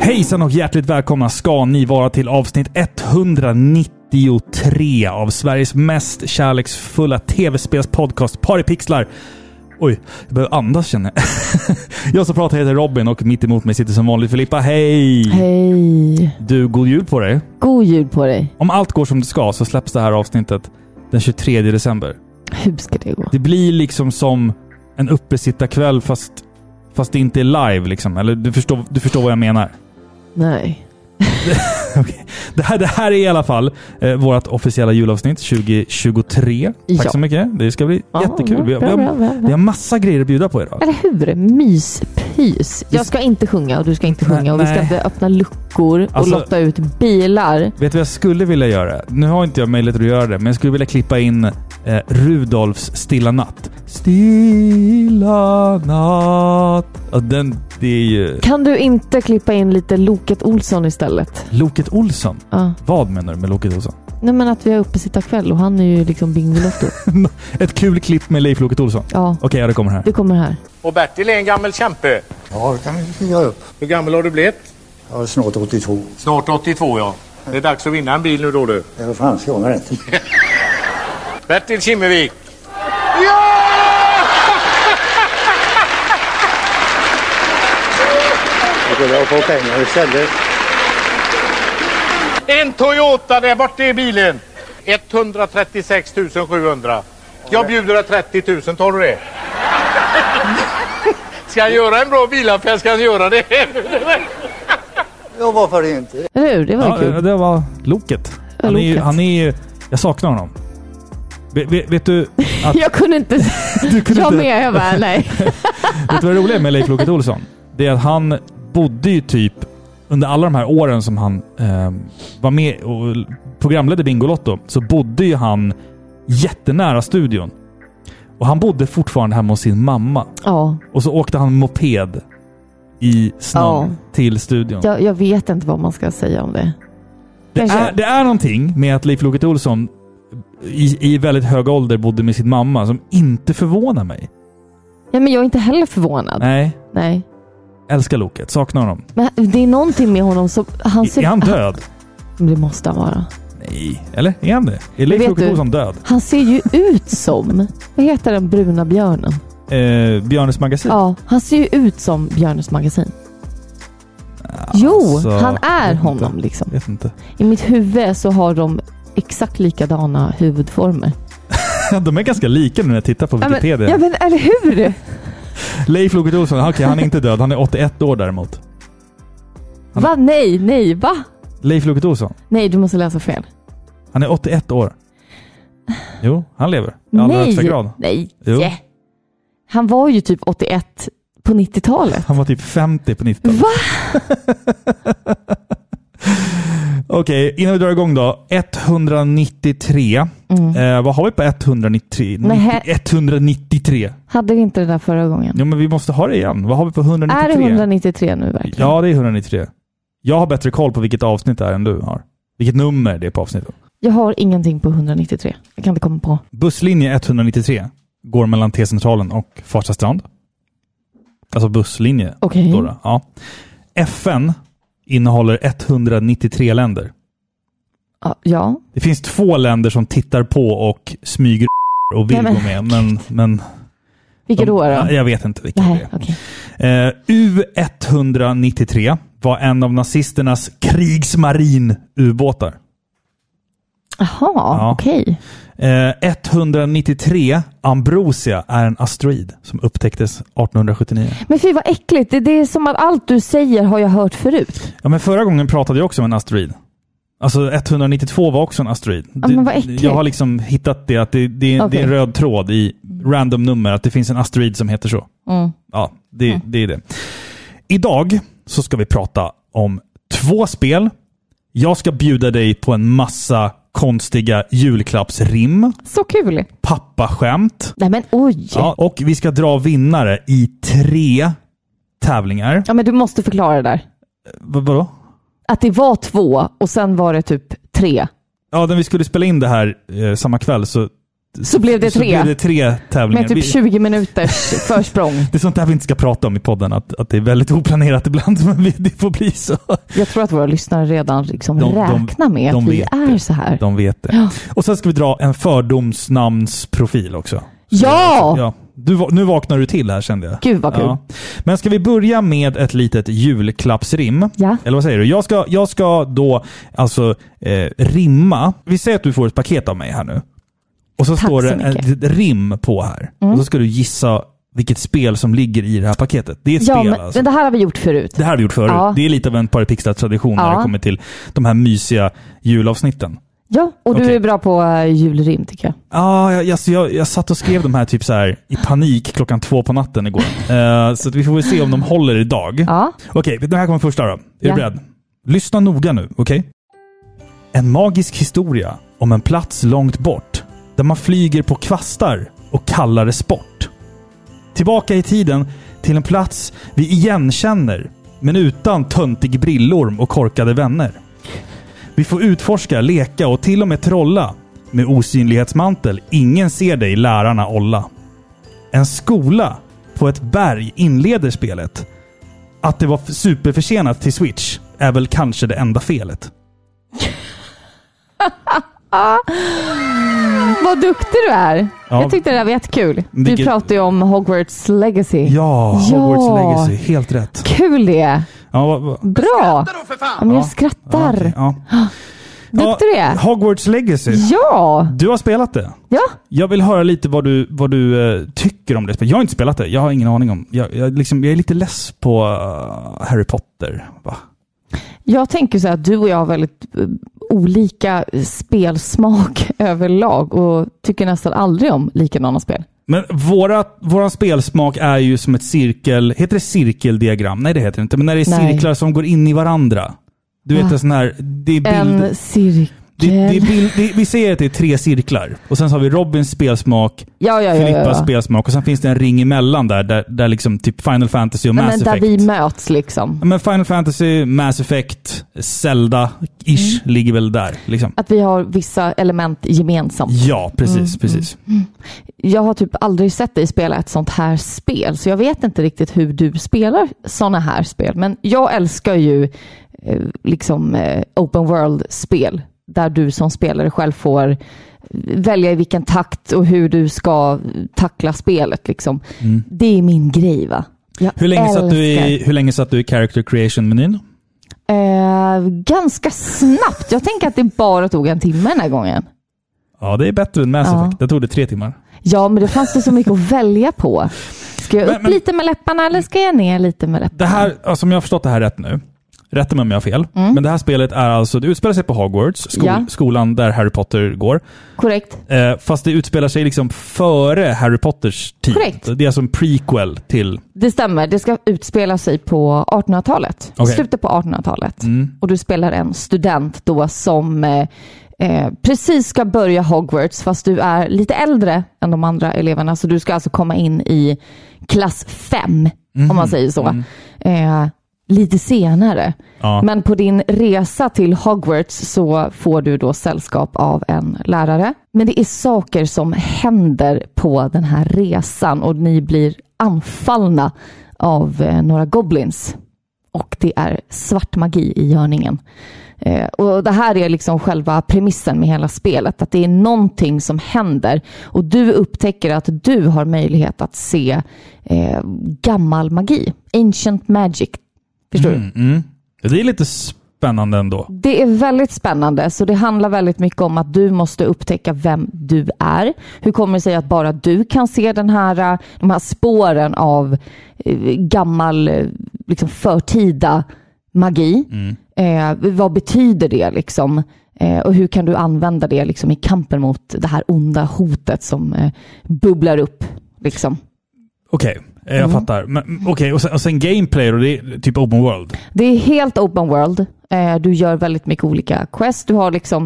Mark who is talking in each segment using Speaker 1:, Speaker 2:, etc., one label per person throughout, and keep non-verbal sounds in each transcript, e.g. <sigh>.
Speaker 1: Hejsan och hjärtligt välkomna ska ni vara till avsnitt 193 av Sveriges mest kärleksfulla tv-spelspodcast Paripixlar. Oj, jag behöver andas känner jag. <laughs> jag som pratar heter Robin och mitt emot mig sitter som vanligt Filippa. Hej!
Speaker 2: Hej!
Speaker 1: Du, god jul på dig.
Speaker 2: God jul på dig!
Speaker 1: Om allt går som det ska så släpps det här avsnittet den 23 december.
Speaker 2: Hur ska det gå?
Speaker 1: Det blir liksom som en uppesittarkväll fast, fast det inte är live liksom. Eller du förstår, du förstår vad jag menar.
Speaker 2: Nej.
Speaker 1: Det här, det här är i alla fall eh, vårt officiella julavsnitt 2023. Tack
Speaker 2: Ja.
Speaker 1: så mycket. Det ska bli
Speaker 2: Ja,
Speaker 1: jättekul. Vi har, vi,
Speaker 2: bra, bra,
Speaker 1: har,
Speaker 2: bra,
Speaker 1: vi
Speaker 2: bra.
Speaker 1: har massa grejer att bjuda på idag.
Speaker 2: Eller hur? Myspys. Jag ska inte sjunga och du ska inte
Speaker 1: Nej,
Speaker 2: sjunga och vi ska
Speaker 1: nej.
Speaker 2: inte öppna luckor och
Speaker 1: Alltså-
Speaker 2: lotta ut bilar.
Speaker 1: Vet du vad jag skulle vilja göra? Nu har inte jag möjlighet att göra det, men jag skulle vilja klippa in eh, Rudolfs Stilla natt. Stilla natt. Ja, den, det är ju...
Speaker 2: Kan du inte klippa in lite Loket Olsson istället?
Speaker 1: Loket Olsson.
Speaker 2: Ja.
Speaker 1: Vad menar du med Loket Olsson? <laughs>
Speaker 2: Nej men att vi har uppe sitta kväll och han är ju liksom Bingolotto.
Speaker 1: Ett kul klipp med Leif Loket Olsson.
Speaker 2: Ja,
Speaker 1: Okej, ja, det kommer här.
Speaker 2: det kommer här.
Speaker 3: Och Bertil är en gammal kämpe.
Speaker 4: Ja, det kan vi fira upp.
Speaker 3: Hur gammal har du blivit?
Speaker 4: Jag är snart 82.
Speaker 3: Snart 82 ja. Det är dags att vinna en bil nu då du.
Speaker 4: Det är väl fan ska jag med rätt.
Speaker 3: Bertil Kimmevik.
Speaker 4: Jag skulle ha fått pengar istället.
Speaker 3: En Toyota där borta i bilen. 136 700. Jag bjuder dig 30 000, tar du det? <laughs> Ska jag göra en bra bilaffär ska jag göra det. <laughs>
Speaker 4: Ja, varför inte?
Speaker 2: Eller hur? Det var
Speaker 1: Ja,
Speaker 2: ju kul.
Speaker 1: det var Loket. Han är, ju,
Speaker 2: Loket.
Speaker 1: han är ju... Jag saknar honom. Vet, vet, vet
Speaker 2: <laughs>
Speaker 1: du... <laughs> Att,
Speaker 2: Jag kunde inte...
Speaker 1: <laughs> du kunde
Speaker 2: Jag
Speaker 1: inte-
Speaker 2: med, jag bara
Speaker 1: <laughs>
Speaker 2: nej.
Speaker 1: Vet du vad det roliga är med Leif Loket Olsson? Det är att han bodde ju typ under alla de här åren som han eh, var med och programledde Bingolotto så bodde ju han jättenära studion. Och han bodde fortfarande hemma hos sin mamma.
Speaker 2: Ja,
Speaker 1: Och så åkte han moped i snön
Speaker 2: Ja.
Speaker 1: till studion.
Speaker 2: jag, jag vet inte vad man ska säga om det.
Speaker 1: det,
Speaker 2: kanske-
Speaker 1: är, det är någonting med att Leif Loket Olsson i, i väldigt hög ålder bodde med sin mamma som inte förvånar mig.
Speaker 2: Ja, men jag är inte heller förvånad.
Speaker 1: Nej,
Speaker 2: nej.
Speaker 1: älskar Loket. Saknar honom.
Speaker 2: Men det är någonting med honom som... Han ser,
Speaker 1: Är han död?
Speaker 2: Han, det måste han vara.
Speaker 1: Nej. Eller? Är han det? Är Leif
Speaker 2: vet
Speaker 1: Loket
Speaker 2: du-
Speaker 1: Olsson död?
Speaker 2: Han ser ju ut som... Vad heter den bruna björnen?
Speaker 1: Eh, Björnes magasin?
Speaker 2: Ja, han ser ju ut som Björnes magasin. Jo,
Speaker 1: alltså,
Speaker 2: han är
Speaker 1: jag vet
Speaker 2: honom
Speaker 1: inte.
Speaker 2: liksom.
Speaker 1: Vet inte. <laughs>
Speaker 2: I mitt huvud så har de exakt likadana huvudformer.
Speaker 1: De är ganska lika nu när jag tittar på
Speaker 2: Ja, men,
Speaker 1: Wikipedia.
Speaker 2: ja, men eller hur?
Speaker 1: Leif Loket Olsson, okej han är inte död. Han är 81 år däremot. Han-
Speaker 2: Va? Nej, nej, va?
Speaker 1: Leif Loket Olsson,
Speaker 2: Nej, du måste läsa fel.
Speaker 1: han är 81 år. Jo, han lever. I allra högsta grad.
Speaker 2: nej, nej.
Speaker 1: Jo.
Speaker 2: Han var ju typ 81 på 90-talet.
Speaker 1: Han var typ 50 på 90
Speaker 2: Va?
Speaker 1: Okej, innan vi drar igång då. 193. Eh, vad har vi på 193?
Speaker 2: Nähä.
Speaker 1: 193?
Speaker 2: Hade vi inte det där förra gången?
Speaker 1: Jo, men vi måste ha det igen. Vad har vi på
Speaker 2: Är
Speaker 1: 193?
Speaker 2: det 193 nu verkligen?
Speaker 1: Ja, det är 193. Jag har bättre koll på vilket avsnitt det är än du har. Vilket nummer det är på avsnittet.
Speaker 2: Jag har ingenting på 193. Jag kan inte komma på.
Speaker 1: Busslinje 193 går mellan T-centralen och Farsta strand. Alltså busslinje.
Speaker 2: Okej.
Speaker 1: Då då. Ja. FN innehåller 193 länder.
Speaker 2: Ja, Ja.
Speaker 1: Det finns två länder som tittar på och smyger och vill
Speaker 2: Nej, men-
Speaker 1: gå med, men... men
Speaker 2: Vilka
Speaker 1: de,
Speaker 2: då? då?
Speaker 1: Ja, Jag vet inte vilka det
Speaker 2: Nej,
Speaker 1: är.
Speaker 2: okej.
Speaker 1: Eh, U193 var en av nazisternas krigsmarin-ubåtar.
Speaker 2: Jaha,
Speaker 1: Ja.
Speaker 2: okej.
Speaker 1: Eh, 193 Ambrosia är en asteroid som upptäcktes 1879.
Speaker 2: Men fy vad äckligt. Det, det är som att allt du säger har jag hört förut.
Speaker 1: Ja, men förra gången pratade jag också om en asteroid. Alltså 192 var också en asteroid.
Speaker 2: Ja, men vad äckligt.
Speaker 1: jag har liksom hittat det, att det, det, det är
Speaker 2: Okej.
Speaker 1: en röd tråd i random nummer, att det finns en asteroid som heter så.
Speaker 2: Mm.
Speaker 1: Ja, det, det är det. Idag så ska vi prata om två spel. Jag ska bjuda dig på en massa konstiga julklappsrim,
Speaker 2: Så kul!
Speaker 1: pappaskämt.
Speaker 2: Nej men oj! Ja.
Speaker 1: Ja, och vi ska dra vinnare i tre tävlingar.
Speaker 2: men du måste förklara det där.
Speaker 1: V- vadå?
Speaker 2: Att det var två och sen var det typ tre.
Speaker 1: Ja, när vi skulle spela in det här eh, samma kväll så,
Speaker 2: Så blev det
Speaker 1: så
Speaker 2: tre.
Speaker 1: blev det tre tävlingar.
Speaker 2: Med typ
Speaker 1: vi, <laughs>
Speaker 2: 20 minuters försprång.
Speaker 1: det är sånt där vi inte ska prata om i podden, att, att det är väldigt oplanerat ibland, <laughs> men vi, det får bli så.
Speaker 2: Jag tror att våra lyssnare redan liksom
Speaker 1: De- de-
Speaker 2: räknar med
Speaker 1: de
Speaker 2: att vi
Speaker 1: vet
Speaker 2: är
Speaker 1: det.
Speaker 2: så här.
Speaker 1: De vet det.
Speaker 2: Ja.
Speaker 1: Och sen ska vi dra en fördomsnamnsprofil också.
Speaker 2: Ja!
Speaker 1: Ja, du, va- nu vaknar du till här kände jag.
Speaker 2: Gud vad kul.
Speaker 1: Ja. Men ska vi börja med ett litet julklappsrim?
Speaker 2: Ja.
Speaker 1: Eller vad säger du? Jag ska, jag ska då alltså eh, rimma. Vi säger att du får ett paket av mig här nu. Och så
Speaker 2: Tack
Speaker 1: står det
Speaker 2: så mycket. Mm.
Speaker 1: ett litet rim på här. Och så ska du gissa vilket spel som ligger i det här paketet. Det är ett
Speaker 2: Ja,
Speaker 1: spel
Speaker 2: men,
Speaker 1: alltså.
Speaker 2: men det här har vi gjort förut.
Speaker 1: Det här har vi gjort förut.
Speaker 2: Ja.
Speaker 1: Det är lite av en parapixlar-tradition när
Speaker 2: Ja.
Speaker 1: det kommer till de här mysiga julavsnitten.
Speaker 2: Ja, och du
Speaker 1: Okej.
Speaker 2: är bra på eh, julrim tycker jag.
Speaker 1: Ah, jag, jag, så jag, jag satt och skrev de här typ så här i panik klockan två på natten igår. Eh, så att vi får väl se om de håller idag.
Speaker 2: Ja.
Speaker 1: Okej, den här kommer första då. Är
Speaker 2: Ja.
Speaker 1: du beredd? Lyssna noga nu, okej? En magisk historia om en plats långt bort där man flyger på kvastar och kallar det sport. Tillbaka i tiden till en plats vi igenkänner men utan töntig brillorm och korkade vänner. Vi får utforska, leka och till och med trolla med osynlighetsmantel ingen ser dig lärarna olla. En skola på ett berg inleder spelet att det var f- superförsenat till Switch är väl kanske det enda felet.
Speaker 2: Vad duktig du är!
Speaker 1: Ja.
Speaker 2: Jag tyckte det där var jättekul. Vi
Speaker 1: Vilket-
Speaker 2: pratade ju om Hogwarts Legacy.
Speaker 1: Ja,
Speaker 2: Ja.
Speaker 1: Hogwarts Legacy. Helt rätt.
Speaker 2: Kul det är!
Speaker 1: Ja, va, va.
Speaker 2: Bra!
Speaker 3: Då för
Speaker 2: Ja,
Speaker 3: fan!
Speaker 1: Ja.
Speaker 2: men jag skrattar.
Speaker 1: okej, ja.
Speaker 2: Duktig du är!
Speaker 1: Hogwarts Legacy.
Speaker 2: Ja!
Speaker 1: Du har spelat det.
Speaker 2: Ja!
Speaker 1: Jag vill höra lite vad du, vad du eh, tycker om det spelet. Jag har inte spelat det. Jag har ingen aning om. Jag, jag, liksom, jag är lite less på eh, Harry Potter. Va?
Speaker 2: Jag tänker så här att du och jag har väldigt eh, olika spelsmak <laughs> överlag och tycker nästan aldrig om likadana spel.
Speaker 1: Men våra, våran spelsmak är ju som ett cirkel... Heter det cirkeldiagram? Nej, det heter det inte. Men när det är
Speaker 2: Nej.
Speaker 1: cirklar som går in i varandra. Du vet,
Speaker 2: Ah.
Speaker 1: en sån här... Det är bild...
Speaker 2: En cirkel.
Speaker 1: Det, det är bild, det, vi säger att det är tre cirklar. Och sen så har vi Robins spelsmak,
Speaker 2: ja, ja, ja, ja,
Speaker 1: Filippas
Speaker 2: ja.
Speaker 1: spelsmak och sen finns det en ring emellan där, där, där liksom typ Final Fantasy och
Speaker 2: Nej,
Speaker 1: Mass
Speaker 2: men där
Speaker 1: Effect.
Speaker 2: vi möts liksom.
Speaker 1: Ja, men Final Fantasy, Mass Effect, Zelda-ish
Speaker 2: Mm.
Speaker 1: ligger väl där. Liksom.
Speaker 2: Att vi har vissa element gemensamt.
Speaker 1: Ja,
Speaker 2: Mm.
Speaker 1: precis. precis.
Speaker 2: Jag har typ aldrig sett dig spela ett sånt här spel, så jag vet inte riktigt hur du spelar såna här spel. Men jag älskar ju eh, liksom eh, open world-spel, där du som spelare själv får välja i vilken takt och hur du ska tackla spelet. Liksom. Det är min grej. va? Jag
Speaker 1: Mm. Hur, länge satt du
Speaker 2: älskar-
Speaker 1: i, hur länge satt du i Character Creation-menyn?
Speaker 2: Eh, ganska snabbt. Jag tänker att det bara tog en timme den här gången.
Speaker 1: Ja, det är bättre än Mass
Speaker 2: Ja.
Speaker 1: Effect. Det tog det tre timmar.
Speaker 2: Ja, men det fanns det så mycket att välja på. Ska jag upp
Speaker 1: Men- men-
Speaker 2: lite med läpparna eller ska jag ner lite med läpparna?
Speaker 1: Det här, alltså, om jag har förstått det här rätt nu, rätta mig om jag har fel, men det här spelet är alltså, det utspelar sig på Hogwarts, skol,
Speaker 2: Mm. Ja.
Speaker 1: skolan där Harry Potter går.
Speaker 2: Korrekt.
Speaker 1: Eh, fast det utspelar sig liksom före Harry Potters tid.
Speaker 2: Korrekt.
Speaker 1: Det är alltså en prequel till...
Speaker 2: Det stämmer. Det ska utspela sig på 1800-talet.
Speaker 1: Okej.
Speaker 2: Slutet på 1800-talet.
Speaker 1: Mm.
Speaker 2: Och du spelar en student då som eh, eh, precis ska börja Hogwarts fast du är lite äldre än de andra eleverna. Så du ska alltså komma in i klass 5 om
Speaker 1: Mhm.
Speaker 2: man säger så. Eh, lite senare.
Speaker 1: Mm. Ja.
Speaker 2: Men på din resa till Hogwarts så får du då sällskap av en lärare. Men det är saker som händer på den här resan och ni blir anfallna av eh, några goblins. Och det är svart magi i görningen. Eh, och det här är liksom själva premissen med hela spelet. Att det är någonting som händer och du upptäcker att du har möjlighet att se eh, gammal magi. Ancient magic. Förstår du?
Speaker 1: Det är lite spännande ändå.
Speaker 2: Det är väldigt spännande, så det handlar väldigt mycket om att du måste upptäcka vem du är. Hur kommer det sig att bara du kan se den här, eh, de här spåren av eh, gammal, eh, liksom förtida magi? Eh, vad betyder det liksom? Eh, och hur kan du använda det liksom, i kampen mot det här onda hotet som eh, bubblar upp? Liksom.
Speaker 1: Okej, eh, jag fattar. Men, mm, okej, och, sen, och sen gameplay och det är typ open world.
Speaker 2: Det är helt open world. Eh, du gör väldigt mycket olika quest. Du har liksom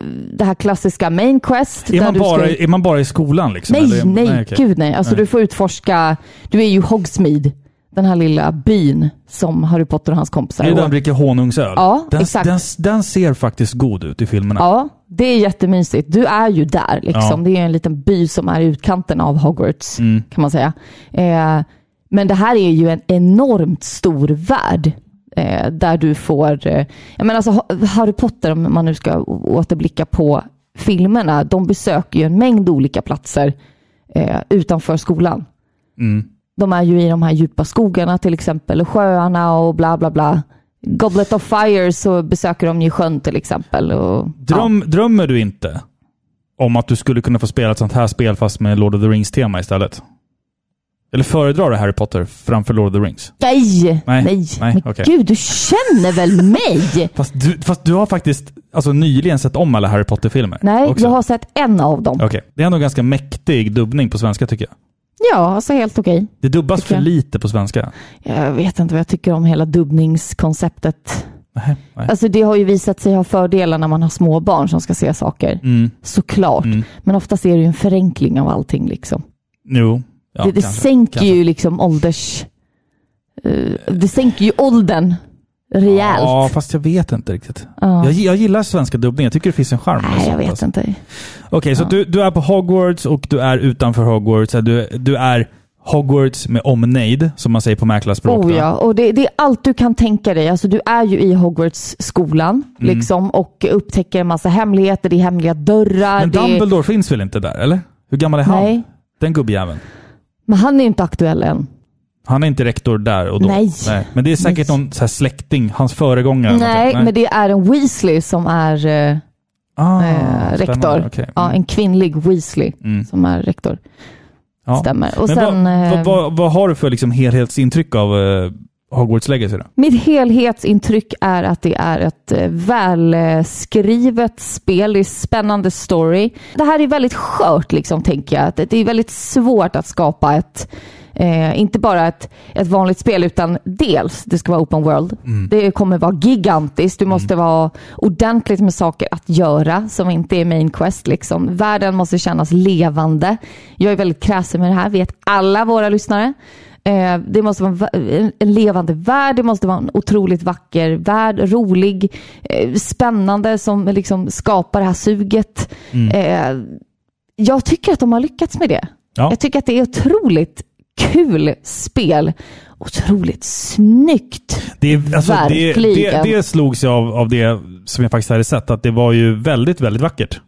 Speaker 2: eh, det här klassiska main quest.
Speaker 1: Är man,
Speaker 2: du
Speaker 1: bara, är man bara i skolan liksom?
Speaker 2: Nej,
Speaker 1: eller?
Speaker 2: nej,
Speaker 1: okej.
Speaker 2: gud nej. Alltså
Speaker 1: Nej.
Speaker 2: du får utforska, du är ju Hogsmeade, den här lilla byn som Harry Potter och hans kompisar
Speaker 1: Det är där han
Speaker 2: åker.
Speaker 1: dricker honungsöl.
Speaker 2: Ja,
Speaker 1: den,
Speaker 2: exakt.
Speaker 1: Den, den ser faktiskt god ut i filmerna.
Speaker 2: Ja, det är jättemysigt. Du är ju där liksom. Det är en liten by som är i utkanten av Hogwarts kan man säga. Eh, men det här är ju en enormt stor värld. Eh, där du får, eh, jag menar alltså Ha- Harry Potter om man nu ska å- återblicka på filmerna, de besöker ju en mängd olika platser eh, utanför skolan.
Speaker 1: Mm.
Speaker 2: De är ju i de här djupa skogarna till exempel, och sjöarna och bla bla bla. Goblet of Fire så besöker de ju sjön till exempel. Och,
Speaker 1: Dröm, Drömmer du inte om att du skulle kunna få spela ett sånt här spel fast med Lord of the Rings-tema istället? Eller föredrar du Harry Potter framför Lord of the Rings?
Speaker 2: Ja. Nej,
Speaker 1: Nej,
Speaker 2: nej,
Speaker 1: nej,
Speaker 2: men
Speaker 1: okej.
Speaker 2: gud du känner
Speaker 1: <laughs>
Speaker 2: väl mig?
Speaker 1: Fast du, fast du har faktiskt alltså, nyligen sett om alla Harry Potter-filmer?
Speaker 2: Nej,
Speaker 1: också.
Speaker 2: jag har sett en av dem.
Speaker 1: Okej. Det är ändå ganska mäktig dubbning på svenska tycker jag.
Speaker 2: Ja, alltså helt okej.
Speaker 1: Det dubbas
Speaker 2: Tycker
Speaker 1: för
Speaker 2: jag.
Speaker 1: lite på svenska.
Speaker 2: Jag vet inte vad jag tycker om hela dubbningskonceptet.
Speaker 1: Nej, nej.
Speaker 2: Alltså det har ju visat sig ha fördelar när man har små barn som ska se saker.
Speaker 1: Mm.
Speaker 2: Såklart. Men oftast är det ju en förenkling av allting liksom.
Speaker 1: Jo. Ja,
Speaker 2: det det
Speaker 1: kanske.
Speaker 2: sänker
Speaker 1: Kanske.
Speaker 2: ju liksom ålders... eh, det sänker ju åldern rejält.
Speaker 1: Ja, fast jag vet inte riktigt. Jag, gi- jag gillar svenska dubbningen. Jag tycker det finns en charm. med
Speaker 2: Nej, jag
Speaker 1: sånt,
Speaker 2: vet
Speaker 1: alltså.
Speaker 2: inte.
Speaker 1: Okej, så du, du är på Hogwarts och du är utanför Hogwarts. Du, du är Hogwarts med omnejd, som man säger på mäklarspråk.
Speaker 2: Oh
Speaker 1: då.
Speaker 2: ja, och det, det är allt du kan tänka dig. Alltså, du är ju i Hogwarts-skolan
Speaker 1: Mm.
Speaker 2: liksom, och upptäcker en massa hemligheter. Det är hemliga dörrar.
Speaker 1: Men
Speaker 2: det är-
Speaker 1: Dumbledore finns väl inte där, eller? Hur gammal är han?
Speaker 2: Nej.
Speaker 1: Den gubbjäveln.
Speaker 2: Men han är ju inte aktuell än.
Speaker 1: Han är inte rektor där och då.
Speaker 2: Nej.
Speaker 1: Men det är säkert
Speaker 2: Nej.
Speaker 1: någon så här släkting, hans föregångare. eller
Speaker 2: Nej,
Speaker 1: någonting.
Speaker 2: men det är en Weasley som är eh,
Speaker 1: Ah,
Speaker 2: eh, rektor.
Speaker 1: spännande. Okej.
Speaker 2: Ja, en kvinnlig Weasley
Speaker 1: Mm.
Speaker 2: som är rektor.
Speaker 1: Ja.
Speaker 2: Stämmer. Och
Speaker 1: Men
Speaker 2: sen,
Speaker 1: vad, vad,
Speaker 2: eh,
Speaker 1: vad, vad har du för liksom helhetsintryck av eh, Hogwarts Legacy? Då?
Speaker 2: Mitt helhetsintryck är att det är ett eh, välskrivet spel. Det är spännande story. Det här är väldigt skört, liksom, tänker jag. Att Det är väldigt svårt att skapa ett Eh, inte bara ett, ett vanligt spel, utan dels det ska vara open world. Det kommer vara gigantiskt. Du måste vara ordentligt med saker att göra som inte är main quest. Liksom. Världen måste kännas levande. Jag är väldigt kräsen med det här, vet alla våra lyssnare. Eh, det måste vara en va- en, en levande värld, det måste vara en otroligt vacker värld, rolig, eh, spännande som liksom skapar det här suget. Eh, jag tycker att de har lyckats med det.
Speaker 1: Ja.
Speaker 2: Jag tycker att det är otroligt kul spel. Otroligt snyggt.
Speaker 1: Det, är- alltså, det, det,
Speaker 2: Verkligen.
Speaker 1: det slogs jag av, av det som jag faktiskt hade sett, att det var ju väldigt, väldigt vackert.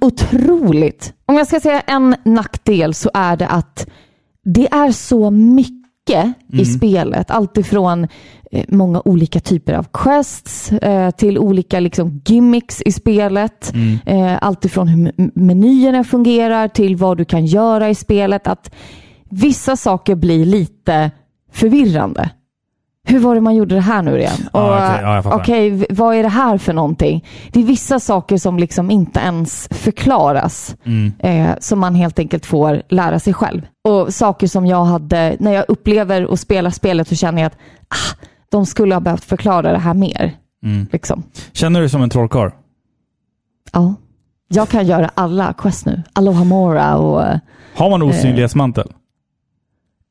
Speaker 2: Otroligt. Om jag ska säga en nackdel så är det att det är så mycket i spelet. Allt ifrån eh, många olika typer av quests eh, till olika liksom, gimmicks i spelet. Eh, allt ifrån hur m- menyerna fungerar till vad du kan göra i spelet. Att vissa saker blir lite förvirrande. Hur var det man gjorde det här nu igen?
Speaker 1: Ja,
Speaker 2: Och,
Speaker 1: okej, ja, jag fattar.
Speaker 2: okej, v- vad är det här för någonting? Det är vissa saker som liksom inte ens förklaras.
Speaker 1: Mm.
Speaker 2: Eh, som man helt enkelt får lära sig själv. Och saker som jag hade, när jag upplever och spelar spelet så känner jag att ah, de skulle ha behövt förklara det här mer.
Speaker 1: Mm.
Speaker 2: Liksom.
Speaker 1: Känner du dig som en trollkarl?
Speaker 2: Ja. Jag kan göra alla quest nu. Alohomora och
Speaker 1: Har man osynlighetsmantel?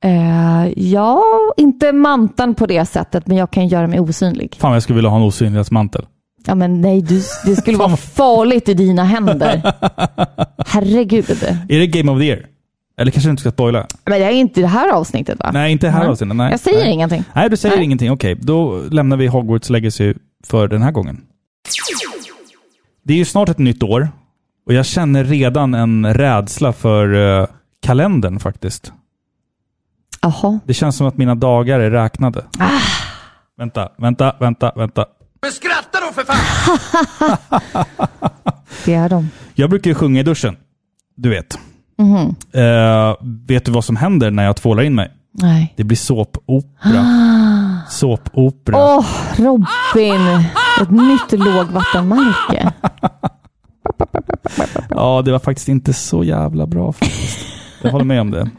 Speaker 2: eh, ja, inte mantan på det sättet, men jag kan göra mig osynlig.
Speaker 1: Fan vad jag skulle vilja ha en osynlighetsmantel.
Speaker 2: Ja men nej, du, det
Speaker 1: <laughs>
Speaker 2: skulle vara farligt i dina händer. Herregud.
Speaker 1: Är det Game of the Year? Eller kanske du inte ska spoila?
Speaker 2: Men det är inte i det här avsnittet va?
Speaker 1: Nej, inte här
Speaker 2: Nej.
Speaker 1: avsnittet. Nej.
Speaker 2: Jag säger
Speaker 1: Nej.
Speaker 2: ingenting.
Speaker 1: Nej, du säger
Speaker 2: Nej.
Speaker 1: ingenting. Okej, då lämnar vi Hogwarts Legacy för den här gången. Det är ju snart ett nytt år och jag känner redan en rädsla för eh, kalendern faktiskt.
Speaker 2: Jaha.
Speaker 1: Det känns som att mina dagar är räknade. Vänta, vänta, vänta, vänta.
Speaker 2: Det är de.
Speaker 1: Jag brukar ju sjunga i duschen. Du vet. Eh, vet du vad som händer när jag tvålar in mig?
Speaker 2: Nej.
Speaker 1: Det blir såpopera. såpopera.
Speaker 2: Åh, Robin! Ett
Speaker 1: <laughs>
Speaker 2: nytt lågvattenmärke.
Speaker 1: Ja, det var faktiskt inte så jävla bra faktiskt. Jag håller med om det.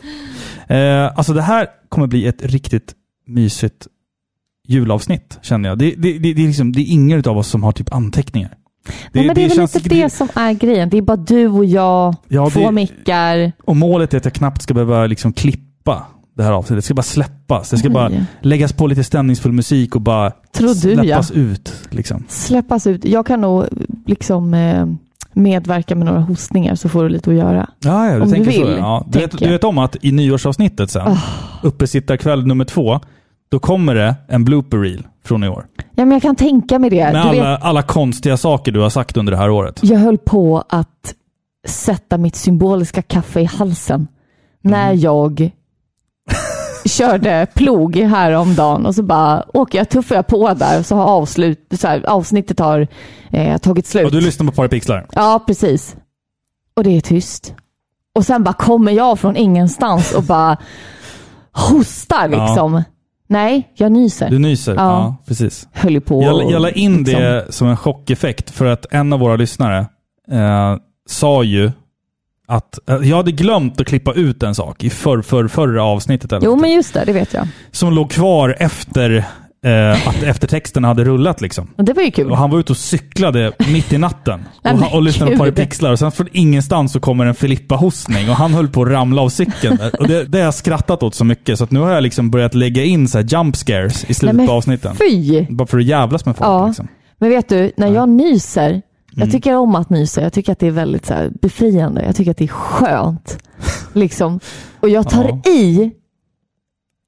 Speaker 1: Eh, alltså det här kommer bli ett riktigt mysigt julavsnitt, känner jag. Det, det, det, det, är, liksom, det är ingen av oss som har typ anteckningar.
Speaker 2: Nej, men det, är väl
Speaker 1: känns-
Speaker 2: inte det som är grejen. Det är bara du och jag,
Speaker 1: Ja,
Speaker 2: två
Speaker 1: det-
Speaker 2: mickar.
Speaker 1: Och målet är att jag knappt ska behöva liksom klippa det här avsnittet. Det ska bara släppas. Det ska
Speaker 2: Oj.
Speaker 1: bara läggas på lite stämningsfull musik och bara
Speaker 2: Tror du, ja.
Speaker 1: släppas ut. Liksom.
Speaker 2: Släppas ut. Jag kan nog liksom eh, medverka med några hostningar så får du lite att göra.
Speaker 1: Ja, ja, du
Speaker 2: Om du
Speaker 1: tänker så.
Speaker 2: vill,
Speaker 1: Ja. Du, vet,
Speaker 2: tänker jag. Ah.
Speaker 1: du vet om att i nyårsavsnittet sen, uppesittarkväll nummer två, då kommer det en blooper reel från i år.
Speaker 2: Ja, men jag kan tänka mig det.
Speaker 1: Med
Speaker 2: Du vet,
Speaker 1: alla, alla konstiga saker du har sagt under det här året.
Speaker 2: jag höll på att sätta mitt symboliska kaffe i halsen
Speaker 1: Mm.
Speaker 2: när jag
Speaker 1: <laughs>
Speaker 2: körde plog häromdagen och så bara åker jag, tuffar jag på där så har avslut, så här, avsnittet har eh, tagit slut.
Speaker 1: Och du lyssnar på Par Pixlar.
Speaker 2: Ja, precis. Och det är tyst. Och sen bara kommer jag från ingenstans och bara hostar
Speaker 1: Ja.
Speaker 2: liksom. Nej, jag nyser.
Speaker 1: Du nyser. Ja,
Speaker 2: Ja.
Speaker 1: precis.
Speaker 2: Höll ju på
Speaker 1: Jag,
Speaker 2: och
Speaker 1: jag la in
Speaker 2: liksom-
Speaker 1: det som en chockeffekt för att en av våra lyssnare eh, sa ju att eh, jag hade glömt att klippa ut en sak i för, för, förra avsnittet eller
Speaker 2: Jo,
Speaker 1: någonting,
Speaker 2: men just det, det vet jag.
Speaker 1: som låg kvar efter eh, att eftertexten hade rullat. Liksom.
Speaker 2: Och det var ju kul.
Speaker 1: Och han var ute och cyklade mitt i natten
Speaker 2: <laughs> Nej,
Speaker 1: och,
Speaker 2: men
Speaker 1: han- och lyssnade på
Speaker 2: gud.
Speaker 1: Par Pixlar. Och sen från ingenstans så kommer en Filippa-hostning och han höll på att ramla av
Speaker 2: <laughs>
Speaker 1: cykeln. Där. Och det, det har jag skrattat åt så mycket så att nu har jag liksom börjat lägga in så här jump scares i
Speaker 2: Nej,
Speaker 1: slutet
Speaker 2: men
Speaker 1: på avsnitten.
Speaker 2: Fy!
Speaker 1: Bara för att jävlas med folk.
Speaker 2: Ja.
Speaker 1: Liksom.
Speaker 2: Men vet du, när jag nyser, jag
Speaker 1: Mm.
Speaker 2: tycker om att nysa. Jag tycker att det är väldigt så här, befriande. Jag tycker att det
Speaker 1: <laughs>
Speaker 2: är skönt. liksom. Och jag tar
Speaker 1: Ja.
Speaker 2: i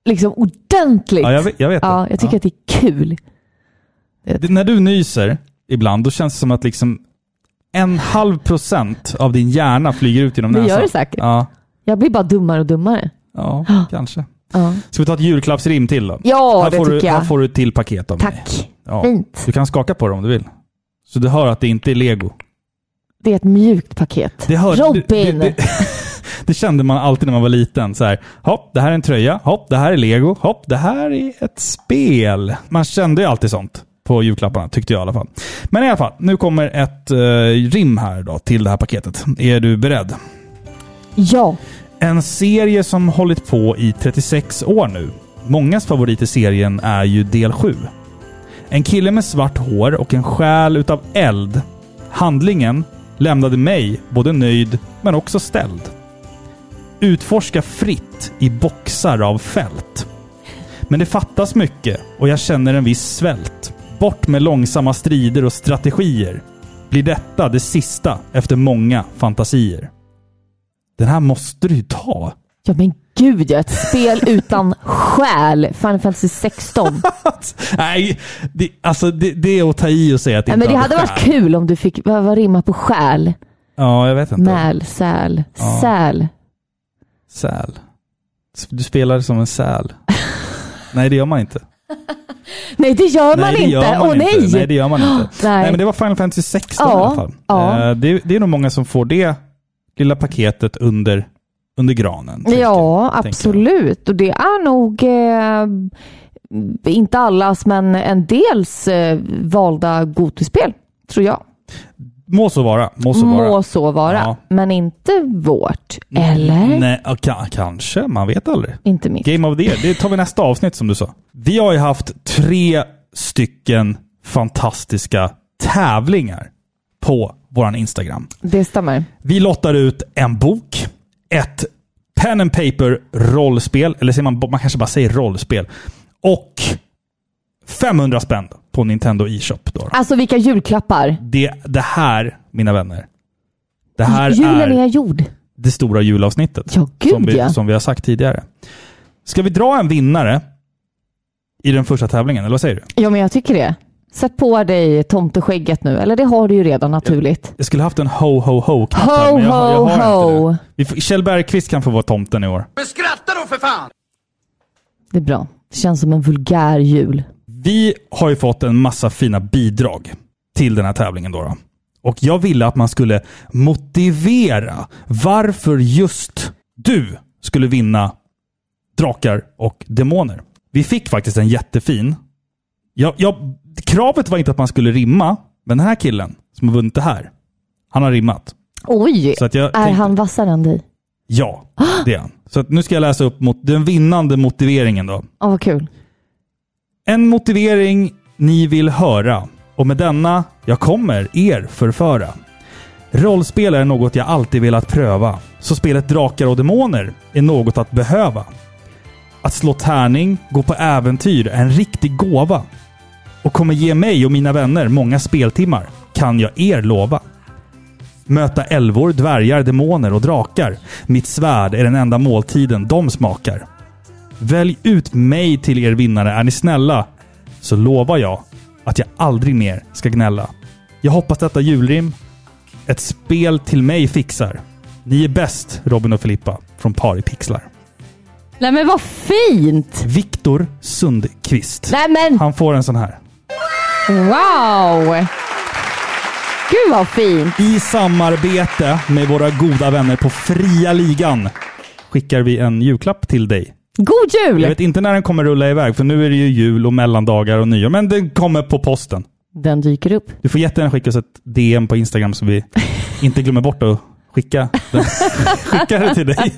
Speaker 2: liksom ordentligt.
Speaker 1: Ja, jag vet, jag vet
Speaker 2: Ja,
Speaker 1: det.
Speaker 2: jag tycker att det är kul.
Speaker 1: Det- När du nyser ibland, då känns det som att liksom en halv procent av din hjärna flyger ut genom
Speaker 2: Det
Speaker 1: näsan.
Speaker 2: gör det säkert.
Speaker 1: Ja,
Speaker 2: Jag blir bara dummare och dummare.
Speaker 1: ja kanske.
Speaker 2: Ja,
Speaker 1: Ska vi ta ett julklappsrim till då?
Speaker 2: ja
Speaker 1: här
Speaker 2: det
Speaker 1: får
Speaker 2: tycker
Speaker 1: du,
Speaker 2: jag.
Speaker 1: Här får du ett till paket av mig.
Speaker 2: Tack.
Speaker 1: Ja.
Speaker 2: Fint.
Speaker 1: Du kan skaka på det om du vill. Så du hör att det inte är lego.
Speaker 2: Det är ett mjukt paket.
Speaker 1: Det hör,
Speaker 2: Robin!
Speaker 1: Det, det, <laughs> det, det kände man alltid när man var liten. Så här, hopp, det här är en tröja. Hopp, det här är lego. Hopp, det här är ett spel. Man kände ju alltid sånt på julklapparna, tyckte jag i alla fall. Men i alla fall, nu kommer ett eh, rim här då till det här paketet. Är du beredd?
Speaker 2: Ja,
Speaker 1: En serie som hållit på i 36 år nu. Mångas favorit i serien är ju del 7. En kille med svart hår och en själ utav eld. Handlingen lämnade mig både nöjd men också ställd. Utforska fritt i boxar av fält. Men det fattas mycket och jag känner en viss svält. Bort med långsamma strider och strategier. Blir detta det sista efter många fantasier? Den här måste du ju ta.
Speaker 2: ja men gud ja. Ett spel utan själ. Final
Speaker 1: <laughs>
Speaker 2: Fantasy 16.
Speaker 1: Nej, det, alltså det, det är att ta i och säga att det
Speaker 2: Nej,
Speaker 1: inte
Speaker 2: men det hade
Speaker 1: hade
Speaker 2: varit
Speaker 1: skär.
Speaker 2: kul om du fick vad, vad rimmar på själ.
Speaker 1: Ja, jag vet inte.
Speaker 2: Mäl, säl,
Speaker 1: Ja.
Speaker 2: säl.
Speaker 1: Säl. Du spelar som en
Speaker 2: <laughs>
Speaker 1: säl. nej, det gör man inte.
Speaker 2: Nej, det gör man
Speaker 1: nej, det
Speaker 2: inte.
Speaker 1: Gör man
Speaker 2: Åh
Speaker 1: inte.
Speaker 2: nej!
Speaker 1: Nej, det gör man inte.
Speaker 2: <gasps> Nej.
Speaker 1: men det var Final Fantasy 16
Speaker 2: Ja,
Speaker 1: i alla fall.
Speaker 2: ja.
Speaker 1: Eh, Det, det är nog många som får det lilla paketet under, under granen. tänker-
Speaker 2: ja,
Speaker 1: tänker jag.
Speaker 2: absolut. Och det är nog eh, inte allas, men en dels eh, valda Gotispel, tror jag.
Speaker 1: Må så vara. Må så vara.
Speaker 2: Må så vara,
Speaker 1: Ja.
Speaker 2: men inte vårt. Eller?
Speaker 1: Nej, ja, ka- kanske. Man vet aldrig.
Speaker 2: Inte mitt.
Speaker 1: Game of the year, det tar vi nästa avsnitt som du sa. Vi har ju haft tre stycken fantastiska tävlingar på vår Instagram.
Speaker 2: Det stämmer.
Speaker 1: Vi lottar ut en bok, ett pen and paper rollspel, eller säger man, man kanske bara säger rollspel, och 500 spänn på Nintendo e-shop. Då.
Speaker 2: Alltså vilka julklappar.
Speaker 1: Det, det här, mina vänner, det här
Speaker 2: Julen
Speaker 1: är
Speaker 2: är gjord.
Speaker 1: det stora julavsnittet.
Speaker 2: Ja, gud
Speaker 1: som, vi,
Speaker 2: ja.
Speaker 1: som vi har sagt tidigare. Ska vi dra en vinnare i den första tävlingen, eller vad säger du?
Speaker 2: Ja, men jag tycker det. Sätt på dig tomteskägget nu. Eller det har du ju redan naturligt.
Speaker 1: Jag skulle haft en ho ho ho knapp
Speaker 2: Ho,
Speaker 1: men jag, har- jag
Speaker 2: ho,
Speaker 1: har
Speaker 2: ho.
Speaker 1: inte det. Vi får, Kjell Bergqvist kan få vara tomten i år.
Speaker 5: Men skratta då för fan!
Speaker 2: Det är bra. Det känns som en vulgär jul.
Speaker 1: Vi har ju fått en massa fina bidrag till den här tävlingen. Då då. Och jag ville att man skulle motivera varför just du skulle vinna Drakar och Demoner. Vi fick faktiskt en jättefin. Jag, jag, kravet var inte att man skulle rimma, men den här killen som har vunnit det här, han har rimmat.
Speaker 2: Oj!
Speaker 1: Så att jag
Speaker 2: är
Speaker 1: tänkte-
Speaker 2: han vassare än dig?
Speaker 1: Ja, det är han. Så att nu ska jag läsa upp mot den vinnande motiveringen då.
Speaker 2: Åh, vad kul.
Speaker 1: En motivering ni vill höra och med denna jag kommer er förföra. Rollspel är något jag alltid velat pröva, så spelet Drakar och Demoner är något att behöva. Att slå tärning, gå på äventyr är en riktig gåva och kommer ge mig och mina vänner många speltimmar, kan jag er lova. Möta älvor, dvärgar, demoner och drakar. Mitt svärd är den enda måltiden de smakar. Välj ut mig till er vinnare, är ni snälla? Så lovar jag att jag aldrig mer ska gnälla. Jag hoppas detta julrim ett spel till mig fixar. Ni är bäst, Robin och Filippa från Par i pixlar.
Speaker 2: Nej men vad fint!
Speaker 1: Viktor Sundqvist.
Speaker 2: Nej men
Speaker 1: Han får en sån här.
Speaker 2: wow! Gud vad fint!
Speaker 1: I samarbete med våra goda vänner på Fria Ligan skickar vi en julklapp till dig.
Speaker 2: God
Speaker 1: Jag
Speaker 2: jul!
Speaker 1: vet inte när den kommer rulla iväg, för nu är det ju jul och mellandagar och nyår, men den kommer på posten.
Speaker 2: Den dyker upp.
Speaker 1: Du får jättegärna skicka oss ett DM på Instagram så vi inte glömmer bort att skicka, <laughs> den. skicka det till dig.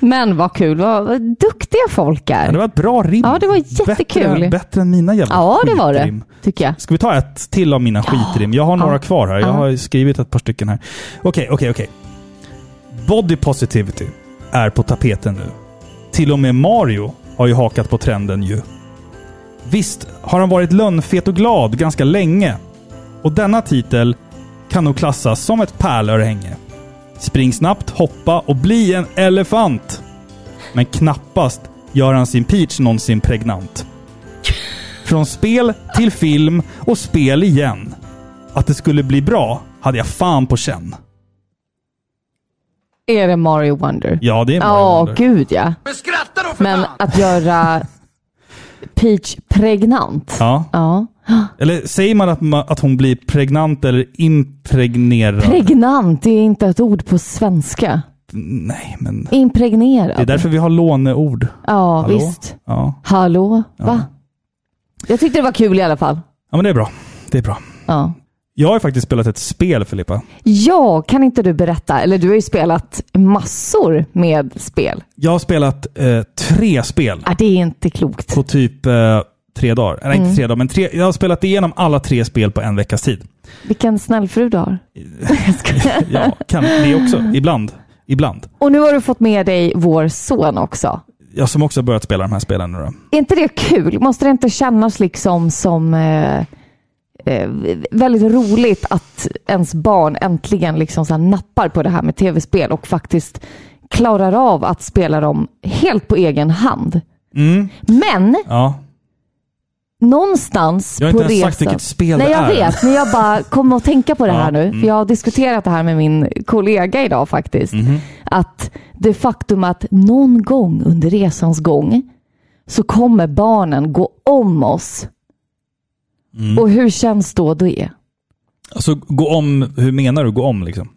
Speaker 2: Men vad kul, vad, vad duktiga folk
Speaker 1: Ja,
Speaker 2: är.
Speaker 1: det var ett bra rim.
Speaker 2: Ja, det var jättekul.
Speaker 1: Bättre, bättre än mina jävla
Speaker 2: Ja, det var det.
Speaker 1: skitrim.
Speaker 2: Tycker jag.
Speaker 1: Ska vi ta ett till av mina skitrim? Jag har några
Speaker 2: Ja.
Speaker 1: kvar här. Jag
Speaker 2: Ja.
Speaker 1: har skrivit ett par stycken här. Okej, okej, okej. Body positivity är på tapeten nu. Till och med Mario har ju hakat på trenden ju. Visst har han varit lönnfet och glad ganska länge. Och denna titel kan nog klassas som ett pärlörhänge. Spring snabbt, hoppa och bli en elefant. Men knappast gör han sin peach någonsin pregnant. Från spel till film och spel igen. Att det skulle bli bra hade jag fan på känn.
Speaker 2: Är det Mario Wonder?
Speaker 1: Ja, det är
Speaker 2: Ja,
Speaker 1: Mario.
Speaker 2: gud ja. Men skratta då för Men att göra Peach pregnant.
Speaker 1: Ja.
Speaker 2: Ja.
Speaker 1: Eller säger man att, ma- att hon blir pregnant eller impregnerad?
Speaker 2: Pregnant, det är inte ett ord på svenska.
Speaker 1: Nej, men
Speaker 2: Impregnerad.
Speaker 1: det är därför vi har låneord.
Speaker 2: Ja,
Speaker 1: Hallå?
Speaker 2: visst.
Speaker 1: Ja.
Speaker 2: Hallå? Va? Jag tyckte det var kul i alla fall.
Speaker 1: ja, men det är bra. Det är bra.
Speaker 2: Ja.
Speaker 1: Jag har ju faktiskt spelat ett spel, Filippa.
Speaker 2: ja, kan inte du berätta? Eller du har ju spelat massor med spel.
Speaker 1: Jag har spelat eh, tre spel
Speaker 2: Ah, det är inte klokt.
Speaker 1: på typ eh, tre dagar. Eller
Speaker 2: Mm.
Speaker 1: inte tre dagar, men tre, jag har spelat igenom alla tre spel på en veckas
Speaker 2: <laughs>
Speaker 1: tid.
Speaker 2: Vilken snäll fru du har. Jag skojar.
Speaker 1: Ja, kan det också. Ibland. Ibland.
Speaker 2: Och nu har du fått med dig vår son också.
Speaker 1: Jag som också har börjat spela de här spelen nu då.
Speaker 2: Är inte det kul? Måste det inte kännas liksom som eh, eh, väldigt roligt att ens barn äntligen liksom så här nappar på det här med tv-spel och faktiskt klarar av att spela dem helt på egen hand.
Speaker 1: Mm,
Speaker 2: Men
Speaker 1: ja.
Speaker 2: någonstans
Speaker 1: Jag har
Speaker 2: på
Speaker 1: inte ens
Speaker 2: resan...
Speaker 1: sagt vilket spel
Speaker 2: Nej,
Speaker 1: det
Speaker 2: jag
Speaker 1: är.
Speaker 2: vet, men jag bara kom att tänka på
Speaker 1: <laughs>
Speaker 2: det
Speaker 1: Ja, Mm.
Speaker 2: här nu. För jag har diskuterat det här med min kollega idag faktiskt.
Speaker 1: Mhm.
Speaker 2: Att det faktum att någon gång under resans gång så kommer barnen gå om oss.
Speaker 1: Mm.
Speaker 2: Och hur känns då det?
Speaker 1: Alltså gå om, hur menar du gå om liksom?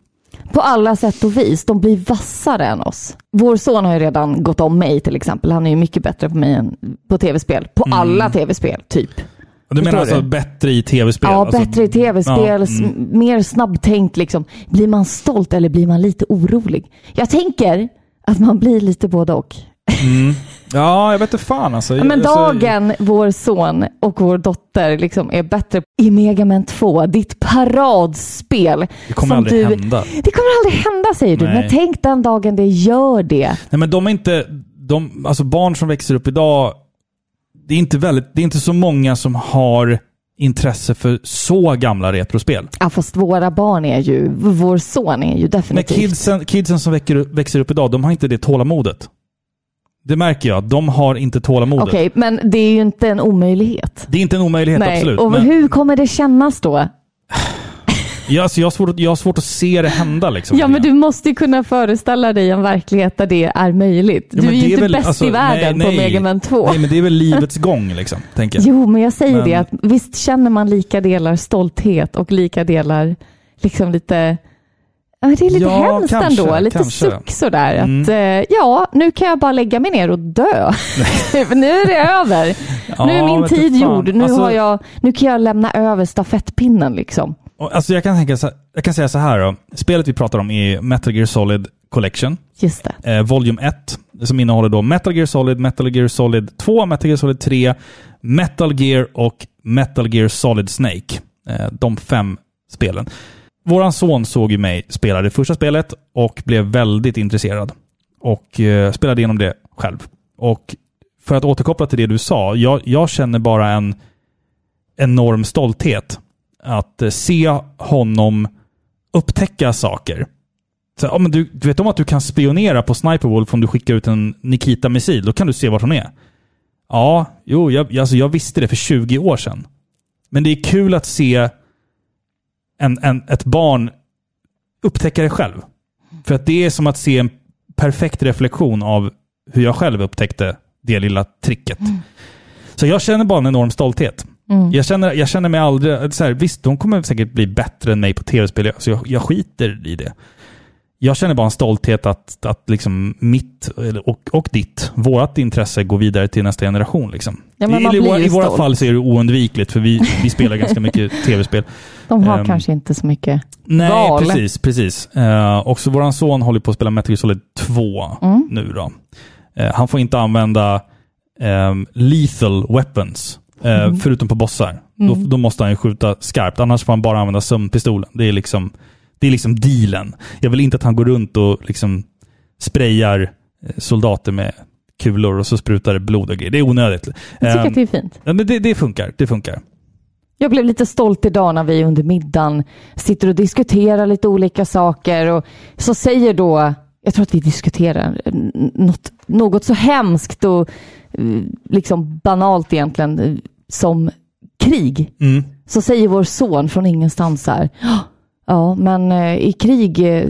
Speaker 2: På alla sätt och vis. De blir vassare än oss. Vår son har ju redan gått om mig till exempel. Han är ju mycket bättre på mig än på tv-spel. På
Speaker 1: Mm.
Speaker 2: alla tv-spel, typ.
Speaker 1: Du menar
Speaker 2: Förstår
Speaker 1: alltså
Speaker 2: du?
Speaker 1: bättre i tv-spel?
Speaker 2: Ja,
Speaker 1: alltså,
Speaker 2: bättre i tv-spel,
Speaker 1: Ja, mm.
Speaker 2: s- mer snabbtänkt. Liksom. Blir man stolt eller blir man lite orolig? Jag tänker att man blir lite både och.
Speaker 1: ja, jag vet inte fan alltså.
Speaker 2: Ja, men
Speaker 1: alltså,
Speaker 2: dagen vår son och vår dotter liksom är bättre i Mega Man 2, ditt paradspel.
Speaker 1: Det kommer
Speaker 2: som
Speaker 1: aldrig
Speaker 2: du...
Speaker 1: hända.
Speaker 2: Det kommer aldrig hända säger du,
Speaker 1: Nej.
Speaker 2: men tänk den dagen det gör det.
Speaker 1: Nej men de är inte, de, alltså barn som växer upp idag, det är inte väldigt, det är inte så många som har intresse för så gamla retrospel.
Speaker 2: Ja, fast våra barn är ju, vår son är ju
Speaker 1: Men
Speaker 2: definitivt...
Speaker 1: kidsen, kidsen som väcker, växer upp idag, de har inte det tålamodet. Det märker jag. De har inte tålamodet.
Speaker 2: Okej, men det är ju inte en omöjlighet.
Speaker 1: Det är inte en omöjlighet,
Speaker 2: Nej,
Speaker 1: absolut.
Speaker 2: och
Speaker 1: men
Speaker 2: hur kommer det kännas då?
Speaker 1: jag, alltså, jag, har svårt, att- jag har svårt att se det hända. Liksom,
Speaker 2: Ja, men du måste ju kunna föreställa dig en verklighet där det är möjligt.
Speaker 1: Ja,
Speaker 2: du är
Speaker 1: men
Speaker 2: ju
Speaker 1: det
Speaker 2: inte
Speaker 1: väl-
Speaker 2: bäst
Speaker 1: alltså,
Speaker 2: i världen
Speaker 1: nej,
Speaker 2: på
Speaker 1: nej.
Speaker 2: Mega Man 2.
Speaker 1: Nej, men det är väl livets gång, liksom, tänker jag.
Speaker 2: Jo, men jag säger
Speaker 1: Men-
Speaker 2: det att visst känner man lika delar stolthet och lika delar liksom lite Ja, men det är lite
Speaker 1: Ja,
Speaker 2: hemskt
Speaker 1: kanske,
Speaker 2: ändå. Lite
Speaker 1: kanske. Mm.
Speaker 2: suck sådär. Att, eh, ja, nu kan jag bara lägga mig ner
Speaker 1: <laughs>
Speaker 2: och dö. Typ, nu är det över. nu
Speaker 1: Ja,
Speaker 2: är min
Speaker 1: vet du fan.
Speaker 2: tid gjord. Nu,
Speaker 1: Alltså-
Speaker 2: har jag, nu kan jag lämna över stafettpinnen liksom.
Speaker 1: Och, Alltså jag kan, tänka så, jag kan säga så här då. Spelet vi pratar om är Metal Gear Solid Collection,
Speaker 2: Just det.
Speaker 1: eh, Volume 1, som innehåller då Metal Gear Solid, Metal Gear Solid 2, Metal Gear Solid 3, Metal Gear och Metal Gear Solid Snake. Eh, de fem spelen. Våran son såg ju mig spela det första spelet och blev väldigt intresserad. Och eh, spelade igenom det själv. Och för att återkoppla till det du sa, jag, jag känner bara en enorm stolthet att eh, se honom upptäcka saker. Så, ja, men du, du vet om att du kan spionera på Sniper Wolf om du skickar ut en Nikita-missil? Då kan du se vart hon är. Ja, jo, jag, jag- alltså jag visste det för 20 år sedan. Men det är kul att se en, en, ett barn upptäcka det själv. För att det är som att se en perfekt reflektion av hur jag själv upptäckte det lilla tricket.
Speaker 2: Mm.
Speaker 1: Så jag känner bara en enorm stolthet. Jag, känner, jag känner mig aldrig... Så här, visst, de kommer säkert bli bättre än mig på tv-spel, så jag, jag skiter i det. Jag känner bara en stolthet att, att liksom mitt eller- och, och ditt, vårt intresse går vidare till nästa generation. Liksom.
Speaker 2: Ja, men
Speaker 1: I,
Speaker 2: man
Speaker 1: i,
Speaker 2: blir
Speaker 1: våra,
Speaker 2: ju
Speaker 1: I våra
Speaker 2: stolt.
Speaker 1: fall så är det oundvikligt, för vi, vi spelar ganska
Speaker 2: <laughs>
Speaker 1: mycket tv-spel.
Speaker 2: De har
Speaker 1: Ehm,
Speaker 2: kanske inte så mycket.
Speaker 1: Nej,
Speaker 2: val.
Speaker 1: precis. precis. Eh, också våran son håller på att spela Metal Gear Solid 2
Speaker 2: Mm.
Speaker 1: nu då. Eh, han får inte använda ehm, lethal weapons, eh,
Speaker 2: Mm.
Speaker 1: förutom på bossar. Då, då måste han ju skjuta skarpt, annars får han bara använda sömnpistolen. Det är liksom, det är liksom dealen. Jag vill inte att han går runt och liksom sprayar eh, soldater med kulor och så sprutar det blod och grejer. Det är onödigt.
Speaker 2: Jag tycker
Speaker 1: Ehm,
Speaker 2: att det är fint.
Speaker 1: ja, men det, det funkar. Det funkar.
Speaker 2: Jag blev lite stolt idag när vi under middagen sitter och diskuterar lite olika saker och så säger då, jag tror att vi diskuterar n- något, något så hemskt och eh, liksom banalt egentligen eh, som krig.
Speaker 1: Mm.
Speaker 2: Så säger vår son från ingenstans så här, "Ja, ja men eh, i krig, eh,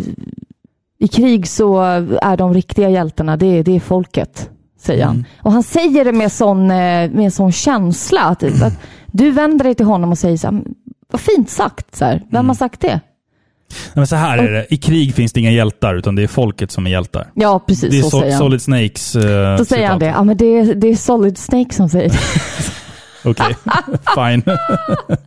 Speaker 2: i krig så är de riktiga hjältarna, det, är- det är folket. Säger
Speaker 1: Mm.
Speaker 2: han. Och han säger det med sån, eh, med sån känsla. Typ,
Speaker 1: Mm.
Speaker 2: att du vänder dig till honom och säger så här, "Men, vad fint sagt. Så här. Vem
Speaker 1: Mm.
Speaker 2: har sagt det?
Speaker 1: Nej, men så här är det. I krig finns det inga hjältar, utan det är folket som är hjältar.
Speaker 2: Ja, precis
Speaker 1: Det är
Speaker 2: så
Speaker 1: Sol-
Speaker 2: säger han.
Speaker 1: Solid Snakes... eh,
Speaker 2: Då säger han det.
Speaker 1: citat.
Speaker 2: Ja, men det, är, det är Solid Snake som säger det. <laughs>
Speaker 1: Okej, fine. <laughs>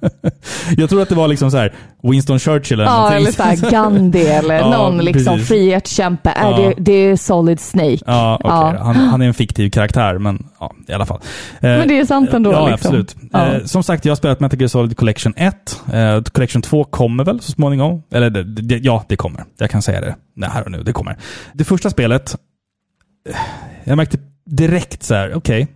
Speaker 1: jag tror att det var liksom så här Winston Churchill eller
Speaker 2: Ja,
Speaker 1: någonting.
Speaker 2: eller så här Gandhi eller
Speaker 1: <laughs> Ja,
Speaker 2: någon liksom
Speaker 1: precis.
Speaker 2: frihetskämpe. Ja.
Speaker 1: Ja.
Speaker 2: Det, det är Solid Snake.
Speaker 1: Ja, okej.
Speaker 2: Ja.
Speaker 1: då. Han, han är en fiktiv karaktär, men ja, i alla fall. Eh,
Speaker 2: Men det är sant ändå,
Speaker 1: Ja,
Speaker 2: liksom.
Speaker 1: absolut.
Speaker 2: Ja.
Speaker 1: Eh, som sagt, jag har spelat Metal Gear Solid Collection 1. Eh, Collection 2 kommer väl så småningom? Eller det, det, ja, det kommer. Jag kan säga det Nej, här och nu. Det kommer. Det första spelet, eh, jag märkte direkt så här, okej.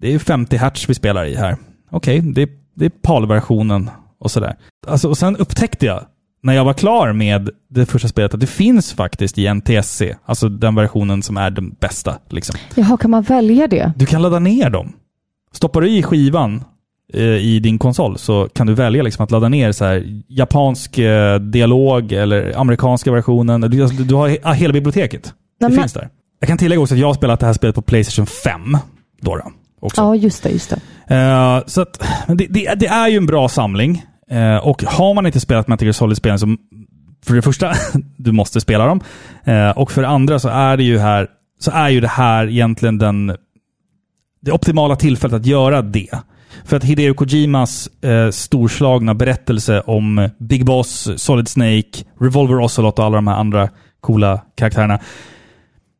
Speaker 1: det är 50 hertz vi spelar i här. Okej, det, det är PAL-versionen och sådär. Alltså, och sen upptäckte jag, när jag var klar med det första spelet, att det finns faktiskt i NTSC, alltså den versionen som är den bästa. Liksom.
Speaker 2: Jaha, kan man välja det?
Speaker 1: Du kan ladda ner dem. Stoppar du i skivan eh, i din konsol så kan du välja liksom att ladda ner så här, japansk eh, dialog eller amerikanska versionen. Du, alltså, du har he- ah, hela biblioteket.
Speaker 2: Nej,
Speaker 1: det
Speaker 2: men-
Speaker 1: finns där. Jag kan tillägga också att jag har spelat det här spelet på Playstation 5. Då då, också.
Speaker 2: Ja, just det. Just det.
Speaker 1: Eh, så att, men det, det, det är ju en bra samling. Eh, och har man inte spelat Metal Gear Solid-spelen så för det första, <laughs> du måste spela dem. Eh, och för det andra så är det ju här, så är ju det här egentligen den, det optimala tillfället att göra det. För att Hideo Kojimas eh, storslagna berättelse om Big Boss, Solid Snake, Revolver Ocelot och alla de här andra coola karaktärerna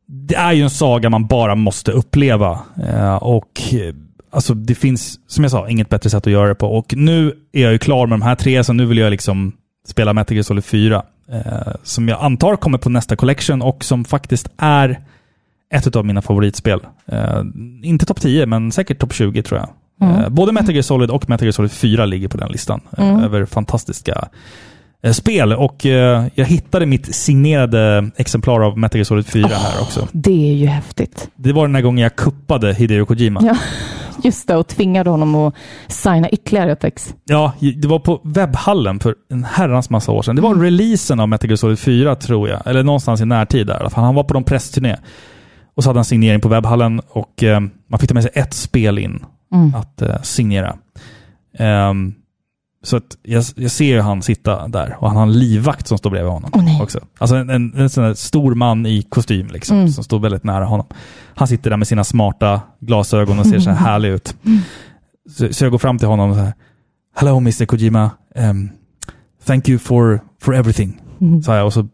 Speaker 1: det är ju en saga man bara måste uppleva. Eh, och eh, alltså, det finns, som jag sa, inget bättre sätt att göra det på. Och nu är jag ju klar med de här tre, så nu vill jag liksom spela Metal Gear Solid 4. Eh, som jag antar kommer på nästa collection och som faktiskt är ett av mina favoritspel. Eh, inte topp 10, men säkert topp 20 tror jag. Eh, både Metal Gear Solid och Metal Gear Solid 4 ligger på den listan eh, över fantastiska eh, spel. Och eh, jag hittade mitt signerade exemplar av Metal Gear Solid 4 här också.
Speaker 2: Det är ju häftigt.
Speaker 1: Det var den här gången jag kuppade Hideo Kojima. Ja.
Speaker 2: Ja, just det. Och tvingade honom att signa ytterligare ett ex.
Speaker 1: det var på webbhallen för en herrans massa år sedan. Det var
Speaker 2: Mm.
Speaker 1: releasen av Metal Gear Solid 4 tror jag, eller någonstans i närtid där. i alla fall. Han var på någon pressturné. Och så hade han signering på webbhallen och eh,
Speaker 2: Mm.
Speaker 1: man fick ta med sig ett spel in att eh, signera. Ehm, Så att jag, jag ser ju han sitta där och han har en livvakt som står bredvid honom.
Speaker 2: Åh, nej.
Speaker 1: också. Alltså en, en, en sån där stor man i kostym liksom,
Speaker 2: Mm.
Speaker 1: som står väldigt nära honom. Han sitter där med sina smarta glasögon och ser så här
Speaker 2: Mm.
Speaker 1: härlig ut. Så, så jag går fram till honom och så här, Hello Mr Kojima, Ehm, thank you for, for everything. Sa jag och så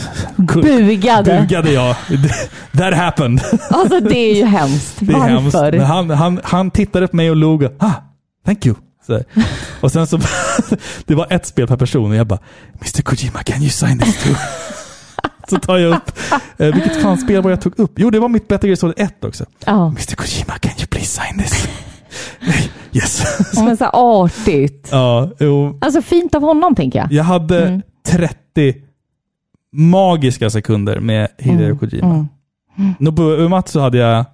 Speaker 2: Mm-hmm. <laughs> Bugade.
Speaker 1: bugade jag. <laughs> That
Speaker 2: <laughs>
Speaker 1: happened.
Speaker 2: Alltså det är ju hemskt.
Speaker 1: Det är hemskt.
Speaker 2: Varför?
Speaker 1: Men han, han, han tittade på mig och log. och, Ah, thank you. Så. här. Och sen så, <laughs> det var ett spel per person och jag bara, Mr Kojima can you sign this too? <laughs> så tar jag upp, eh, vilket fan spel var jag tog upp? Jo, det var mitt Better Gear Solid 1 också.
Speaker 2: Ja.
Speaker 1: Mr Kojima can you please sign this? <laughs> yes. <laughs>
Speaker 2: Men så här artigt.
Speaker 1: ja, jo,
Speaker 2: Alltså fint av honom tänker jag.
Speaker 1: jag hade
Speaker 2: Mm.
Speaker 1: 30 magiska sekunder med Hideo Kojima.
Speaker 2: Mm.
Speaker 1: Nobuo Uematsu hade jag,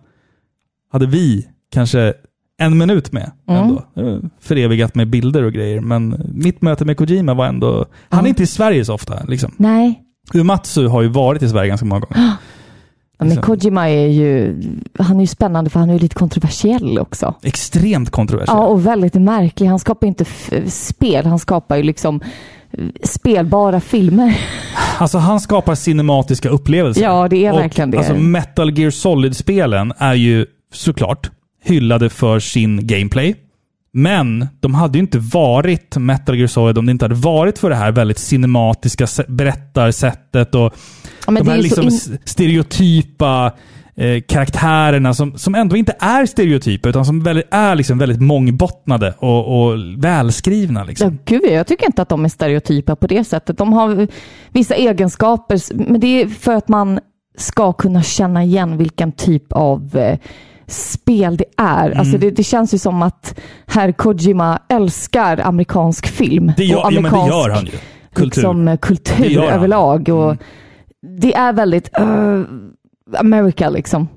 Speaker 1: hade vi kanske en minut med ändå. Mm. Förevigat med bilder och grejer, men mitt möte med Kojima var ändå... Han är inte i Sverige så ofta. Liksom.
Speaker 2: Nej,
Speaker 1: Uematsu har ju varit i Sverige ganska många gånger.
Speaker 2: Ja, Men
Speaker 1: Liksom.
Speaker 2: Kojima är ju, han är ju spännande för han är ju lite kontroversiell också.
Speaker 1: Extremt kontroversiell.
Speaker 2: Ja, och väldigt märklig. Han skapar inte f- spel, han skapar ju liksom eh, spelbara filmer.
Speaker 1: Alltså han skapar cinematiska upplevelser.
Speaker 2: Ja, det är
Speaker 1: och,
Speaker 2: verkligen det.
Speaker 1: Alltså Metal Gear Solid-spelen är ju såklart hyllade för sin gameplay. Men de hade ju inte varit Metal Gear Solid om det inte hade varit för det här väldigt cinematiska se- berättarsättet och
Speaker 2: Ja, Men
Speaker 1: de
Speaker 2: det
Speaker 1: här
Speaker 2: är ju så
Speaker 1: liksom
Speaker 2: in...
Speaker 1: s- stereotypa eh, karaktärerna som, som ändå inte är stereotypa utan som väldigt, är liksom väldigt mångbottnade och, och välskrivna. Liksom.
Speaker 2: Ja, gud, jag tycker inte att de är stereotypa på det sättet. De har vissa egenskaper, s- men det är för att man ska kunna känna igen vilken typ av eh, spel det är.
Speaker 1: Mm.
Speaker 2: Alltså det, det känns ju som att herr Kojima älskar amerikansk film.
Speaker 1: Det, gör,
Speaker 2: och
Speaker 1: ja, men
Speaker 2: amerikansk
Speaker 1: det gör han ju. Kultur.
Speaker 2: liksom, eh,
Speaker 1: Det
Speaker 2: kultur
Speaker 1: gör han. Mm.
Speaker 2: överlag. Och Det är väldigt eh, America liksom.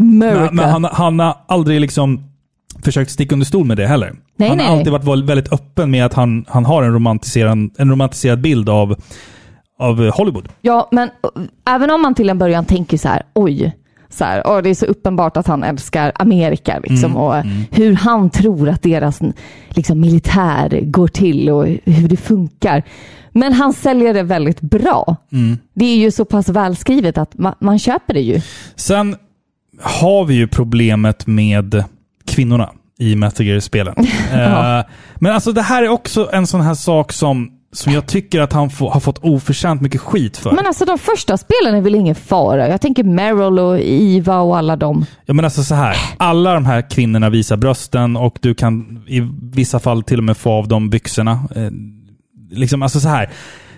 Speaker 2: America.
Speaker 1: Men, men han, han har aldrig liksom försökt sticka under stol med det heller.
Speaker 2: Nej,
Speaker 1: han har
Speaker 2: nej.
Speaker 1: alltid varit väldigt öppen med att han, han har en romantiserad, en romantiserad bild av, av Hollywood.
Speaker 2: Ja, men eh, även om man till en början tänker så här, oj, så här, åh, det är så uppenbart att han älskar Amerika liksom, och eh, hur han tror att deras n- liksom, militär går till och hur det funkar. Men han säljer det väldigt bra. Det är ju så pass välskrivet att ma- man köper det ju.
Speaker 1: Sen har vi ju problemet med kvinnorna i Metal
Speaker 2: <laughs>
Speaker 1: Gear-spelen. Eh, men alltså det här är också en sån här sak som, som jag tycker att han få, har fått oförtjänt mycket skit för.
Speaker 2: Men alltså de första spelen är väl ingen fara? Jag tänker Meryl och Iva och alla dem.
Speaker 1: Ja men alltså så här. Alla de här kvinnorna visar brösten och du kan i vissa fall till och med få av dem byxorna. Eh, liksom, alltså så här.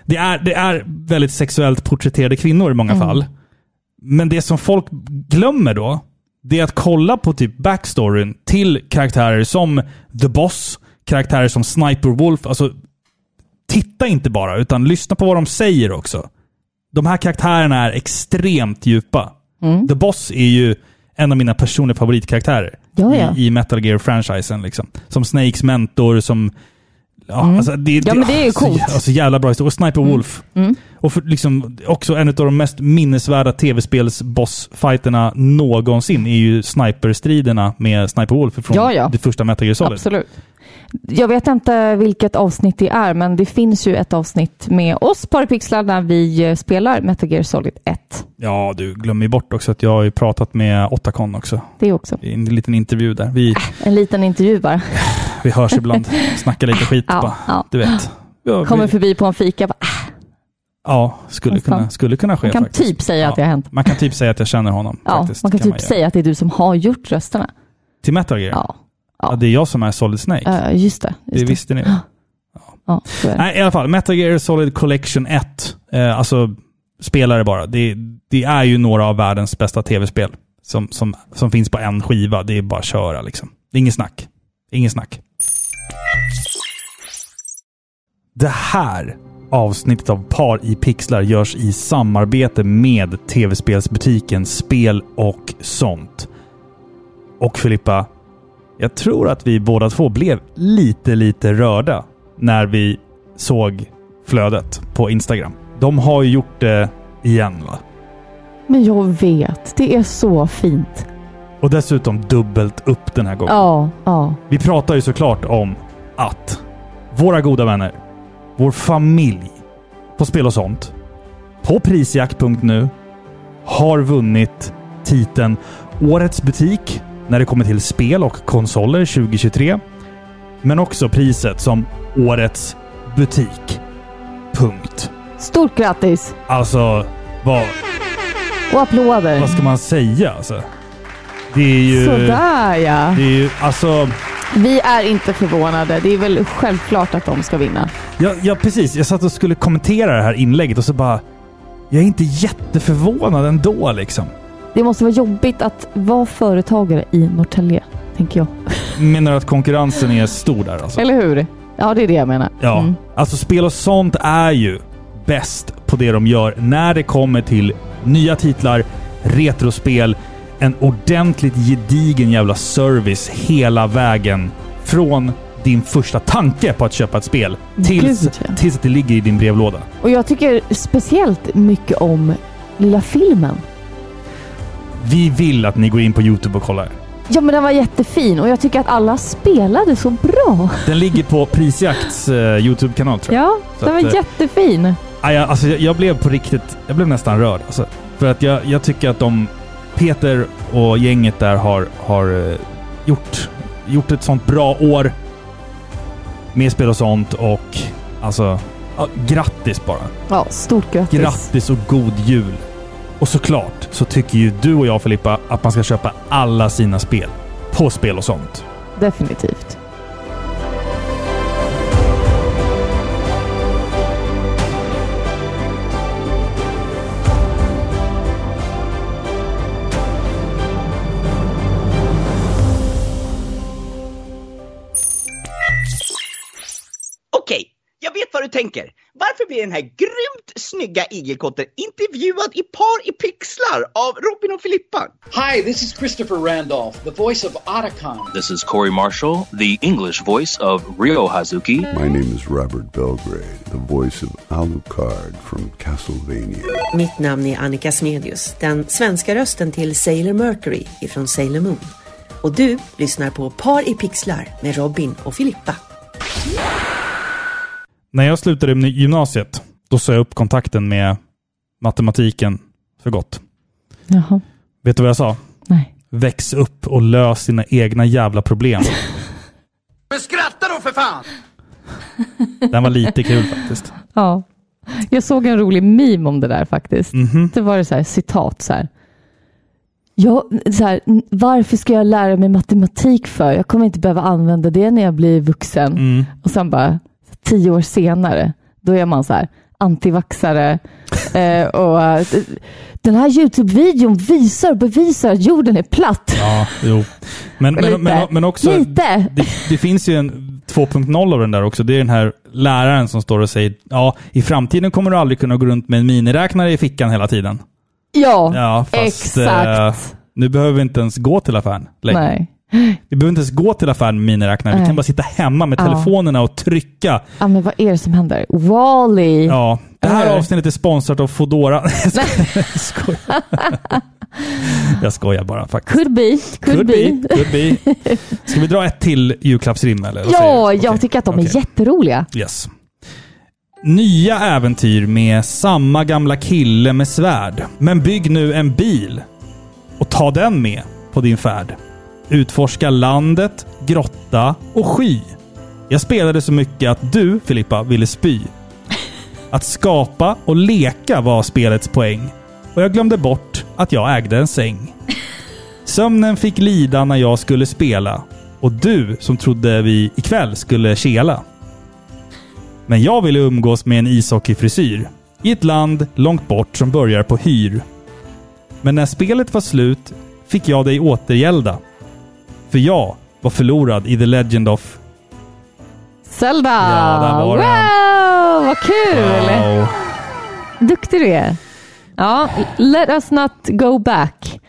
Speaker 1: Det är, det är väldigt sexuellt porträtterade kvinnor i många
Speaker 2: Mm.
Speaker 1: fall. Men det som folk glömmer då, det är att kolla på typ backstoryn till karaktärer som The Boss, karaktärer som Sniper Wolf. Alltså, titta inte bara, utan lyssna på vad de säger också. De här karaktärerna är extremt djupa.
Speaker 2: Mm.
Speaker 1: The Boss är ju en av mina personliga favoritkaraktärer
Speaker 2: Ja, ja.
Speaker 1: I, i Metal Gear-franchisen. Liksom. Som Snakes mentor, som... Ja, alltså, det,
Speaker 2: Mm. Ja, men det är ju
Speaker 1: så
Speaker 2: coolt. Mm.
Speaker 1: jä- Alltså, jävla bra historia. Och Sniper Wolf. Och för, liksom, också en av de mest minnesvärda tv-spels-bossfighterna någonsin är ju sniperstriderna med Sniper Wolf från
Speaker 2: Ja, ja.
Speaker 1: det första Metal Gear Solid.
Speaker 2: Absolut. Jag vet inte vilket avsnitt det är, men det finns ju ett avsnitt med oss Parapixlar när vi eh, spelar Metal Gear Solid 1.
Speaker 1: Ja, du glömmer ju bort också att jag har ju pratat med Otacon också.
Speaker 2: Det är också
Speaker 1: I en liten intervju där. Vi,
Speaker 2: en liten intervju bara.
Speaker 1: vi hörs ibland,
Speaker 2: <laughs>
Speaker 1: snackar lite skit
Speaker 2: Ja,
Speaker 1: bara.
Speaker 2: ja.
Speaker 1: Du vet. Ja,
Speaker 2: Kommer
Speaker 1: vi,
Speaker 2: förbi på en fika. Bara, ah,
Speaker 1: ja skulle,
Speaker 2: Nästan.
Speaker 1: kunna, skulle kunna ske
Speaker 2: man kan
Speaker 1: faktiskt.
Speaker 2: typ säga att det har hänt.
Speaker 1: Man kan typ säga att jag känner honom.
Speaker 2: Ja,
Speaker 1: faktiskt,
Speaker 2: man kan, typ
Speaker 1: göra.
Speaker 2: säga att det är du som har gjort rösterna.
Speaker 1: Till Metal Gear?
Speaker 2: Ja,
Speaker 1: Ja, det är jag som är Solid Snake.
Speaker 2: eh, just det.
Speaker 1: det
Speaker 2: Just det.
Speaker 1: visste ni.
Speaker 2: Ja, så är det.
Speaker 1: Nej, i alla fall. Metal Gear Solid Collection 1. Eh, alltså, spelare bara. Det, det är ju några av världens bästa tv-spel som, som, som finns på en skiva. Det är bara att köra liksom. Det är inget snack. Inget snack. Det här avsnittet av Par i pixlar görs i samarbete med tv-spelsbutiken Spel och sånt. Och Filippa, jag tror att vi båda två blev lite, lite rörda när vi såg flödet på Instagram. De har ju gjort det igen va?
Speaker 2: Men jag vet, det är så fint.
Speaker 1: Och dessutom dubbelt upp den här gången.
Speaker 2: Ja, ja.
Speaker 1: Vi pratar ju såklart om att våra goda vänner, vår familj på Spel och sånt, på prisjakt.nu, har vunnit titeln Årets butik när det kommer till spel och konsoler 2023. Men också priset som Årets butik. Punkt.
Speaker 2: Stort grattis
Speaker 1: Alltså, vad,
Speaker 2: och applåder.
Speaker 1: vad ska man säga? Alltså? Det är ju...
Speaker 2: Sådär ja.
Speaker 1: Det är ju, alltså...
Speaker 2: Vi är inte förvånade. Det är väl självklart att de ska vinna.
Speaker 1: Ja, ja, precis. Jag satt och skulle kommentera det här inlägget och så bara... Jag är inte jätteförvånad ändå liksom.
Speaker 2: Det måste vara jobbigt att vara företagare i Norrtälje, tänker jag.
Speaker 1: Menar du att konkurrensen är stor där alltså?
Speaker 2: Eller hur? Ja, det är det jag menar.
Speaker 1: Ja.
Speaker 2: Mm.
Speaker 1: Alltså spel och sånt är ju bäst på det de gör när det kommer till nya titlar, retrospel, en ordentligt gedigen jävla service hela vägen från din första tanke på att köpa ett spel tills,
Speaker 2: Gud, ja.
Speaker 1: tills att det ligger i din brevlåda.
Speaker 2: Och jag tycker speciellt mycket om lilla filmen.
Speaker 1: Vi vill att ni går in på Youtube och kollar.
Speaker 2: Ja, men den var jättefin och jag tycker att alla spelade så bra.
Speaker 1: Den ligger på Prisjakts eh, Youtube-kanal tror jag.
Speaker 2: Ja,
Speaker 1: Så
Speaker 2: den
Speaker 1: att,
Speaker 2: var
Speaker 1: eh,
Speaker 2: jättefin.
Speaker 1: Aj, jag- alltså, jag, jag blev på riktigt... Jag blev nästan rörd. Alltså, för att jag, jag tycker att de... Peter och gänget där har, har eh, gjort, gjort ett sånt bra år med spel och sånt och alltså... Ja, grattis bara.
Speaker 2: Ja, stort grattis.
Speaker 1: Grattis och god jul. Och såklart så tycker ju du och jag Filippa att man ska köpa alla sina spel på spel och sånt.
Speaker 2: Definitivt.
Speaker 5: Okej, jag vet vad du tänker. Varför blir den här grymt snygga igelkotten intervjuad i par i pixlar av Robin och Filippa?
Speaker 6: Hi, this is Christopher Randolph, the voice of Otacon.
Speaker 7: This is Corey Marshall, the English voice of Ryo Hazuki.
Speaker 8: My name is Robert Belgrade, the voice of Alucard from Castlevania.
Speaker 9: Mitt namn är Annika Smedius, den svenska rösten till Sailor Mercury ifrån Sailor Moon. Och du lyssnar på Par i pixlar med Robin och Filippa.
Speaker 1: När jag slutade med gymnasiet, då sa jag upp kontakten med matematiken för gott.
Speaker 2: Jaha.
Speaker 1: Vet du vad jag sa?
Speaker 2: Nej.
Speaker 1: Väx upp och lös dina egna jävla problem.
Speaker 3: <laughs> Men skratta då för fan!
Speaker 1: Den var lite kul faktiskt.
Speaker 2: Ja. Jag såg en rolig meme om det där faktiskt.
Speaker 1: Mhm.
Speaker 2: Det var det så här, citat så här. Ja, så här. "N- Varför ska jag lära mig matematik för? Jag kommer inte behöva använda det när jag blir vuxen.
Speaker 1: Mm.
Speaker 2: Och sen bara tio år senare, då är man så här
Speaker 1: <laughs>
Speaker 2: antivaxare. eh, och eh, den här Youtube-videon visar och bevisar att jorden är platt.
Speaker 1: Ja, jo. Men,
Speaker 2: Lite.
Speaker 1: men, men, men också,
Speaker 2: Lite.
Speaker 1: Det, det finns ju en 2.0 av den där också. Det är den här läraren som står och säger ja, i framtiden kommer du aldrig kunna gå runt med en miniräknare i fickan hela tiden.
Speaker 2: Ja,
Speaker 1: Ja, fast eh,
Speaker 2: exakt.
Speaker 1: nu behöver vi inte ens gå till affären längre.
Speaker 2: Nej.
Speaker 1: Vi behöver inte ens gå till affären med miniräknare. Vi
Speaker 2: Nej.
Speaker 1: kan bara sitta hemma med
Speaker 2: Ja.
Speaker 1: telefonerna och trycka
Speaker 2: Ja, men vad är det som händer? Wall-E.
Speaker 1: Ja, det
Speaker 2: Eller
Speaker 1: här
Speaker 2: hur?
Speaker 1: avsnittet är sponsrat av Foodora. <laughs> Jag skojar. Jag skojar bara faktiskt.
Speaker 2: Could be, could, be.
Speaker 1: Could be. Ska vi dra ett till julklappsrim eller? Vad säger du?
Speaker 2: Ja,
Speaker 1: Okej.
Speaker 2: jag tycker att de
Speaker 1: Okej.
Speaker 2: är jätteroliga.
Speaker 1: Yes. Nya äventyr med samma gamla kille med svärd. Men bygg nu en bil och ta den med på din färd. Utforska landet, grotta och sky. Jag spelade så mycket att du, Filippa, ville spy. Att skapa och leka var spelets poäng. Och jag glömde bort att jag ägde en säng. Sömnen fick lida när jag skulle spela. Och du som trodde vi ikväll skulle kela. Men jag ville umgås med en ishockeyfrisyr. I ett land långt bort som börjar på hyr. Men när spelet var slut fick jag dig återgälda. För jag var förlorad i The Legend of...
Speaker 2: Zelda!
Speaker 1: Ja, där var
Speaker 2: wow, vad kul!
Speaker 1: Wow.
Speaker 2: Duktig du är. Ja, let us not
Speaker 1: <laughs>
Speaker 2: go back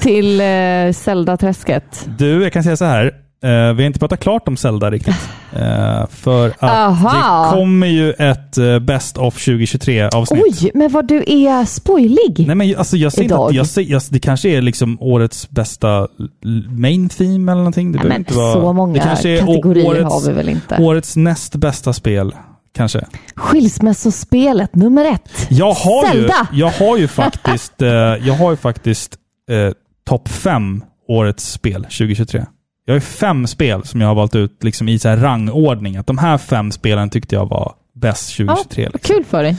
Speaker 2: till eh, Zelda-träsket.
Speaker 1: Du, jag kan säga så här. Eh, vi har inte pratat klart om Zelda riktigt. Eh, för att
Speaker 2: Aha.
Speaker 1: det kommer ju ett eh, Best of 2023-avsnitt.
Speaker 2: Oj, men vad du är spoilig.
Speaker 1: Nej men ju- alltså jag ser inte
Speaker 2: Idag.
Speaker 1: att, jag ser, jag, det kanske är liksom årets bästa l- main theme eller någonting. Det
Speaker 2: Nej,
Speaker 1: behöver
Speaker 2: men
Speaker 1: inte vara-
Speaker 2: så många
Speaker 1: det kanske är å-
Speaker 2: kategorier
Speaker 1: årets,
Speaker 2: har vi väl inte?
Speaker 1: Årets näst bästa spel, kanske.
Speaker 2: Skilsmässospelet nummer ett.
Speaker 1: Jag har
Speaker 2: Zelda!
Speaker 1: ju, jag har
Speaker 2: <laughs>
Speaker 1: ju faktiskt, eh, jag har ju faktiskt eh, topp fem årets spel 2023. Jag har ju fem spel som jag har valt ut liksom i så här rangordning. Att de här fem spelen tyckte jag var bäst 2023.
Speaker 2: Ja,
Speaker 1: liksom.
Speaker 2: kul för dig.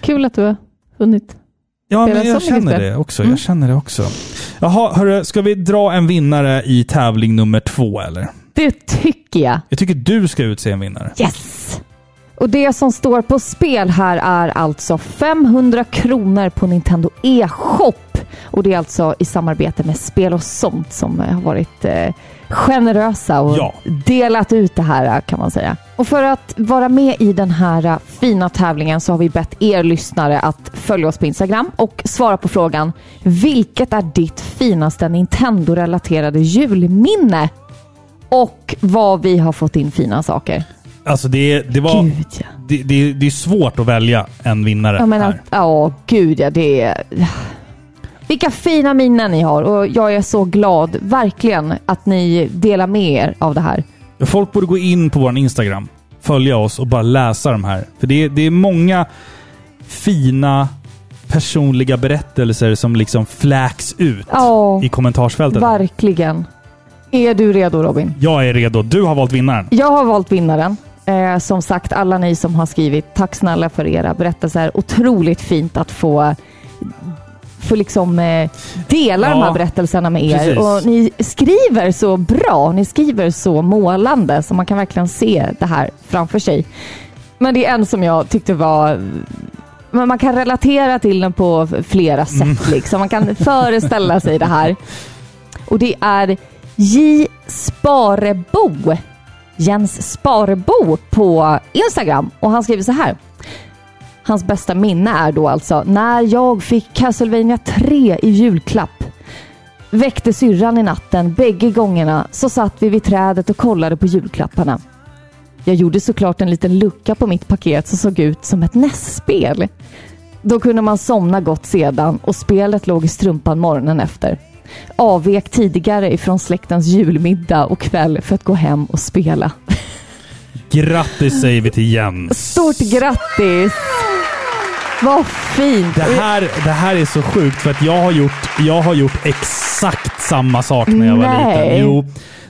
Speaker 2: Kul att du har hunnit.
Speaker 1: Ja,
Speaker 2: Spela
Speaker 1: men jag
Speaker 2: så mycket
Speaker 1: känner
Speaker 2: spel.
Speaker 1: det också. Jag känner det också. Jaha, hörru, ska vi dra en vinnare i tävling nummer två eller?
Speaker 2: Det tycker jag.
Speaker 1: Jag tycker du ska utse en vinnare.
Speaker 2: Yes! Och det som står på spel här är alltså 500 kronor på Nintendo e-shop. Och det är alltså i samarbete med Spel och sånt som eh, har varit eh, generösa och
Speaker 1: Ja.
Speaker 2: delat ut det här eh, kan man säga. Och för att vara med i den här eh, fina tävlingen så har vi bett er lyssnare att följa oss på Instagram och svara på frågan Vilket är ditt finaste Nintendo-relaterade julminne? Och vad vi har fått in fina saker.
Speaker 1: Alltså det, det var...
Speaker 2: Gud ja.
Speaker 1: Det, det, det är svårt att välja en vinnare
Speaker 2: Jag menar,
Speaker 1: här.
Speaker 2: ja gud ja, det är... Vilka fina minnen ni har och jag är så glad, verkligen, att ni delar med er av det här.
Speaker 1: Folk borde gå in på vår Instagram, följa oss och bara läsa de här. För det, är- det är många fina personliga berättelser som liksom fläks ut
Speaker 2: Ja,
Speaker 1: i kommentarsfältet.
Speaker 2: verkligen. Är du redo Robin?
Speaker 1: Jag är redo. Du har valt vinnaren.
Speaker 2: Jag har valt vinnaren. Eh, som sagt, alla ni som har skrivit, tack snälla för era berättelser. Otroligt fint att få, få liksom, eh, dela
Speaker 1: Ja,
Speaker 2: de här berättelserna med er.
Speaker 1: precis.
Speaker 2: Och ni skriver så bra, ni skriver så målande, så man kan verkligen se det här framför sig. Men det är en som jag tyckte var... Men man kan relatera till den på flera sätt. Liksom. Man kan föreställa sig det här. Och det är J Sparebo. Jens Sparebo på Instagram och han skriver så här. Hans bästa minne är då alltså när jag fick Castlevania 3 i julklapp. Väckte syrran i natten bägge gångerna så satt vi vid trädet och kollade på julklapparna. Jag gjorde såklart en liten lucka på mitt paket som såg ut som ett nästspel. Då kunde man somna gott sedan och spelet låg i strumpan morgonen efter. Avvek tidigare ifrån släktens julmiddag och kväll för att gå hem och spela.
Speaker 1: Grattis säger vi till Jens.
Speaker 2: Stort grattis! Vad fint!
Speaker 1: Det här, det här är så sjukt för att jag har gjort, jag har gjort exakt samma sak när jag var
Speaker 2: Nej.
Speaker 1: liten. Jo,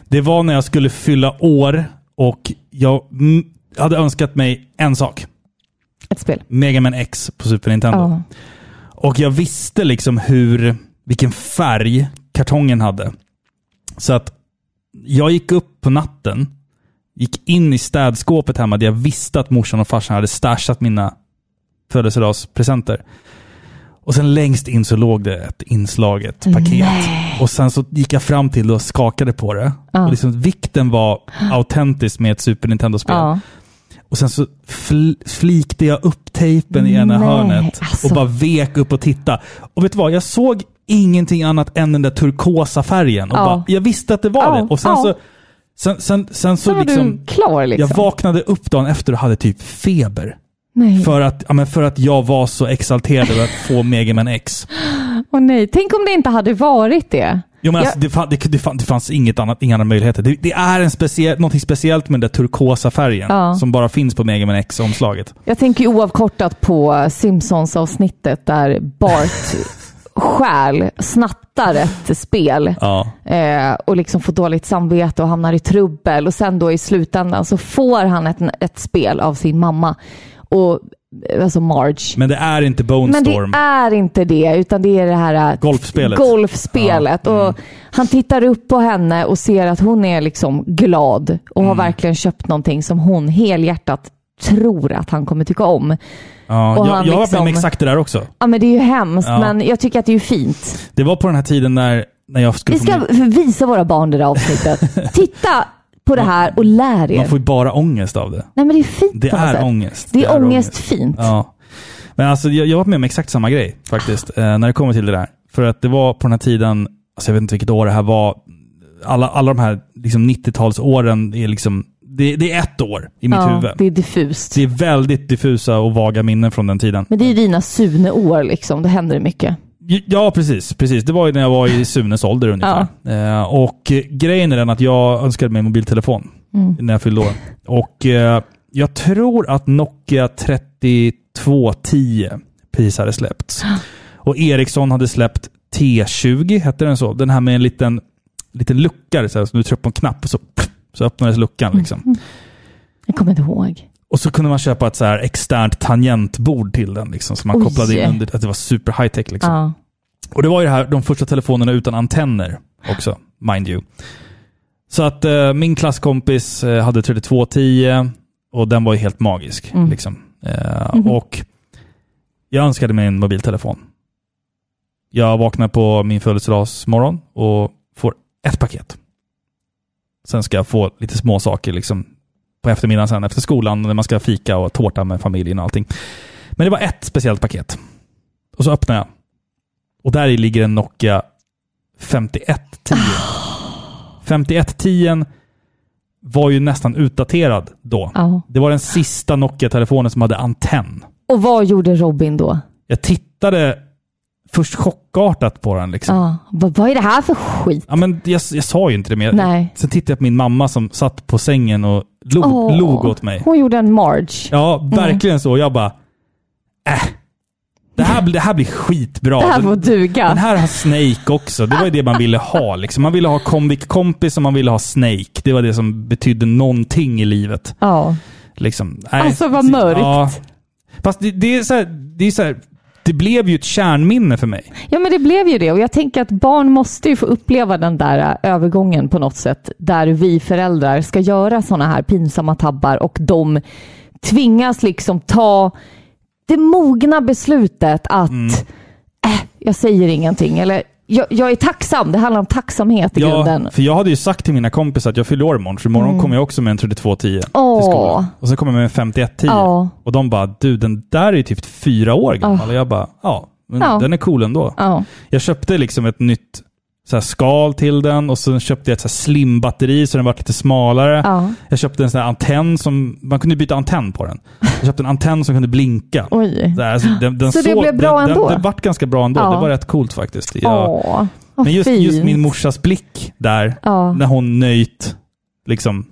Speaker 1: det var när jag skulle fylla år och jag mm, hade önskat mig en sak.
Speaker 2: Ett spel.
Speaker 1: Mega Man X på Super Nintendo.
Speaker 2: Ja.
Speaker 1: Och jag visste liksom hur, vilken färg kartongen hade. Så att jag gick upp på natten, gick in i städskåpet hemma där jag visste att morsan och farsan hade stashat mina födelsedagspresenter. Och sen längst in så låg det ett inslaget paket. Och sen så gick jag fram till det och skakade på det. Och liksom, vikten var autentisk med ett Super Nintendo-spel.
Speaker 2: Ja.
Speaker 1: Och sen så fl flikte jag upp tejpen i ena
Speaker 2: Nej,
Speaker 1: hörnet
Speaker 2: alltså.
Speaker 1: och bara vek upp och titta. Och vet du vad? Jag såg ingenting annat än den där turkosa färgen. Och
Speaker 2: Ja.
Speaker 1: bara, jag visste att det var
Speaker 2: Ja,
Speaker 1: det. Och sen
Speaker 2: ja.
Speaker 1: så, sen, sen, sen så
Speaker 2: Så var
Speaker 1: liksom,
Speaker 2: du klar liksom.
Speaker 1: jag vaknade upp dagen efter och hade typ feber.
Speaker 2: nej.
Speaker 1: För att, ja, men för att jag var så exalterad över att få Mega Man X.
Speaker 2: Åh, nej. Tänk om det inte hade varit det.
Speaker 1: Jo, men
Speaker 2: Ja.
Speaker 1: alltså, det, fann, det, det, fann, det fanns inget annat, inga andra möjligheter. Det, det är en speciell, någonting speciellt med den där turkosa färgen
Speaker 2: Ja.
Speaker 1: som bara finns på Mega Man X-omslaget.
Speaker 2: Jag tänker ju oavkortat på Simpsons-avsnittet där
Speaker 1: <laughs>
Speaker 2: Bart stjäl, snattar ett spel
Speaker 1: Ja.
Speaker 2: eh, och liksom får dåligt samvete och hamnar i trubbel. Och sen då i slutändan så får han ett, ett spel av sin mamma, och, eh, alltså Marge.
Speaker 1: Men det är inte Bone
Speaker 2: Men
Speaker 1: Storm.
Speaker 2: det är inte det, utan det är det här eh,
Speaker 1: Golfspelet. Mm.
Speaker 2: golfspelet. Och han tittar upp på henne och ser att hon är liksom glad och
Speaker 1: Mm.
Speaker 2: har verkligen köpt någonting som hon helhjärtat tror att han kommer tycka om.
Speaker 1: Ja,
Speaker 2: Och
Speaker 1: jag,
Speaker 2: han
Speaker 1: jag var
Speaker 2: liksom-
Speaker 1: med om exakt det där också.
Speaker 2: Ja, men det är ju hemskt,
Speaker 1: Ja.
Speaker 2: men jag tycker att det är ju fint.
Speaker 1: Det var på den här tiden när, när jag skulle
Speaker 2: Vi ska
Speaker 1: få min,
Speaker 2: visa våra barn det
Speaker 1: <laughs>
Speaker 2: där avsnittet. Titta på det här och lär er.
Speaker 1: Man får ju bara ångest av det.
Speaker 2: Nej, men det är fint
Speaker 1: Det
Speaker 2: på något
Speaker 1: är
Speaker 2: sätt.
Speaker 1: ångest.
Speaker 2: Det är ångest fint.
Speaker 1: Ja. Men alltså, jag, jag var med om exakt samma grej faktiskt, eh, när det kommer till det där. För att det var på den här tiden, alltså jag vet inte vilket år det här var, alla, alla de här liksom 90-talsåren är liksom... Det, det är ett år i mitt huvud.
Speaker 2: det är diffust.
Speaker 1: Det är väldigt diffusa och vaga minnen från den tiden.
Speaker 2: Men det är ju dina Sune-år liksom. Det händer mycket.
Speaker 1: Ja, precis. precis. Det var ju när jag var i Sunes ålder ungefär. Eh, och eh, grejen är den att jag önskade mig en mobiltelefon när jag fyllde år. Och eh, jag tror att Nokia 3210 precis hade släppts. Och Ericsson hade släppt T20, hette den så? Den här med en liten, liten lucka, så här, som du tryckte på en knapp och så, så öppnades luckan. Liksom.
Speaker 2: Jag kommer inte ihåg.
Speaker 1: Och så kunde man köpa ett så här externt tangentbord till den, liksom, som man
Speaker 2: Oj.
Speaker 1: kopplade in under. Att det var super high tech. Liksom.
Speaker 2: Ja.
Speaker 1: Och det var ju det här, de första telefonerna utan antenner också, mind you. Så att eh, min klasskompis eh, hade 3210 och den var ju helt magisk. Liksom. Eh, Och jag önskade mig en mobiltelefon. Jag vaknar på min födelsedagsmorgon och får ett paket. Sen ska jag få lite små saker liksom, på eftermiddagen sen efter skolan när man ska fika och tårta med familjen och allting. Men det var ett speciellt paket. Och så öppnar jag. Och där i ligger en Nokia 5110.
Speaker 2: Ah.
Speaker 1: 5110 var ju nästan utdaterad då.
Speaker 2: Ja.
Speaker 1: Det var den sista Nokia-telefonen som hade antenn.
Speaker 2: Och vad gjorde Robin då?
Speaker 1: Jag tittade först chockartat på den. Liksom. Ja.
Speaker 2: Ja. Vad, vad är det här för skit?
Speaker 1: men jag, jag sa ju inte det, men jag-
Speaker 2: Nej.
Speaker 1: sen tittade jag på min mamma som satt på sängen och log,
Speaker 2: Åh.
Speaker 1: log åt mig.
Speaker 2: Hon gjorde en Marge.
Speaker 1: Ja, verkligen så. Jag bara, äh. Det här, blir- det här blir skitbra.
Speaker 2: det här
Speaker 1: Den-
Speaker 2: får duga.
Speaker 1: Den här har Snake också. Det var ju det man ville ha. Liksom. Man ville ha Comviq kompis och man ville ha Snake. Det var det som betydde någonting i livet.
Speaker 2: Ja.
Speaker 1: Liksom. Nej.
Speaker 2: Alltså, vad mörkt.
Speaker 1: Ja. Fast det, det är så här, det är så här, det blev ju ett kärnminne för mig.
Speaker 2: ja, men det blev ju det. Och jag tänker att barn måste ju få uppleva den där eh, övergången på något sätt. Där vi föräldrar ska göra sådana här pinsamma tabbar och de tvingas liksom ta det mogna beslutet att
Speaker 1: Mm.
Speaker 2: äh, jag säger ingenting. Eller jag, jag är tacksam. Det handlar om tacksamhet i grunden. Mm.
Speaker 1: för jag hade ju sagt till mina kompisar att jag fyller år imorgon, så imorgon kommer jag också med en 3210
Speaker 2: Åh.
Speaker 1: till skolan. Och sen kommer jag med en 5110.
Speaker 2: Ja. Ah.
Speaker 1: Och de bara, du den där är ju typ fyra år gammal. Och jag bara, ja, men
Speaker 2: Ja.
Speaker 1: den är cool ändå.
Speaker 2: Ja.
Speaker 1: Jag köpte liksom ett nytt så här skal till den och sen köpte jag ett så här slimbatteri så den var lite smalare.
Speaker 2: Ja.
Speaker 1: Jag köpte en sån här antenn som... Man kunde byta antenn på den. Jag köpte en antenn som kunde blinka.
Speaker 2: Oj.
Speaker 1: Så, här, alltså, den, den
Speaker 2: Så det
Speaker 1: såg-
Speaker 2: blev bra
Speaker 1: den,
Speaker 2: ändå?
Speaker 1: Den, den vart ganska bra ändå.
Speaker 2: Ja.
Speaker 1: Det var rätt coolt faktiskt. Jag,
Speaker 2: Åh, vad
Speaker 1: men just, just
Speaker 2: fint.
Speaker 1: min morsas blick där,
Speaker 2: Ja.
Speaker 1: när hon nöjt liksom...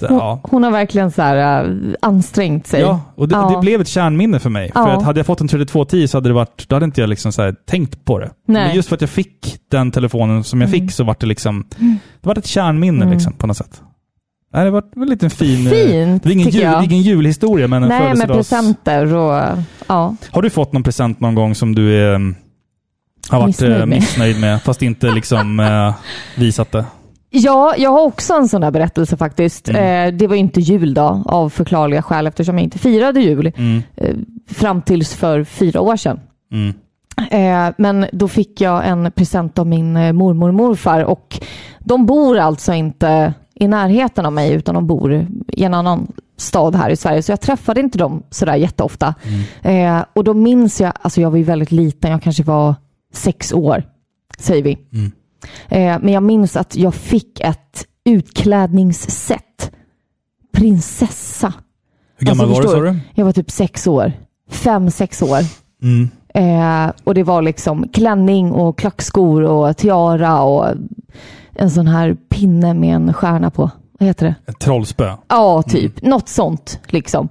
Speaker 1: det-
Speaker 2: Hon,
Speaker 1: Ja.
Speaker 2: hon har verkligen så här, äh, ansträngt sig.
Speaker 1: Ja, och det,
Speaker 2: Ja.
Speaker 1: det blev ett kärnminne för mig. För
Speaker 2: Ja.
Speaker 1: att hade jag fått en 3210 så hade det varit, då hade inte jag liksom så här tänkt på det.
Speaker 2: Nej. Mm.
Speaker 1: Men just för att jag fick den telefonen som jag fick så var det liksom, det var ett kärnminne liksom, på något sätt. Nej, det var en liten fin... eh,
Speaker 2: Fint,
Speaker 1: det är ingen,
Speaker 2: tycker
Speaker 1: jul,
Speaker 2: jag.
Speaker 1: det är ingen julhistoria, men en
Speaker 2: Nej, med
Speaker 1: födelsedags...
Speaker 2: presenter och ja.
Speaker 1: Har du fått någon present någon gång som du eh, har varit
Speaker 2: Missnöjd
Speaker 1: missnöjd med,
Speaker 2: med.
Speaker 1: missnöjd med fast inte
Speaker 2: <laughs>
Speaker 1: liksom eh, visat det?
Speaker 2: Ja, jag har också en sån här berättelse faktiskt. Eh, det var ju inte jul då, av förklarliga skäl eftersom jag inte firade jul eh, fram tills för fyra år sedan.
Speaker 1: Mm.
Speaker 2: Eh, men då fick jag en present av min eh, mormor och morfar och de bor alltså inte i närheten av mig utan de bor i en annan stad här i Sverige. Så jag träffade inte dem sådär jätteofta. Eh, och då minns jag, alltså jag var ju väldigt liten, jag kanske var sex år, säger vi. Eh, men jag minns att jag fick ett utklädningssätt. Prinsessa.
Speaker 1: Hur gammal
Speaker 2: Alltså,
Speaker 1: var
Speaker 2: förstår
Speaker 1: du, sa du?
Speaker 2: Jag var typ sex år. Fem, sex år.
Speaker 1: Mm.
Speaker 2: Eh, och det var liksom klänning och klackskor och tiara och en sån här pinne med en stjärna på. Vad heter det?
Speaker 1: Ett trollspö?
Speaker 2: Ja, typ.
Speaker 1: Mm.
Speaker 2: Något sånt liksom.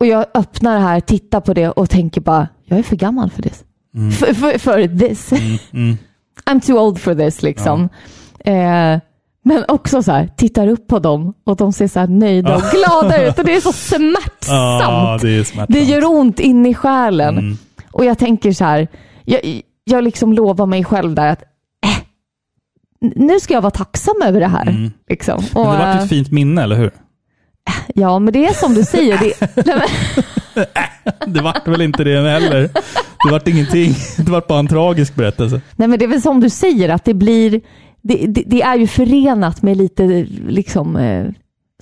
Speaker 2: Och jag öppnar det här, tittar på det och tänker bara, jag är för gammal för this.
Speaker 1: Mm.
Speaker 2: För, <laughs> för, för this. <laughs> I'm too old for this liksom. Eh, men också så här, tittar upp på dem och de ser så här nöjda och glada ut och det
Speaker 1: <laughs>
Speaker 2: är så
Speaker 1: Ja,
Speaker 2: smärtsamt.
Speaker 1: det är smärtsamt. Mm.
Speaker 2: Det gör ont in i själen. Och jag tänker så här, jag, jag liksom lovar mig själv där att eh, n- nu ska jag vara tacksam över det här. Liksom. Och,
Speaker 1: Mm. Men det var
Speaker 2: eh,
Speaker 1: ett fint minne, eller hur?
Speaker 2: Ja, men det är som du
Speaker 1: <laughs>
Speaker 2: säger. Det, nej, men,
Speaker 1: Det vart väl inte det heller. Det vart ingenting. <laughs> Det vart bara en tragisk berättelse.
Speaker 2: nej, men det är väl som du säger att det blir... Det, det, det är ju förenat med lite liksom eh,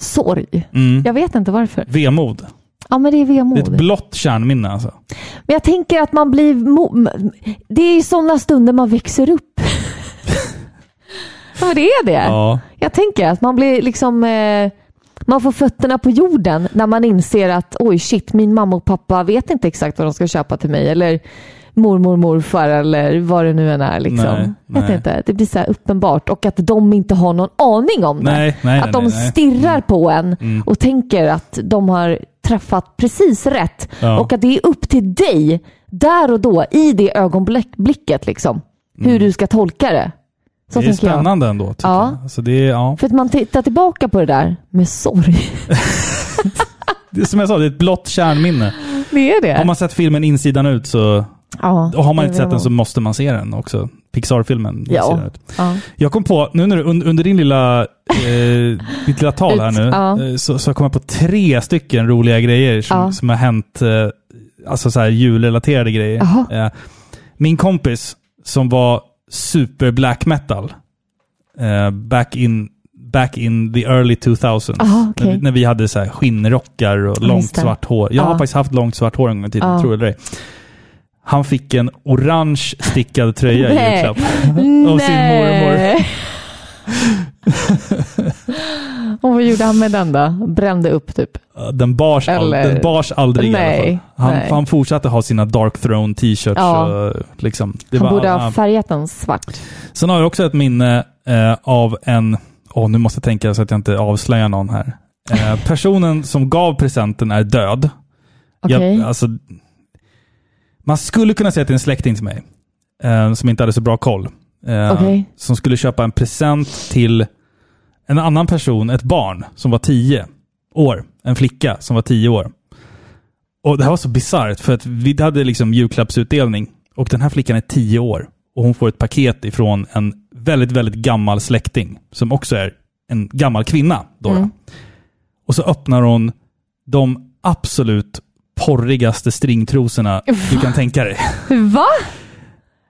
Speaker 2: sorg. Jag vet inte varför.
Speaker 1: Vemod.
Speaker 2: Ja, men det är
Speaker 1: Mm. Det är ett
Speaker 2: vemod.
Speaker 1: blått kärnminne alltså.
Speaker 2: men jag tänker att
Speaker 1: <laughs>
Speaker 2: man blir... Mo- det är i sådana stunder man växer upp. men det är det.
Speaker 1: Ja.
Speaker 2: Jag tänker att man blir liksom... Eh, man får fötterna på jorden när man inser att oj shit, min mamma och pappa vet inte exakt vad de ska köpa till mig. Eller mormor, morfar eller vad det nu än är. Liksom.
Speaker 1: Nej,
Speaker 2: jag vet
Speaker 1: nej.
Speaker 2: inte. Det blir så här uppenbart och att de inte har någon aning om det.
Speaker 1: Nej, nej,
Speaker 2: att
Speaker 1: nej,
Speaker 2: de
Speaker 1: nej. Mm.
Speaker 2: stirrar på en och tänker att de har träffat precis rätt.
Speaker 1: Ja.
Speaker 2: Och att det är upp till dig, där och då, i det ögonblicket, liksom, hur du ska tolka det. Så
Speaker 1: Mm. det är
Speaker 2: tänker jag.
Speaker 1: spännande ändå. tycker
Speaker 2: Ja.
Speaker 1: jag. Alltså det, är, ja.
Speaker 2: För att man tittar tillbaka på det där med sorg.
Speaker 1: det är som jag sa, det är ett blått kärnminne.
Speaker 2: Det är det.
Speaker 1: Har man sett filmen insidan ut så...
Speaker 2: ja,
Speaker 1: Och har man
Speaker 2: det
Speaker 1: inte
Speaker 2: vill
Speaker 1: sett den så måste man se den också. Pixar-filmen. insidan
Speaker 2: Ja.
Speaker 1: ut.
Speaker 2: ja.
Speaker 1: Jag kom på, nu när du, un- under din lilla, eh, ditt lilla tal här nu,
Speaker 2: <laughs> Ja.
Speaker 1: eh, så, så kom jag på tre stycken roliga grejer som,
Speaker 2: Ja.
Speaker 1: som har hänt, eh, alltså så här julrelaterade grejer.
Speaker 2: Jaha.
Speaker 1: Eh, min kompis som var super black metal, eh, back, in, back in the early 2000s,
Speaker 2: Aha, okej.
Speaker 1: när, vi, när vi hade så här skinnrockar och
Speaker 2: Ja,
Speaker 1: långt
Speaker 2: just det.
Speaker 1: svart hår. Jag har
Speaker 2: Ja.
Speaker 1: faktiskt haft långt svart hår en gång i tiden,
Speaker 2: Ja.
Speaker 1: tror jag det. Han fick en orange stickad tröja i
Speaker 2: Nej.
Speaker 1: julklapp.
Speaker 2: Nej.
Speaker 1: Av sin mormor.
Speaker 2: <laughs> Och vad gjorde han med den då? Brände upp typ?
Speaker 1: Eh, Den bars,
Speaker 2: Eller-
Speaker 1: all, den bars aldrig i alla fall.
Speaker 2: Nej,
Speaker 1: Han,
Speaker 2: nej.
Speaker 1: han fortsatte ha sina Dark Throne t-shirts.
Speaker 2: Ja.
Speaker 1: Och, liksom, det
Speaker 2: Han
Speaker 1: var-
Speaker 2: borde
Speaker 1: ja.
Speaker 2: ha färgat den svart.
Speaker 1: Sen har jag också ett minne eh, av en, åh nu måste jag tänka så att jag inte avslöjar någon här. Eh, personen som gav presenten är död.
Speaker 2: Okej.
Speaker 1: Jag, alltså, man skulle kunna säga att det är en släkting till mig, eh, som inte hade så bra koll. Eh,
Speaker 2: Okej.
Speaker 1: Som skulle köpa en present till en annan person, ett barn som var tio år. En flicka som var tio år. Och Det här var så bisarrt, för att vi hade liksom julklappsutdelning och den här flickan är tio år och hon får ett paket ifrån en väldigt, väldigt gammal släkting som också är en gammal kvinna. Då,
Speaker 2: Mm.
Speaker 1: då. Och så öppnar hon de absolut porrigaste stringtrosorna du kan tänka dig.
Speaker 2: Va?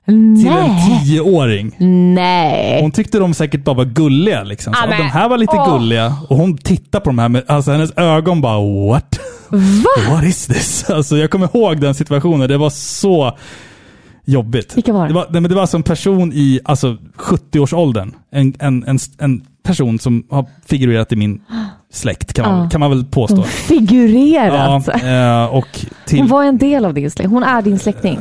Speaker 1: Till en
Speaker 2: Nej.
Speaker 1: tioåring.
Speaker 2: Nej.
Speaker 1: Hon tyckte de säkert bara var gulliga. Liksom. Så,
Speaker 2: Ah,
Speaker 1: ja,
Speaker 2: men-
Speaker 1: de här var lite
Speaker 2: åh.
Speaker 1: gulliga. Och hon tittar på de här med, alltså hennes ögon bara what?
Speaker 2: Va?
Speaker 1: <laughs> What is this? Alltså jag kommer ihåg den situationen. Det var så jobbigt.
Speaker 2: Vilka var det?
Speaker 1: det? Var, nej, men det var alltså en person i alltså, 70-årsåldern. En, en, en, en person som har figurerat i min släkt kan man,
Speaker 2: Ah.
Speaker 1: kan man väl påstå.
Speaker 2: Hon figurerat.
Speaker 1: Ja, eh, och till
Speaker 2: Hon var en del av din släkting. Hon är din släkting.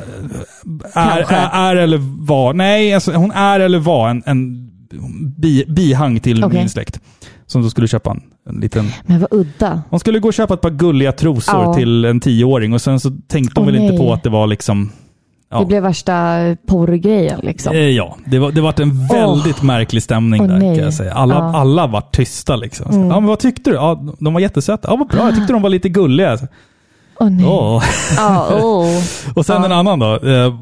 Speaker 1: är,
Speaker 2: kanske.
Speaker 1: är, är eller var, nej, alltså, hon är eller var en, en bi, bihang till
Speaker 2: Okej.
Speaker 1: min släkt. Som då skulle köpa en, en liten...
Speaker 2: Men vad udda.
Speaker 1: Hon skulle gå och köpa ett par gulliga trosor
Speaker 2: Ja.
Speaker 1: till en tioåring och sen så tänkte hon
Speaker 2: Åh,
Speaker 1: väl inte
Speaker 2: nej.
Speaker 1: på att det var liksom... Ja,
Speaker 2: Det blev värsta porrgrejen liksom.
Speaker 1: Eh, ja. det var det vart en väldigt märklig stämning
Speaker 2: Åh,
Speaker 1: där
Speaker 2: nej.
Speaker 1: kan jag säga. Alla,
Speaker 2: Ja. Mm.
Speaker 1: alla var tysta liksom. Så, Ja, men vad tyckte du? Ja, de var jättesöta. Ja, vad bra. Jag tyckte de var lite gulliga. Så,
Speaker 2: Åh nej.
Speaker 1: Åh.
Speaker 2: Ja,
Speaker 1: <laughs>
Speaker 2: åh.
Speaker 1: Och sen en annan då. Eh,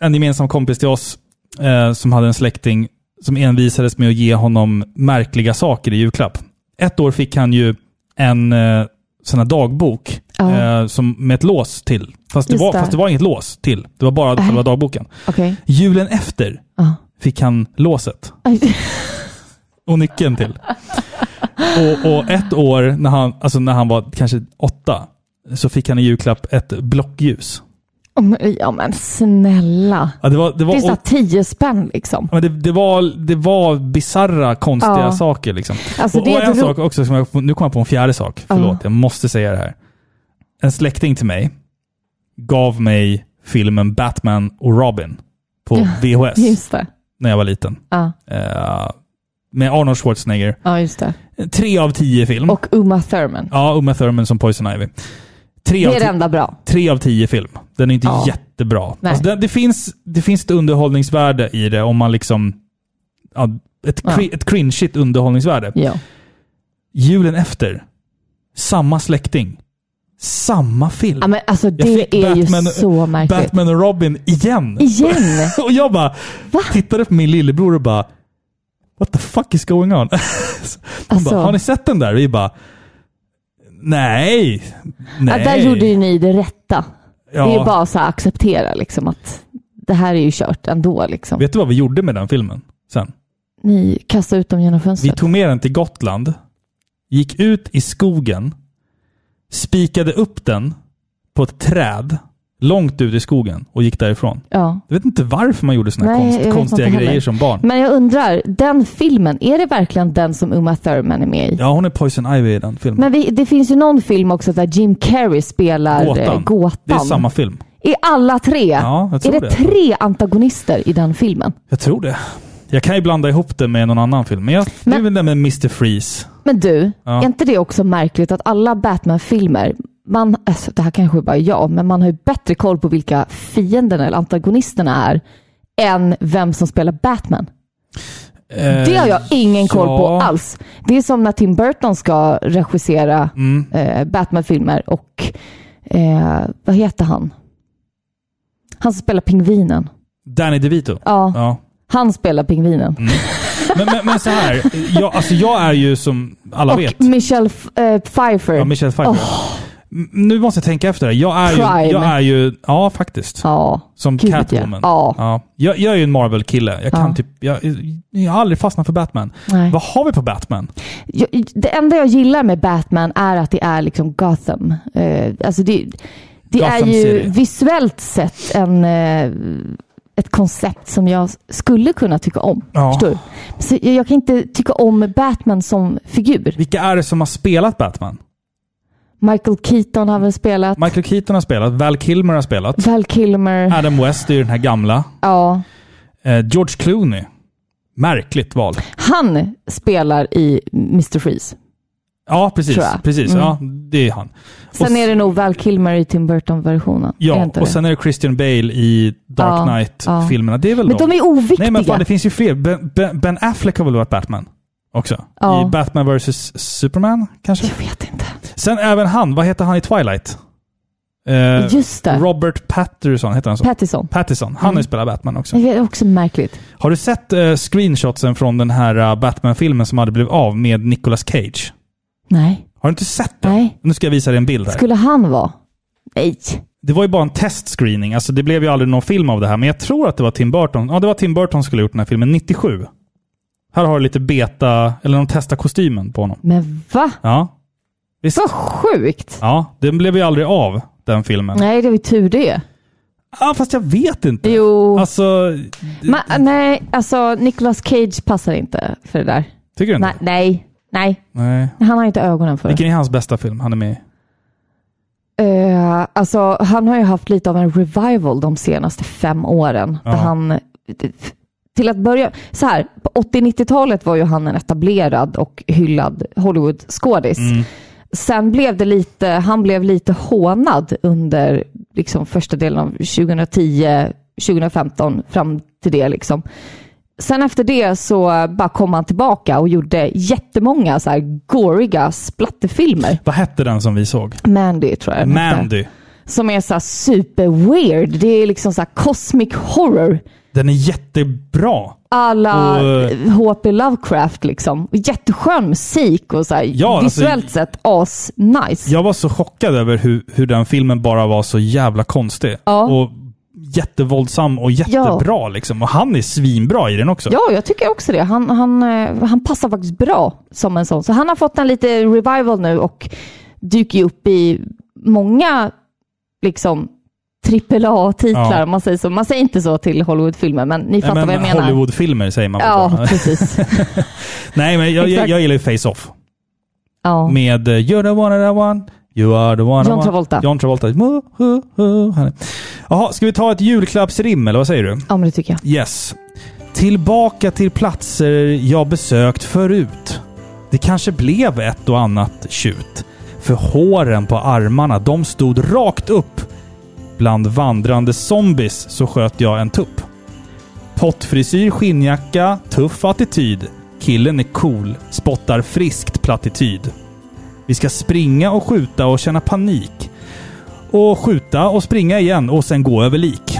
Speaker 1: en gemensam kompis till oss eh, som hade en släkting som envisades med att ge honom märkliga saker i julklapp. Ett år fick han ju en eh, sån här dagbok
Speaker 2: Ja.
Speaker 1: eh, som, med ett lås till. Fast det,
Speaker 2: Just
Speaker 1: var,
Speaker 2: det.
Speaker 1: fast det var inget lås till. Det var bara själva dagboken.
Speaker 2: Okej.
Speaker 1: Julen efter
Speaker 2: Ja.
Speaker 1: fick han låset
Speaker 2: Aj.
Speaker 1: och nyckeln till. Och, och ett år, när han, alltså när han var kanske åtta, så fick han i julklapp ett blockljus.
Speaker 2: Ja, men- Ja men snälla.
Speaker 1: Ja, det var, det var,
Speaker 2: Det är så här
Speaker 1: och-
Speaker 2: tio spänn liksom.
Speaker 1: Ja, Men det, det var, det var bizarra, konstiga
Speaker 2: Ja.
Speaker 1: saker. Liksom.
Speaker 2: Alltså,
Speaker 1: och,
Speaker 2: det
Speaker 1: och
Speaker 2: är
Speaker 1: en
Speaker 2: ett ro-
Speaker 1: sak också, som jag, nu kommer jag på en fjärde sak. Förlåt, jag måste säga det här. En släkting till mig gav mig filmen Batman och Robin på VHS
Speaker 2: Just det.
Speaker 1: när jag var liten.
Speaker 2: Ja,
Speaker 1: Eh, med Arnold Schwarzenegger.
Speaker 2: ja just det.
Speaker 1: Tre av tio film.
Speaker 2: Mm. Och Uma Thurman.
Speaker 1: Ja, Uma Thurman som Poison Ivy. Tre av
Speaker 2: Det är
Speaker 1: ti-
Speaker 2: det enda bra.
Speaker 1: tre av tio film. Den är inte
Speaker 2: Ja.
Speaker 1: jättebra.
Speaker 2: Nej.
Speaker 1: Alltså det, det, finns, det finns ett underhållningsvärde i det om man liksom... Ja, ett, cri- ett cringeigt underhållningsvärde.
Speaker 2: Ja.
Speaker 1: Julen efter, samma släkting, samma film.
Speaker 2: ja men alltså
Speaker 1: Jag
Speaker 2: det
Speaker 1: fick
Speaker 2: är
Speaker 1: Batman-
Speaker 2: ju så märkligt.
Speaker 1: Batman och Robin igen.
Speaker 2: Igen!
Speaker 1: och jag bara tittade på min lillebror och bara What the fuck is going on? <laughs> Han
Speaker 2: Alltså.
Speaker 1: bara, har ni sett den där? Vi bara Nej.
Speaker 2: Ja,
Speaker 1: Nej.
Speaker 2: där gjorde ju ni det rätta. Det är
Speaker 1: Ja.
Speaker 2: ju bara så här acceptera liksom att det här är ju kört ändå. Liksom.
Speaker 1: Vet du vad vi gjorde med den filmen sen?
Speaker 2: Ni kastar ut dem genom
Speaker 1: Vi
Speaker 2: fönstret.
Speaker 1: tog med den till Gotland, gick ut i skogen, spikade upp den på ett träd, långt ut i skogen och gick därifrån.
Speaker 2: Ja.
Speaker 1: Jag vet inte varför man gjorde sådana
Speaker 2: Nej, jag
Speaker 1: konst,
Speaker 2: vet
Speaker 1: konstiga
Speaker 2: inte
Speaker 1: grejer
Speaker 2: heller.
Speaker 1: som barn.
Speaker 2: Men jag undrar, den filmen, är det verkligen den som Uma Thurman är med i?
Speaker 1: Ja, hon är Poison Ivy i den filmen.
Speaker 2: Men vi, det finns ju någon film också där Jim Carrey spelar gåtan. gåtan.
Speaker 1: Det är samma film.
Speaker 2: Är alla tre?
Speaker 1: Ja, jag tror
Speaker 2: är det,
Speaker 1: det.
Speaker 2: tre antagonister i den filmen?
Speaker 1: Jag tror det. Jag kan ju blanda ihop det med någon annan film, men, jag, det är
Speaker 2: Men-
Speaker 1: väl den med Mr. Freeze.
Speaker 2: Men du,
Speaker 1: Ja.
Speaker 2: är inte det också märkligt att alla Batman-filmer, man, alltså det här kanske bara är jag, men man har ju bättre koll på vilka fienden eller antagonisterna är än vem som spelar Batman.
Speaker 1: Eh,
Speaker 2: Det har jag ingen koll på
Speaker 1: ja.
Speaker 2: alls. Det är som när Tim Burton ska regissera
Speaker 1: Mm.
Speaker 2: eh, Batman-filmer och eh, vad heter han? Han som spelar pingvinen.
Speaker 1: Danny DeVito.
Speaker 2: Ja,
Speaker 1: Ja. Mm,
Speaker 2: han spelar pingvinen.
Speaker 1: Men, men, men så här, jag, alltså jag är ju som alla vet,
Speaker 2: Och Michelle F- eh, Pfeiffer.
Speaker 1: ja, Michelle Pfeiffer. M- Nu måste jag tänka efter. här. Jag är, ju,
Speaker 2: Prime.
Speaker 1: jag är ju, ja faktiskt.
Speaker 2: Ja.
Speaker 1: Som
Speaker 2: Gud, ja.
Speaker 1: Catwoman.
Speaker 2: Ja.
Speaker 1: Jag, jag är ju en Marvel-kille. Jag kan
Speaker 2: Ja.
Speaker 1: typ, jag, jag har aldrig fastnat för Batman.
Speaker 2: Nej.
Speaker 1: Vad har vi på Batman?
Speaker 2: Jag, det enda jag gillar med Batman är att det är liksom Gotham. Eh, alltså det det är
Speaker 1: Gotham
Speaker 2: ju
Speaker 1: City.
Speaker 2: visuellt sett en, eh, ett koncept som jag skulle kunna tycka om.
Speaker 1: Ja.
Speaker 2: Förstår du? Så jag, jag kan inte tycka om Batman som figur.
Speaker 1: Vilka är det som har spelat Batman?
Speaker 2: Michael Keaton har väl spelat.
Speaker 1: Michael Keaton har spelat, Val Kilmer har spelat,
Speaker 2: Val Kilmer.
Speaker 1: Adam West är ju den här gamla,
Speaker 2: Ja.
Speaker 1: eh, George Clooney. Märkligt val.
Speaker 2: Han spelar i Mr. Freeze.
Speaker 1: Ja, precis.
Speaker 2: Tror jag. Mm.
Speaker 1: precis. Ja, det är han.
Speaker 2: Sen
Speaker 1: Och s-
Speaker 2: är det nog Val Kilmer i Tim Burton-versionen. Är det
Speaker 1: Ja,
Speaker 2: inte
Speaker 1: och
Speaker 2: det?
Speaker 1: sen är det Christian Bale i Dark
Speaker 2: Ja,
Speaker 1: Knight-filmerna. Det är väl
Speaker 2: Men de är oviktiga.
Speaker 1: Nej, men fan, det finns ju fler. Ben, ben, ben Affleck har väl varit Batman också?
Speaker 2: Ja.
Speaker 1: I Batman vs. Superman, kanske?
Speaker 2: Jag vet inte.
Speaker 1: Sen även han, vad heter han i Twilight? Eh,
Speaker 2: Just det. Mm.
Speaker 1: Robert Patterson, heter han så?
Speaker 2: Pattison.
Speaker 1: Pattison. Han har ju spelat Batman också.
Speaker 2: Det är också märkligt.
Speaker 1: Har du sett eh, screenshotsen från den här eh, Batman-filmen som hade blivit av med Nicolas Cage?
Speaker 2: Nej.
Speaker 1: Har du inte sett den?
Speaker 2: Nej.
Speaker 1: Nu ska jag visa dig en bild här.
Speaker 2: Skulle han vara? Nej.
Speaker 1: Det var ju bara en testscreening. Alltså det blev ju aldrig någon film av det här, men jag tror att det var Tim Burton. Ja, det var Tim Burton som skulle ha gjort den här filmen 97. Här har du lite beta, eller de testar kostymen på honom.
Speaker 2: Men va?
Speaker 1: Ja. Visst?
Speaker 2: Vad sjukt!
Speaker 1: Ja, den blev ju aldrig av, den filmen.
Speaker 2: Nej, det var ju tur det.
Speaker 1: Ja, fast jag vet inte.
Speaker 2: Jo.
Speaker 1: Alltså,
Speaker 2: Ma- nej, alltså Nicolas Cage passar inte för det där.
Speaker 1: tycker du
Speaker 2: Nej,
Speaker 1: inte?
Speaker 2: nej, nej.
Speaker 1: Nej.
Speaker 2: Han har inte ögonen för det.
Speaker 1: Vilken är hans bästa film han är med i?
Speaker 2: Eh, alltså, han har ju haft lite av en revival de senaste fem åren. Där han, till att börja, så här, på 80-90-talet var ju han en etablerad och hyllad Hollywood-skådis. Sen blev det lite, han blev lite hånad under liksom, första delen av 2010, 2015, fram till det. Liksom. Sen efter det så bara kom han tillbaka och gjorde jättemånga så här goriga splatterfilmer.
Speaker 1: Vad hette den som vi såg?
Speaker 2: Mandy tror jag den hette
Speaker 1: Mandy.
Speaker 2: som är så här super weird. Det är liksom så här cosmic horror.
Speaker 1: Den är jättebra.
Speaker 2: Alla
Speaker 1: Och- eh,
Speaker 2: H.P. Lovecraft liksom. Jätteskön musik och så här,
Speaker 1: Ja, alltså-
Speaker 2: visuellt sett as-nice.
Speaker 1: Jag var så chockad över hur, hur den filmen bara var så jävla konstig.
Speaker 2: Ja.
Speaker 1: Och jättevåldsam och jättebra liksom. Och han är svinbra i den också.
Speaker 2: Ja, jag tycker också det. Han, han, eh, han passar faktiskt bra som en sån. Så han har fått en lite revival nu och dyker ju upp i många liksom AAA-titlar
Speaker 1: Ja.
Speaker 2: om man säger så. Man säger inte så till Hollywoodfilmer, men ni
Speaker 1: Nej,
Speaker 2: fattar
Speaker 1: men
Speaker 2: vad jag menar.
Speaker 1: Hollywoodfilmer säger man väl
Speaker 2: Ja,
Speaker 1: bara. <laughs>
Speaker 2: precis.
Speaker 1: Nej, men jag, jag,
Speaker 2: Exakt.
Speaker 1: jag gillar ju Face-Off.
Speaker 2: Ja.
Speaker 1: Med eh, You're the one and I want, You are the one I
Speaker 2: John
Speaker 1: want.
Speaker 2: Travolta.
Speaker 1: John Travolta. Mu, hu, hu, han är- Jaha, ska vi ta ett julklappsrim eller vad säger du?
Speaker 2: ja, men det tycker jag.
Speaker 1: Yes. Tillbaka till platser jag besökt förut. Det kanske blev ett och annat tjut. För håren på armarna, de stod rakt upp. Bland vandrande zombies så sköt jag en tupp. Pottfrisyr, skinnjacka, tuff attityd. Killen är cool, spottar friskt plattityd. Vi ska springa och skjuta och känna panik. Och skjuta och springa igen och sen gå över lik.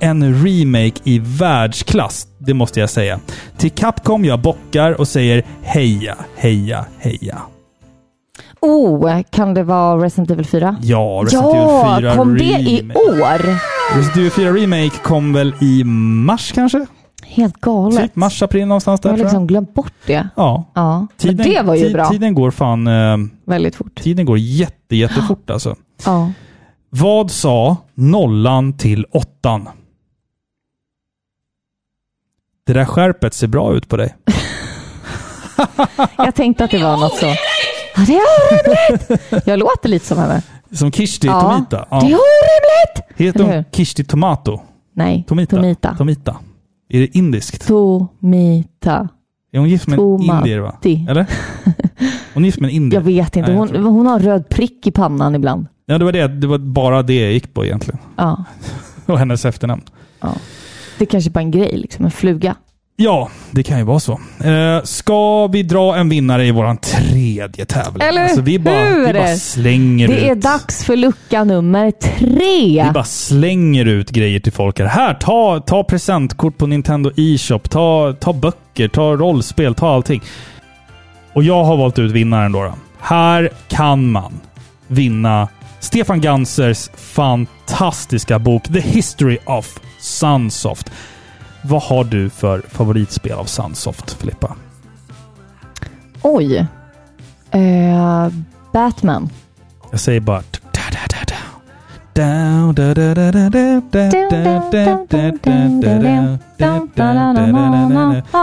Speaker 1: En remake i världsklass, det måste jag säga. Till Capcom jag bockar och säger heja, heja, heja.
Speaker 2: Oh, kan det vara Resident Evil 4?
Speaker 1: Ja, Resident
Speaker 2: ja,
Speaker 1: Evil 4
Speaker 2: kom det
Speaker 1: remake.
Speaker 2: i år?
Speaker 1: Resident Evil 4 remake kom väl i mars kanske?
Speaker 2: Helt galet.
Speaker 1: Typ mars, april någonstans
Speaker 2: jag
Speaker 1: där
Speaker 2: har
Speaker 1: tror jag.
Speaker 2: liksom glömt bort det.
Speaker 1: Ja.
Speaker 2: Ja, men
Speaker 1: Tiden,
Speaker 2: det var ju
Speaker 1: ti-
Speaker 2: bra.
Speaker 1: Tiden går fan... Eh,
Speaker 2: Väldigt fort.
Speaker 1: tiden går jätte, jättefort alltså.
Speaker 2: Ja.
Speaker 1: Vad sa nollan till åttan? Det där skärpet ser bra ut på dig.
Speaker 2: Jag tänkte att det var något så. Ja, det är orimligt! Jag låter lite som henne.
Speaker 1: Som Kishti
Speaker 2: Ja.
Speaker 1: Tomita.
Speaker 2: Det är orimligt!
Speaker 1: Heter
Speaker 2: Eller
Speaker 1: hon
Speaker 2: hur?
Speaker 1: Kishti Tomato?
Speaker 2: Nej,
Speaker 1: Tomita.
Speaker 2: Tomita.
Speaker 1: Tomita. Är det indiskt?
Speaker 2: Tomita.
Speaker 1: Är hon gift med en
Speaker 2: Tomati.
Speaker 1: indier va?
Speaker 2: <laughs>
Speaker 1: Eller? Hon är gift med en indier.
Speaker 2: Jag vet inte.
Speaker 1: Nej, jag
Speaker 2: Hon,
Speaker 1: tror det.
Speaker 2: hon har en röd prick i pannan ibland.
Speaker 1: Ja, det var, det, det var bara det jag gick på egentligen. <laughs>
Speaker 2: Ja,
Speaker 1: Och hennes efternamn.
Speaker 2: det kanske bara är en grej, liksom en fluga.
Speaker 1: Ja, det kan ju vara så. Eh, ska vi dra en vinnare i våran tredje tävling? Alltså,
Speaker 2: Eller
Speaker 1: vi bara, vi
Speaker 2: hur?
Speaker 1: bara slänger ut.
Speaker 2: Det är dags för lucka nummer tre.
Speaker 1: Vi bara slänger ut grejer till folk här. Här, ta, ta presentkort på Nintendo E-shop. Ta, ta böcker, ta rollspel, ta allting. Och jag har valt ut vinnaren då. då. Här kan man vinna Stefan Gansers fantastiska bok The History of Sunsoft. Vad har du för favoritspel av Sunsoft, Filippa?
Speaker 2: Oj. Eh, Batman.
Speaker 1: Jag säger bara...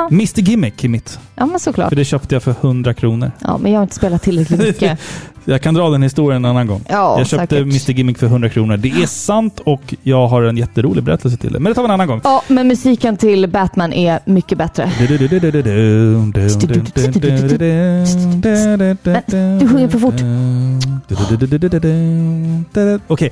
Speaker 1: Mr Gimmick är mitt.
Speaker 2: Ja, men såklart.
Speaker 1: För det köpte jag för 100 kronor.
Speaker 2: Ja, men jag har inte spelat
Speaker 1: <laughs>
Speaker 2: tillräckligt mycket.
Speaker 1: Jag kan dra den historien en annan gång.
Speaker 2: Ja,
Speaker 1: jag köpte
Speaker 2: säkert.
Speaker 1: Mr Gimmick för 100 kronor. Det är sant och jag har en jätterolig berättelse till det. Men det tar vi en annan gång.
Speaker 2: Ja, men musiken till Batman är mycket bättre. Men du sjunger för fort.
Speaker 1: Okej,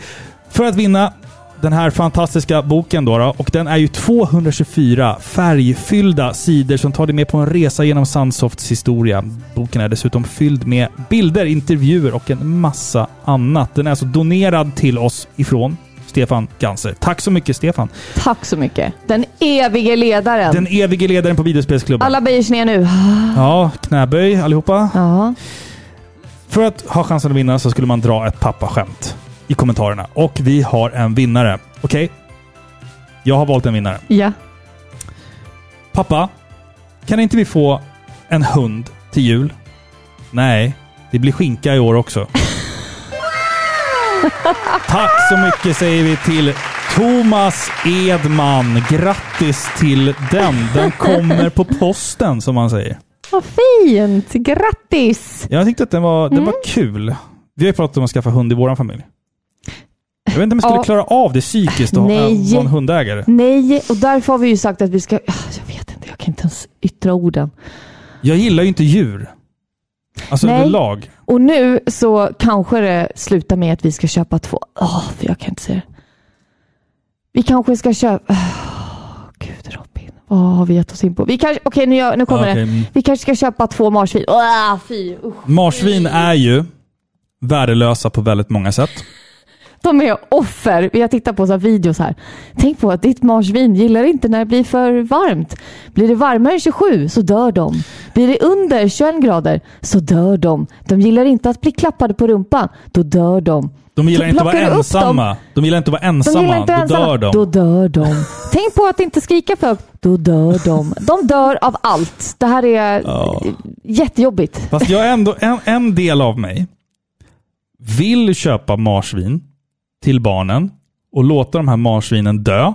Speaker 1: för att vinna den här fantastiska boken då, då, och den är ju 224 färgfyllda sidor som tar dig med på en resa genom Sunsofts historia. Boken är dessutom fylld med bilder, intervjuer och en massa annat. Den är alltså donerad till oss ifrån Stefan Ganser. Tack så mycket Stefan!
Speaker 2: Tack så mycket. Den evige ledaren.
Speaker 1: Den evige ledaren på videospelsklubben.
Speaker 2: Alla böjer sig ner nu. <gasps>
Speaker 1: Ja, knäböj allihopa.
Speaker 2: Ja.
Speaker 1: För att ha chansen att vinna så skulle man dra ett pappaskämt i kommentarerna. Och vi har en vinnare. Okej? Jag har valt en vinnare.
Speaker 2: ja.
Speaker 1: Pappa, kan inte vi få en hund till jul? Nej, det blir skinka i år också. Tack så mycket säger vi till Thomas Edman. Grattis till den. Den kommer på posten som man säger.
Speaker 2: Vad fint! Grattis!
Speaker 1: Jag tyckte att den var, den
Speaker 2: Mm.
Speaker 1: var kul. Vi har ju pratat om att skaffa hund i vår familj. Jag vet inte om jag skulle
Speaker 2: Ja.
Speaker 1: klara av det psykiskt att ha-
Speaker 2: Nej.
Speaker 1: vara en hundägare.
Speaker 2: Nej, och därför har vi ju sagt att vi ska... Ah, Jag vet inte, jag kan inte ens yttra orden.
Speaker 1: Jag gillar ju inte djur. Alltså
Speaker 2: Nej.
Speaker 1: överlag.
Speaker 2: Och nu så kanske det slutar med att vi ska köpa två... Åh, för jag kan inte se det. Vi kanske ska köpa... Åh, Gud Robin, vad har vi gett oss in på? Vi kanske... Okej, nu, gör- nu kommer
Speaker 1: Ja, okej, mm.
Speaker 2: det. Vi kanske ska köpa två marsvin. Åh, fy! Usch.
Speaker 1: Marsvin är ju värdelösa på väldigt många sätt.
Speaker 2: De är offer. Jag tittar på så här videos här. Tänk på att ditt marsvin gillar inte när det blir för varmt. Blir det varmare än 27 så dör de. Blir det under 21 grader så dör de. De gillar inte att bli klappade på rumpan. Då dör de.
Speaker 1: De gillar
Speaker 2: Så
Speaker 1: inte att vara
Speaker 2: plockar du upp
Speaker 1: ensamma. De gillar inte att vara
Speaker 2: De
Speaker 1: ensamma.
Speaker 2: gillar inte
Speaker 1: Då
Speaker 2: ensamma.
Speaker 1: dör de.
Speaker 2: Då dör de. Tänk på att inte skrika för högt. Då dör de. De dör av allt. Det här är
Speaker 1: Ja.
Speaker 2: jättejobbigt.
Speaker 1: Fast jag är ändå, en, en del av mig vill köpa marsvin till barnen och låta de här marsvinen
Speaker 2: <laughs>
Speaker 1: dö.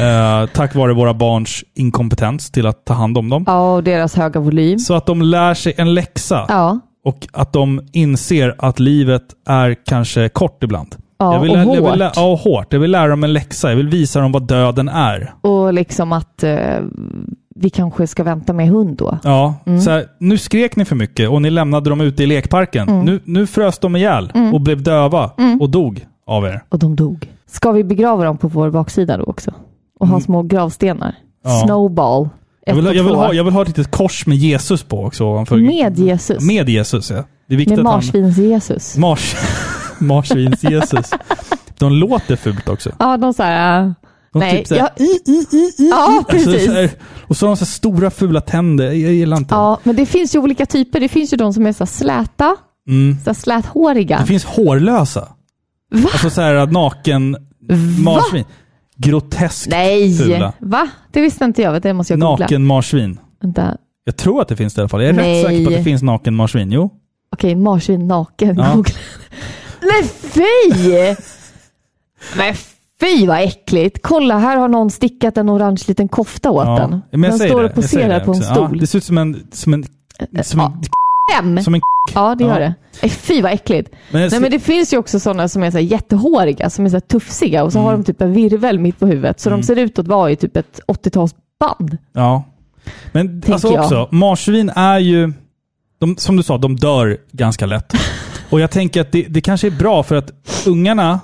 Speaker 1: eh, tack vare våra barns inkompetens till att ta hand om dem.
Speaker 2: Ja, och deras höga volym.
Speaker 1: Så att de lär sig en läxa
Speaker 2: Ja.
Speaker 1: och att de inser att livet är kanske kort ibland.
Speaker 2: Ja,
Speaker 1: jag vill,
Speaker 2: och
Speaker 1: jag vill,
Speaker 2: hårt.
Speaker 1: lä- ja, och hårt. Jag vill lära dem en läxa. Jag vill visa dem vad döden är.
Speaker 2: Och liksom att eh, vi kanske ska vänta med hund då.
Speaker 1: Ja,
Speaker 2: Mm.
Speaker 1: så här, nu skrek ni för mycket och ni lämnade dem ute i lekparken.
Speaker 2: Mm.
Speaker 1: Nu, nu frös de ihjäl och blev döva och dog av er.
Speaker 2: Och de dog. Mm. Ska vi begrava dem på vår baksida då också? Och ha små gravstenar?
Speaker 1: Ja.
Speaker 2: Snowball.
Speaker 1: Jag
Speaker 2: ett
Speaker 1: vill,
Speaker 2: och
Speaker 1: jag, vill
Speaker 2: två.
Speaker 1: ha, jag vill ha ett litet kors med Jesus på också. ovanför.
Speaker 2: Med Jesus. Med,
Speaker 1: Med Jesus, ja. Det är viktigt att han...
Speaker 2: marsvins-Jesus.
Speaker 1: Mars, <laughs> Marsvins-Jesus. De låter fult också.
Speaker 2: Ja, de så här... äh,
Speaker 1: De
Speaker 2: nej,
Speaker 1: typ så här-
Speaker 2: jag, ja, <laughs>
Speaker 1: Alltså,
Speaker 2: precis.
Speaker 1: så här, och så har de så här stora fula tänder. Jag gillar inte det.
Speaker 2: Ja, men det finns ju olika typer. Det finns ju de som är så här släta,
Speaker 1: Mm.
Speaker 2: så här släthåriga.
Speaker 1: Det finns hårlösa.
Speaker 2: Va?
Speaker 1: Alltså så här naken marsvin. Groteskt
Speaker 2: Nej!
Speaker 1: fula.
Speaker 2: Va? Det visste inte jag. Vet du, Det måste jag googla.
Speaker 1: Naken marsvin.
Speaker 2: Vänta.
Speaker 1: Jag tror att det finns det i alla fall. Jag är
Speaker 2: Nej.
Speaker 1: rätt säker på att det finns naken marsvin. Jo.
Speaker 2: Okej, marsvin naken.
Speaker 1: Ja.
Speaker 2: Googla. Nej, fy! Men fy vad äckligt! Kolla, här har någon stickat en orange liten kofta åt
Speaker 1: Ja.
Speaker 2: den.
Speaker 1: Men jag
Speaker 2: den
Speaker 1: säger
Speaker 2: står
Speaker 1: det.
Speaker 2: och
Speaker 1: Jag säger
Speaker 2: poserar
Speaker 1: det
Speaker 2: på en
Speaker 1: också. Ja,
Speaker 2: stol.
Speaker 1: det ser ut som en... Som en, som en,
Speaker 2: Fem!
Speaker 1: som en
Speaker 2: Ja, det gör
Speaker 1: Ja.
Speaker 2: det. Äh, Fy vad äckligt.
Speaker 1: Men jag
Speaker 2: Nej,
Speaker 1: ser-
Speaker 2: men det finns ju också sådana som är så här jättehåriga, som är så här tufsiga och så har
Speaker 1: Mm.
Speaker 2: de typ en virvel mitt på huvudet. Så de ser ut att vara i typ ett 80-talsband.
Speaker 1: Ja. Men alltså
Speaker 2: jag.
Speaker 1: också, marsvin är ju... De, som du sa, de dör ganska
Speaker 2: <laughs>
Speaker 1: lätt. Och jag tänker att det, det kanske är bra för att ungarna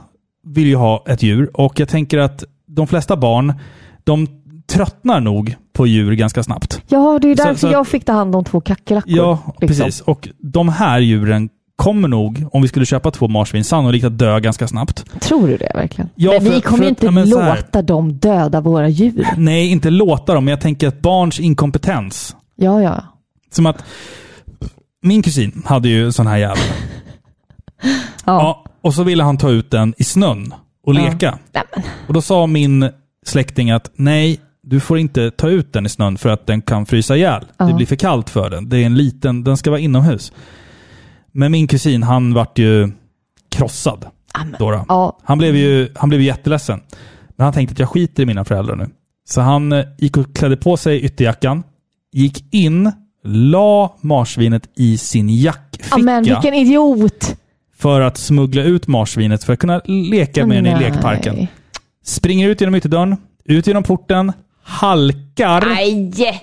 Speaker 1: vill ju ha ett djur och jag tänker att de flesta barn, de tröttnar nog på djur ganska snabbt.
Speaker 2: Ja, det är ju
Speaker 1: Så-
Speaker 2: därför
Speaker 1: så-
Speaker 2: jag fick ta hand om två kackerlackor.
Speaker 1: Ja,
Speaker 2: liksom.
Speaker 1: precis. Och de här djuren kommer nog, om vi skulle köpa två marsvin, sannolikt att dö ganska snabbt.
Speaker 2: Tror du det verkligen?
Speaker 1: Ja,
Speaker 2: men
Speaker 1: för-
Speaker 2: vi kommer
Speaker 1: för
Speaker 2: ju
Speaker 1: att-
Speaker 2: inte
Speaker 1: ja, men så här.
Speaker 2: låta dem döda våra djur.
Speaker 1: Nej, inte låta dem, men jag tänker att barns inkompetens
Speaker 2: Ja, ja.
Speaker 1: Som att min kusin hade ju en sån här jävel. ja, och så ville han ta ut den i snön och leka.
Speaker 2: Nej, men.
Speaker 1: Och då sa min släkting att nej, du får inte ta ut den i snön för att den kan frysa ihjäl. Det blir för kallt för den. Det är en liten, den ska vara inomhus. Men min kusin, han vart ju krossad. Då då.
Speaker 2: Ja.
Speaker 1: Han blev ju han blev ju jätteledsen. Men han tänkte att jag skiter i mina föräldrar nu. Så han eh, gick och klädde på sig ytterjackan, gick in, la marsvinet i sin jackficka
Speaker 2: Ja, men vilken idiot!
Speaker 1: för att smuggla ut marsvinet för att kunna leka med den i
Speaker 2: Nej.
Speaker 1: lekparken. Springer ut genom ytterdörren, ut genom porten, halkar
Speaker 2: Nej!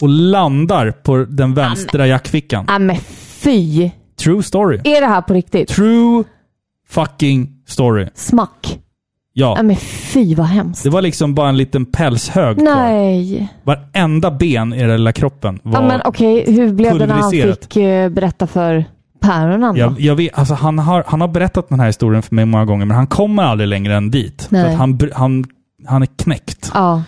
Speaker 1: och landar på den vänstra jackfickan.
Speaker 2: Ja, men fy!
Speaker 1: True story.
Speaker 2: Är det här på riktigt?
Speaker 1: True fucking story.
Speaker 2: Smack! Ja,
Speaker 1: Ja.
Speaker 2: men fy vad hemskt.
Speaker 1: Det var liksom bara en liten pälshög kvar.
Speaker 2: Nej.
Speaker 1: Varenda ben i den lilla kroppen var...
Speaker 2: Ja, men okej, hur blev det när han
Speaker 1: pulveriserat.
Speaker 2: fick eh, berätta för päronen då?
Speaker 1: Jag, jag vet, alltså han, har, han har berättat den här historien för mig många gånger, men han kommer aldrig längre än dit.
Speaker 2: Nej.
Speaker 1: För att han, br- han, han är knäckt
Speaker 2: Ja.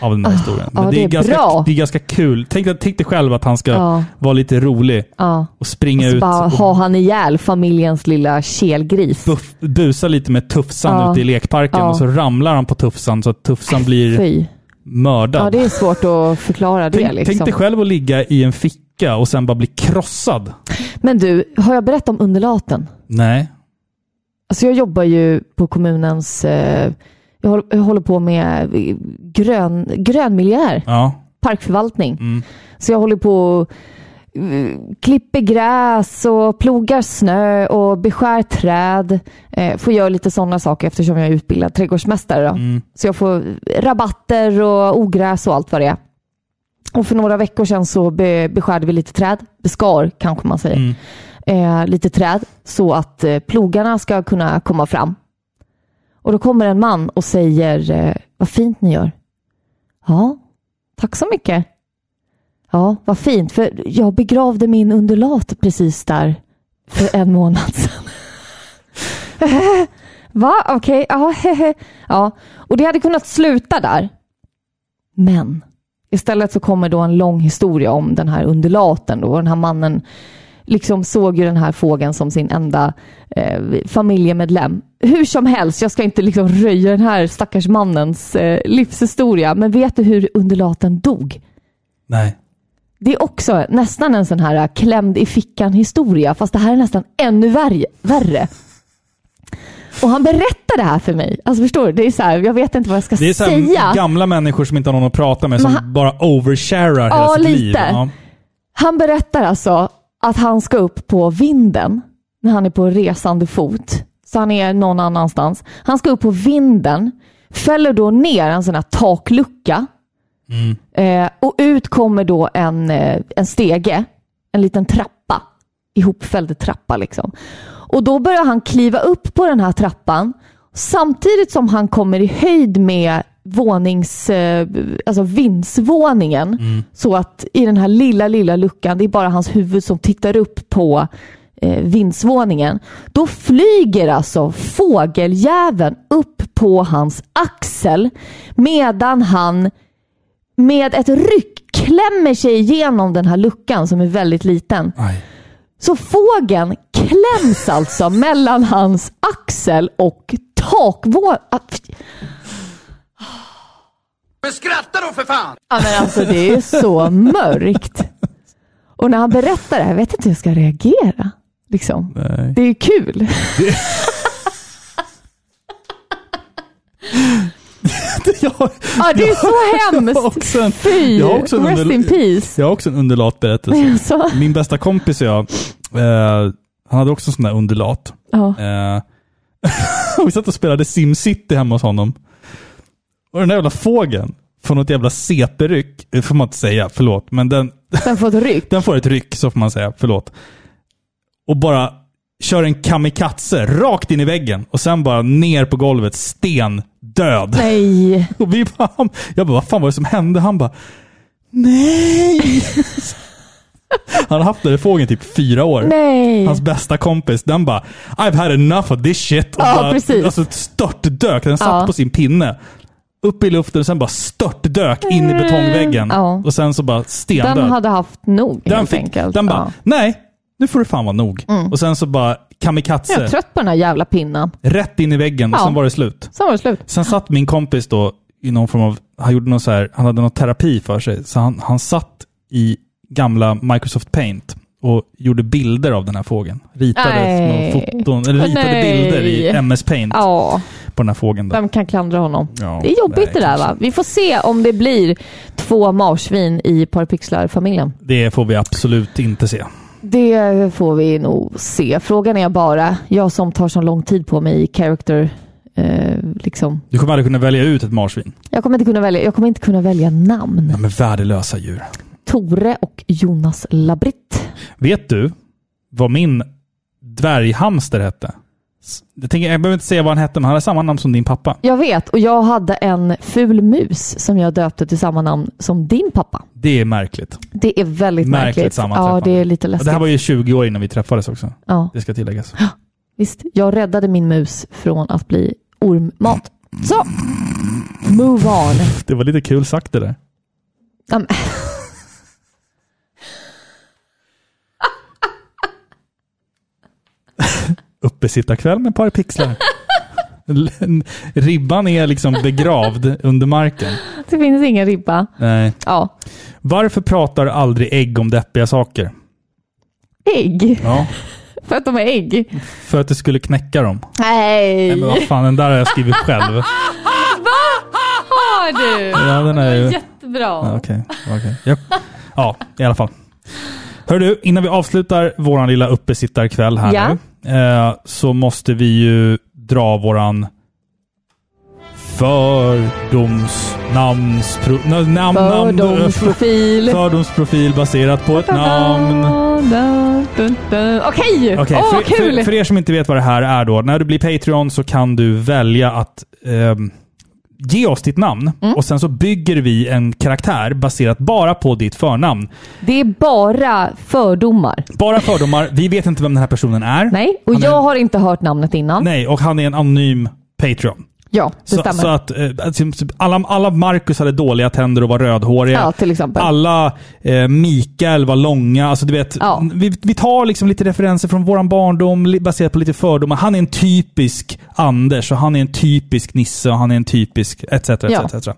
Speaker 1: av den här historien.
Speaker 2: Ah, ja, det är
Speaker 1: ganska,
Speaker 2: bra.
Speaker 1: det är ganska kul. Tänk, dig- tänk dig själv att han ska
Speaker 2: Ja.
Speaker 1: vara lite rolig
Speaker 2: Ja.
Speaker 1: och springa
Speaker 2: Så
Speaker 1: ut
Speaker 2: bara
Speaker 1: och
Speaker 2: ha han ihjäl familjens lilla kelgris.
Speaker 1: buff, busa lite med Tufsan
Speaker 2: Ja.
Speaker 1: ute i lekparken
Speaker 2: Ja.
Speaker 1: och så ramlar han på Tufsan så att Tufsan blir
Speaker 2: Fy.
Speaker 1: mördad.
Speaker 2: Ja, det är svårt att förklara det.
Speaker 1: tänk,
Speaker 2: liksom.
Speaker 1: tänk dig själv att ligga i en ficka och sen bara bli krossad.
Speaker 2: Men du, har jag berättat om underlaten?
Speaker 1: Nej.
Speaker 2: Alltså jag jobbar ju på kommunens... Eh, jag, håller, jag håller på med eh, grön, grönmiljö,
Speaker 1: Ja.
Speaker 2: parkförvaltning. Så jag håller på och eh, klipper gräs och plogar snö och beskär träd. Eh, får göra lite sådana saker eftersom jag är utbildad trädgårdsmästare. Då. Så jag får rabatter och ogräs och allt vad det är. Och för några veckor sedan så be, beskärde vi lite träd. Beskar kanske man säger eh, lite träd så att eh, plogarna ska kunna komma fram. Och då kommer en man och säger, eh, vad fint ni gör. Ja, tack så mycket. Ja, vad fint, för jag begravde min undulat precis där för en månad sedan. <laughs> Va? Okej, ja, <laughs> hehe. ja. Och det hade kunnat sluta där. Men istället så kommer då en lång historia om den här undulaten då, och den här mannen liksom såg ju den här fågeln som sin enda eh, familjemedlem. Hur som helst, jag ska inte liksom röja den här stackars mannens eh, livshistoria, men vet du hur undulaten dog?
Speaker 1: Nej.
Speaker 2: Det är också nästan en sån här eh, klämd i fickan historia, fast det här är nästan ännu värre. värre. Och han berättar det här för mig. Alltså förstår du? Det är så här, jag vet inte vad jag ska
Speaker 1: Det är så här
Speaker 2: säga.
Speaker 1: gamla människor som inte har någon att prata med, som
Speaker 2: Men han-
Speaker 1: bara oversharar hela
Speaker 2: Ja,
Speaker 1: sitt liv.
Speaker 2: lite. Han berättar alltså att han ska upp på vinden när han är på resande fot. Så han är någon annanstans. Han ska upp på vinden, fäller då ner en sån här taklucka. Eh, och ut kommer då en, eh, en stege, en liten trappa. Ihopfälld trappa liksom. Och då börjar han kliva upp på den här trappan samtidigt som han kommer i höjd med vånings, eh, alltså vindsvåningen. Så att i den här lilla, lilla luckan, det är bara hans huvud som tittar upp på eh, vindsvåningen. Då flyger alltså fågeljäveln upp på hans axel medan han med ett ryck klämmer sig igenom den här luckan som är väldigt liten.
Speaker 1: Aj.
Speaker 2: Så fågeln kläms alltså <laughs> mellan hans axel och Ah, takvåningen.
Speaker 5: Men skratta då för fan!
Speaker 2: Ja, men alltså det är så mörkt. Och när han berättar det här, jag vet inte hur jag ska
Speaker 1: <laughs>
Speaker 2: reagera. Liksom.
Speaker 1: Nej.
Speaker 2: Det är ju kul.
Speaker 1: <laughs> jag,
Speaker 2: Ja, det är
Speaker 1: jag-
Speaker 2: så hemskt!
Speaker 1: jag har också en-
Speaker 2: Fy!
Speaker 1: jag har också en
Speaker 2: Rest
Speaker 1: underl-
Speaker 2: in peace.
Speaker 1: jag har också en underlat berättelse.
Speaker 2: <laughs> Så,
Speaker 1: Min bästa kompis och jag, eh, han hade också en sån där underlat.
Speaker 2: ja.
Speaker 1: Eh, <laughs> och vi satt och spelade SimCity hemma hos honom. Och den där jävla fågeln får något jävla CP-ryck. Det får man inte säga, förlåt. Men den,
Speaker 2: Sen fått ryck.
Speaker 1: den får ett ryck, så får man säga, förlåt. Och bara kör en kamikaze rakt in i väggen och sen bara ner på golvet, sten, död.
Speaker 2: Nej!
Speaker 1: Och vi bara, han- jag bara, vad fan var det som hände? Han bara, nej! Han har haft den där fågeln typ fyra år.
Speaker 2: Nej!
Speaker 1: Hans bästa kompis, den bara I've had enough of this shit. Och
Speaker 2: Ja,
Speaker 1: bara,
Speaker 2: precis.
Speaker 1: Alltså störtdök. Den satt
Speaker 2: Ja.
Speaker 1: på sin pinne. Upp i luften och sen bara störtdök in i betongväggen.
Speaker 2: Mm. Ja.
Speaker 1: Och sen så bara stendöd.
Speaker 2: Den hade haft nog
Speaker 1: den
Speaker 2: helt
Speaker 1: fick,
Speaker 2: enkelt.
Speaker 1: den bara,
Speaker 2: ja. Mm.
Speaker 1: nej, nu får det fan vara nog. Och sen så bara kamikaze,
Speaker 2: Jag är trött på den här jävla pinnen.
Speaker 1: rätt in i väggen och
Speaker 2: Ja.
Speaker 1: sen var det slut.
Speaker 2: Sen var det slut.
Speaker 1: Sen satt min kompis då i någon form av, han gjorde någon så här, han hade någon terapi för sig. Så han, han satt i gamla Microsoft Paint och gjorde bilder av den här fågeln. Ritade,
Speaker 2: Nej.
Speaker 1: någon foton, eller
Speaker 2: Åh,
Speaker 1: ritade
Speaker 2: nej.
Speaker 1: bilder i MS Paint
Speaker 2: Ja,
Speaker 1: på den här fågeln. Då.
Speaker 2: vem kan klandra honom?
Speaker 1: Ja,
Speaker 2: det är jobbigt
Speaker 1: nej,
Speaker 2: det där
Speaker 1: kanske
Speaker 2: va? Vi får se om det blir två marsvin i Parapixlar-familjen.
Speaker 1: Det får vi absolut inte se.
Speaker 2: Det får vi nog se. Frågan är bara, jag som tar så lång tid på mig i character, eh, liksom.
Speaker 1: Du kommer aldrig kunna välja ut ett marsvin.
Speaker 2: Jag kommer inte kunna välja, jag kommer inte kunna välja namn.
Speaker 1: Ja, men värdelösa djur.
Speaker 2: Tore och Jonas Labritt.
Speaker 1: Vet du vad min dvärghamster hette? S- Jag, tänker, jag behöver inte säga vad han hette, men han hade samma namn som din pappa.
Speaker 2: Jag vet, och jag hade en ful mus som jag döpte till samma namn som din pappa.
Speaker 1: Det är märkligt.
Speaker 2: Det är väldigt
Speaker 1: Märkligt
Speaker 2: märkligt.
Speaker 1: sammanträffande.
Speaker 2: ja, det är lite läskigt.
Speaker 1: Det här var ju 20 år innan vi träffades också.
Speaker 2: ja,
Speaker 1: Det ska tilläggas.
Speaker 2: visst, jag räddade min mus från att bli ormmat. Så, move on.
Speaker 1: Det var lite kul sagt det där.
Speaker 2: Ja, men- <laughs>
Speaker 1: Uppesittarkväll med ett par pixlar. <laughs> L- Ribban är liksom begravd under marken.
Speaker 2: Det finns ingen ribba.
Speaker 1: Nej.
Speaker 2: Ja,
Speaker 1: Varför pratar aldrig ägg om deppiga saker?
Speaker 2: ägg.
Speaker 1: Ja,
Speaker 2: För att de är ägg.
Speaker 1: för att det skulle knäcka dem.
Speaker 2: Nej!
Speaker 1: Nej, men vad fan, den där har jag skrivit själv.
Speaker 2: Har du?
Speaker 1: Ja, den är ju... Ja,
Speaker 2: Jättebra.
Speaker 1: Okej. okej. Japp. Ja, i alla fall. Hör du, innan vi avslutar vår lilla uppesittarkväll här
Speaker 2: Ja.
Speaker 1: nu, eh, så måste vi ju dra våran fördomsnamnspro... nä- Namn, namn,
Speaker 2: Fördomsprofil.
Speaker 1: fördomsprofil baserat på ett namn.
Speaker 2: Okej!
Speaker 1: Okej,
Speaker 2: Åh, vad
Speaker 1: för, för,
Speaker 2: kul!
Speaker 1: för er som inte vet vad det här är då. När du blir Patreon så kan du välja att ehm, ge oss ditt namn
Speaker 2: Mm.
Speaker 1: och sen så bygger vi en karaktär baserat bara på ditt förnamn.
Speaker 2: Det är bara fördomar.
Speaker 1: Bara fördomar. Vi vet inte vem den här personen är.
Speaker 2: Nej, och
Speaker 1: Han är-
Speaker 2: jag har inte hört namnet innan.
Speaker 1: Nej, och han är en anonym Patreon.
Speaker 2: Ja, det
Speaker 1: Så,
Speaker 2: stämmer.
Speaker 1: så att eh, alltså, typ alla, alla Marcus hade dåliga tänder och var rödhåriga.
Speaker 2: Ja, till exempel.
Speaker 1: Alla eh, Mikael var långa. Alltså, du vet,
Speaker 2: Ja.
Speaker 1: vi, vi tar liksom lite referenser från våran barndom li- baserat på lite fördomar. Han är en typisk Anders och han är en typisk Nisse och han är en typisk etc. etc,
Speaker 2: Ja.
Speaker 1: etc.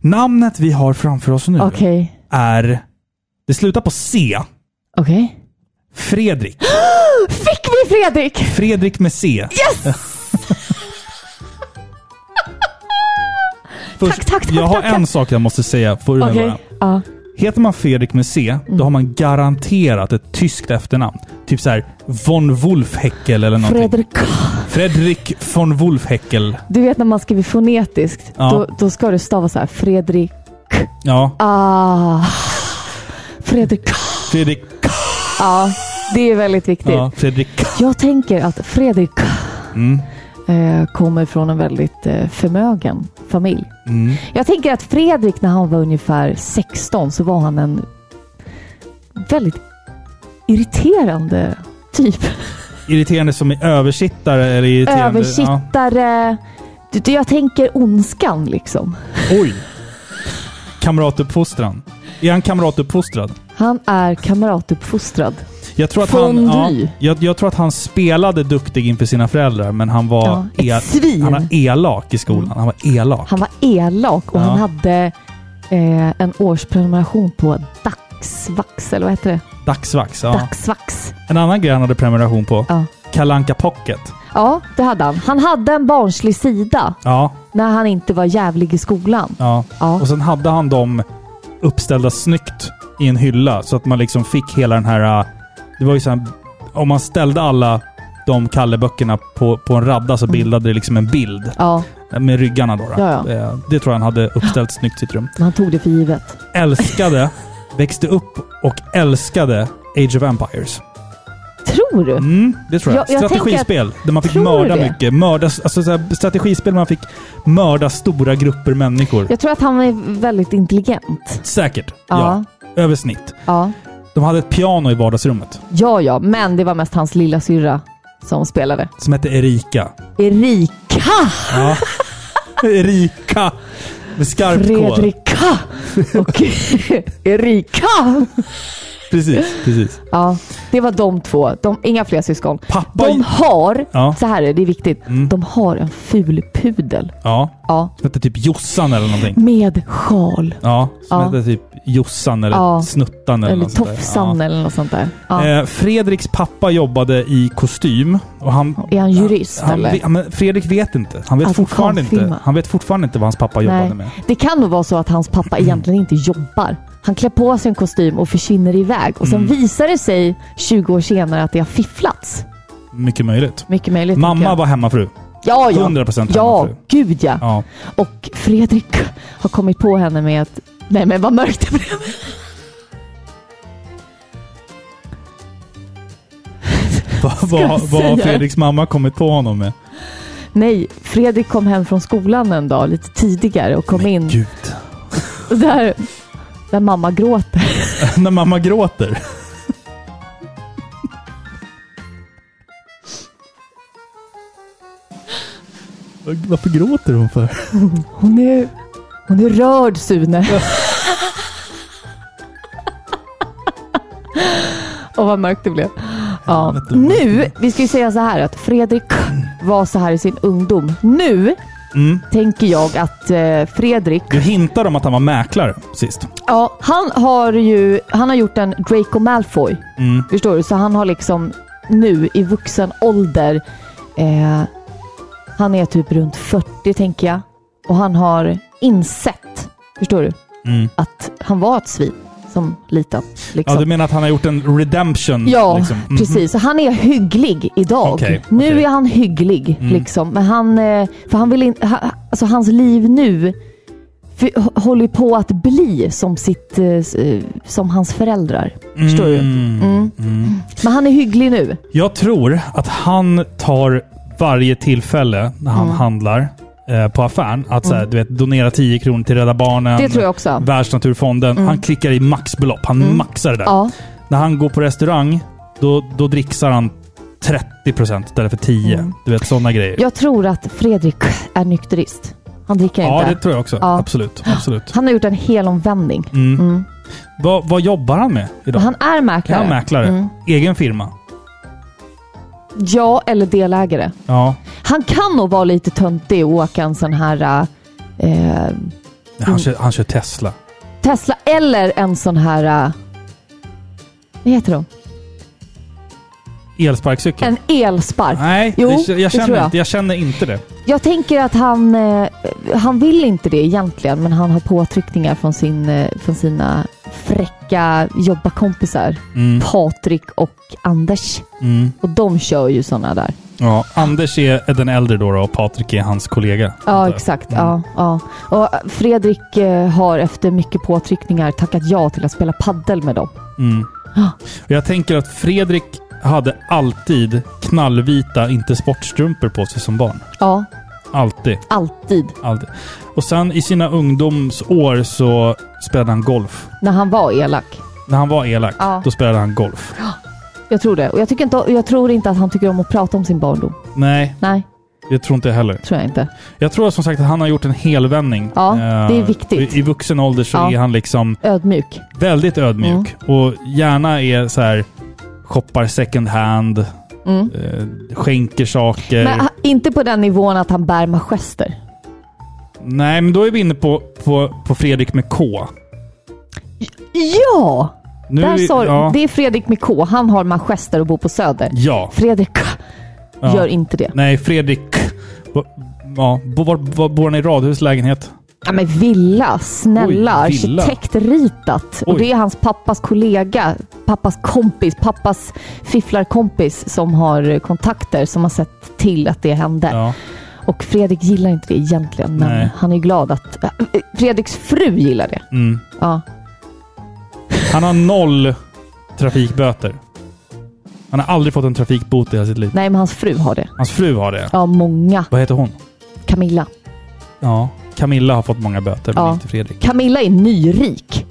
Speaker 1: Namnet vi har framför oss nu
Speaker 2: Okej.
Speaker 1: är... Det slutar på C.
Speaker 2: Okej.
Speaker 1: Fredrik.
Speaker 2: Fick vi Fredrik?
Speaker 1: Fredrik med C.
Speaker 2: Yes!
Speaker 1: <laughs> Först,
Speaker 2: Tack, tack, tack,
Speaker 1: jag har
Speaker 2: tack,
Speaker 1: en
Speaker 2: tack.
Speaker 1: sak jag måste säga. För den
Speaker 2: Okej. Mm.
Speaker 1: bara.
Speaker 2: Ja.
Speaker 1: Heter man Fredrik med C, då har man garanterat ett tyskt efternamn. Typ så här von Wolfheckel eller någonting.
Speaker 2: Fredrik.
Speaker 1: Fredrik von Wolfheckel.
Speaker 2: Du vet när man skriver fonetiskt,
Speaker 1: Ja.
Speaker 2: då, då ska du stava så här. Fredrik.
Speaker 1: Ja,
Speaker 2: Ah. Fredrik.
Speaker 1: Fredrik.
Speaker 2: Ja, det är väldigt viktigt.
Speaker 1: Ja, Mm. Fredrik.
Speaker 2: Jag tänker att Fredrik eh, kommer från en väldigt eh, förmögen familj.
Speaker 1: Mm.
Speaker 2: Jag tänker att Fredrik när han var ungefär 16 så var han en väldigt irriterande typ.
Speaker 1: Irriterande som är översittare eller irriterande...
Speaker 2: Översittare. Du, du, jag tänker ondskan liksom.
Speaker 1: Ja. Oj! Kamratuppfostran. Är han kamratuppfostrad?
Speaker 2: Han är kamratuppfostrad.
Speaker 1: Jag tror, att han, ja,
Speaker 2: Fondue.
Speaker 1: jag, jag tror att han spelade duktig inför sina föräldrar, men han var,
Speaker 2: Ja, ett svin. Mm.
Speaker 1: han var elak i skolan. Han var elak.
Speaker 2: Han var elak och
Speaker 1: Ja.
Speaker 2: han hade eh, en årsprenumeration på Dagsvax, eller vad heter det?
Speaker 1: Dagsvax. Ja.
Speaker 2: Dagsvax.
Speaker 1: En annan grej han hade prenumeration på.
Speaker 2: Ja.
Speaker 1: Kalanka Pocket.
Speaker 2: Ja, det hade han. Han hade en barnslig sida
Speaker 1: Ja,
Speaker 2: när han inte var jävlig i skolan.
Speaker 1: ja.
Speaker 2: Ja.
Speaker 1: Och sen hade han dem uppställda snyggt i en hylla så att man liksom fick hela den här... äh, Det var ju så här, om man ställde alla de Kalle-böckerna på, på en radda så bildade det liksom en bild.
Speaker 2: Ja,
Speaker 1: äh, Med ryggarna då. då.
Speaker 2: Mm. Ja, ja.
Speaker 1: Eh, Det tror jag han hade uppställt snyggt i sitt rum.
Speaker 2: men han tog det för givet.
Speaker 1: Älskade, växte upp och älskade Age of Empires.
Speaker 2: Tror du?
Speaker 1: Mm, det tror jag.
Speaker 2: Ja, jag tänker
Speaker 1: strategispel där man fick
Speaker 2: Tror du
Speaker 1: mörda
Speaker 2: det?
Speaker 1: mycket. Mörda, alltså så här, strategispel där man fick mörda stora grupper människor.
Speaker 2: Jag tror att han är väldigt intelligent.
Speaker 1: Säkert. Ja.
Speaker 2: Ja.
Speaker 1: Över snitt.
Speaker 2: Ja,
Speaker 1: De hade ett piano i vardagsrummet
Speaker 2: ja, ja men det var mest hans lilla syrra som spelade.
Speaker 1: som hette Erika. <laughs>
Speaker 2: Erika!
Speaker 1: Ja. Erika! Med skarp K.
Speaker 2: Fredrika!
Speaker 1: <laughs>
Speaker 2: Och Erika!
Speaker 1: Precis, precis.
Speaker 2: Ja, det var de två. De, inga fler syskon.
Speaker 1: Pappa...
Speaker 2: De har,
Speaker 1: Ja. Mm.
Speaker 2: så här är det, det är viktigt, de har en ful pudel.
Speaker 1: Ja.
Speaker 2: Ja,
Speaker 1: Som hette typ Jossan eller någonting.
Speaker 2: med sjal.
Speaker 1: Ja. Som
Speaker 2: Ja.
Speaker 1: hette typ Jossan eller
Speaker 2: Ja.
Speaker 1: Snuttan eller,
Speaker 2: Eller
Speaker 1: något sånt där.
Speaker 2: tofsan eller något sånt där.
Speaker 1: Ja.
Speaker 2: Ja.
Speaker 1: Eh, Fredriks pappa jobbade i kostym och han
Speaker 2: är han jurist
Speaker 1: Han,
Speaker 2: eller?
Speaker 1: ve- ja, men Fredrik vet inte. Han vet,
Speaker 2: Advokatfirma.
Speaker 1: fortfarande inte. han vet fortfarande inte vad hans pappa jobbade med.
Speaker 2: Det kan nog vara så att hans pappa egentligen inte jobbar. Han klär på sig en kostym och försvinner iväg och sen
Speaker 1: Mm.
Speaker 2: visar det sig 20 år senare att det har fifflats.
Speaker 1: Mycket möjligt.
Speaker 2: Mycket möjligt. tänker
Speaker 1: Mamma
Speaker 2: jag.
Speaker 1: var hemmafru.
Speaker 2: ja, ja.
Speaker 1: 100%
Speaker 2: Ja,
Speaker 1: hemmafru.
Speaker 2: gud ja.
Speaker 1: Ja.
Speaker 2: Och Fredrik har kommit på henne med att Nej men vad mörkt det blev.
Speaker 1: Vad
Speaker 2: jag
Speaker 1: vad- vad har
Speaker 2: säga?
Speaker 1: Fredriks mamma kommit på honom med?
Speaker 2: Nej, Fredrik kom hem från skolan en dag lite tidigare och kom
Speaker 1: Men
Speaker 2: in
Speaker 1: Gud. <laughs>
Speaker 2: där, där mamma gråter.
Speaker 1: När mamma gråter. Varför gråter hon för?
Speaker 2: Hon är, hon är rörd Sune. <laughs> Och vad mörkt det blev. Ja. Mm.
Speaker 1: Helvete.
Speaker 2: Nu, vi ska ju säga så här att Fredrik var så här i sin ungdom. Nu
Speaker 1: Mm.
Speaker 2: tänker jag att eh, Fredrik
Speaker 1: Du hintar om att han var mäklare sist.
Speaker 2: Ja, han har ju han har gjort en Draco Malfoy.
Speaker 1: Mm.
Speaker 2: Förstår du? Så han har liksom nu i vuxen ålder, eh, han är typ runt 40 tänker jag. Och han har insett, förstår du,
Speaker 1: Mm.
Speaker 2: att han var ett svin som liten. Liksom.
Speaker 1: Ja, du menar att han har gjort en redemption?
Speaker 2: Ja,
Speaker 1: liksom. Mhm.
Speaker 2: precis. Så han är hygglig idag.
Speaker 1: Okej,
Speaker 2: nu
Speaker 1: okej. Mm.
Speaker 2: är han hygglig. Liksom. Men han, eh, för han vill in, ha, alltså hans liv nu för, håller ju på att bli som, sitt, eh, s- eh, som hans föräldrar. Förstår du? Mm. Men han är hygglig nu.
Speaker 1: Jag tror att han tar varje tillfälle när han
Speaker 2: Mm.
Speaker 1: handlar eh, på affären att så här, du vet, donera 10 kronor till Rädda Barnen,
Speaker 2: Det tror jag också. Mm.
Speaker 1: Världsnaturfonden. Han klickar i maxbelopp. Han maxar det där.
Speaker 2: Ja,
Speaker 1: När han går på restaurang, då, då dricksar han 30% istället för 10 Du vet sådana grejer.
Speaker 2: Mm. jag tror att Fredrik är nykterist. Han dricker
Speaker 1: Ja,
Speaker 2: inte.
Speaker 1: det tror jag också.
Speaker 2: Ja.
Speaker 1: Absolut. absolut.
Speaker 2: Han har gjort en helomvändning.
Speaker 1: Mm. Vad, vad jobbar han med idag?
Speaker 2: Han Mm. är
Speaker 1: är
Speaker 2: mäklare.
Speaker 1: han mäklare. Egen firma.
Speaker 2: Ja, eller delägare.
Speaker 1: Ja.
Speaker 2: Han kan nog vara lite töntig och åka en sån här eh,
Speaker 1: Han, kör, han kör Tesla.
Speaker 2: Tesla eller en sån här... eh, Vad heter de?
Speaker 1: Elsparkcykel.
Speaker 2: En elspark.
Speaker 1: Nej,
Speaker 2: Jo,
Speaker 1: det,
Speaker 2: det
Speaker 1: jag, känner
Speaker 2: tror jag.
Speaker 1: Inte, jag känner inte det.
Speaker 2: Jag tänker att han, eh, han vill inte det egentligen, men han har påtryckningar från, sin, eh, från sina fräcka jobbakompisar.
Speaker 1: Mm.
Speaker 2: Patrik och Anders.
Speaker 1: Mm.
Speaker 2: Och de kör ju såna där.
Speaker 1: Ja, Anders är den äldre då, då och Patrik är hans kollega.
Speaker 2: Ja, exakt.
Speaker 1: Mm.
Speaker 2: Ja, ja. Och Fredrik eh, har efter mycket påtryckningar tackat ja till att spela paddel med dem.
Speaker 1: Mm.
Speaker 2: Ja.
Speaker 1: Och Jag tänker att Fredrik hade alltid knallvita, inte sportstrumpor på sig som barn.
Speaker 2: Ja,
Speaker 1: Alltid.
Speaker 2: alltid.
Speaker 1: alltid. Och sen i sina ungdomsår så spelade han golf.
Speaker 2: När han var elak.
Speaker 1: När han var elak,
Speaker 2: Ja.
Speaker 1: då spelade han golf.
Speaker 2: Jag tror det. Och jag, tycker inte, jag tror inte att han tycker om att prata om sin barndom.
Speaker 1: Nej,
Speaker 2: Nej,
Speaker 1: det tror inte jag heller.
Speaker 2: tror jag inte.
Speaker 1: Jag tror som sagt att han har gjort en helvändning.
Speaker 2: Ja,
Speaker 1: Eh,
Speaker 2: det är viktigt.
Speaker 1: I, i vuxen ålder så
Speaker 2: Ja.
Speaker 1: är han liksom...
Speaker 2: Ödmjuk.
Speaker 1: Väldigt ödmjuk
Speaker 2: Mm.
Speaker 1: och gärna är så här shoppar second hand,
Speaker 2: Mm.
Speaker 1: eh, skänker saker.
Speaker 2: Men ah. ha- inte på den nivån att han bär gester.
Speaker 1: Nej, men då är vi inne på, på, på Fredrik med K.
Speaker 2: Ja!
Speaker 1: Nu,
Speaker 2: Där
Speaker 1: är-
Speaker 2: sa,
Speaker 1: ja,
Speaker 2: Det är Fredrik <laughs> med K. Han har gester och bor på Söder.
Speaker 1: ja,
Speaker 2: Fredrik
Speaker 1: Ja.
Speaker 2: Gör inte det.
Speaker 1: Nej, Fredrik... Bo- Ja, bo- var, var bor han i? Radhuslägenhet?
Speaker 2: Ja, men villa, snälla.
Speaker 1: Oj, villa.
Speaker 2: Arkitektritat. Och
Speaker 1: Oj.
Speaker 2: det är hans pappas kollega, pappas kompis, pappas fifflarkompis som har kontakter som har sett till att det hände.
Speaker 1: Ja.
Speaker 2: Och Fredrik gillar inte det egentligen, men
Speaker 1: Nej.
Speaker 2: han är glad att... äh, Fredriks fru gillar det.
Speaker 1: Mm.
Speaker 2: Ja.
Speaker 1: Han har noll trafikböter. Han har aldrig fått en trafikbot i hela sitt liv.
Speaker 2: Nej, men hans fru har det.
Speaker 1: Hans fru har det.
Speaker 2: Ja, många.
Speaker 1: Vad heter hon?
Speaker 2: Camilla.
Speaker 1: Ja, Camilla har fått många böter, men
Speaker 2: Ja.
Speaker 1: inte Fredrik.
Speaker 2: Camilla är nyrik,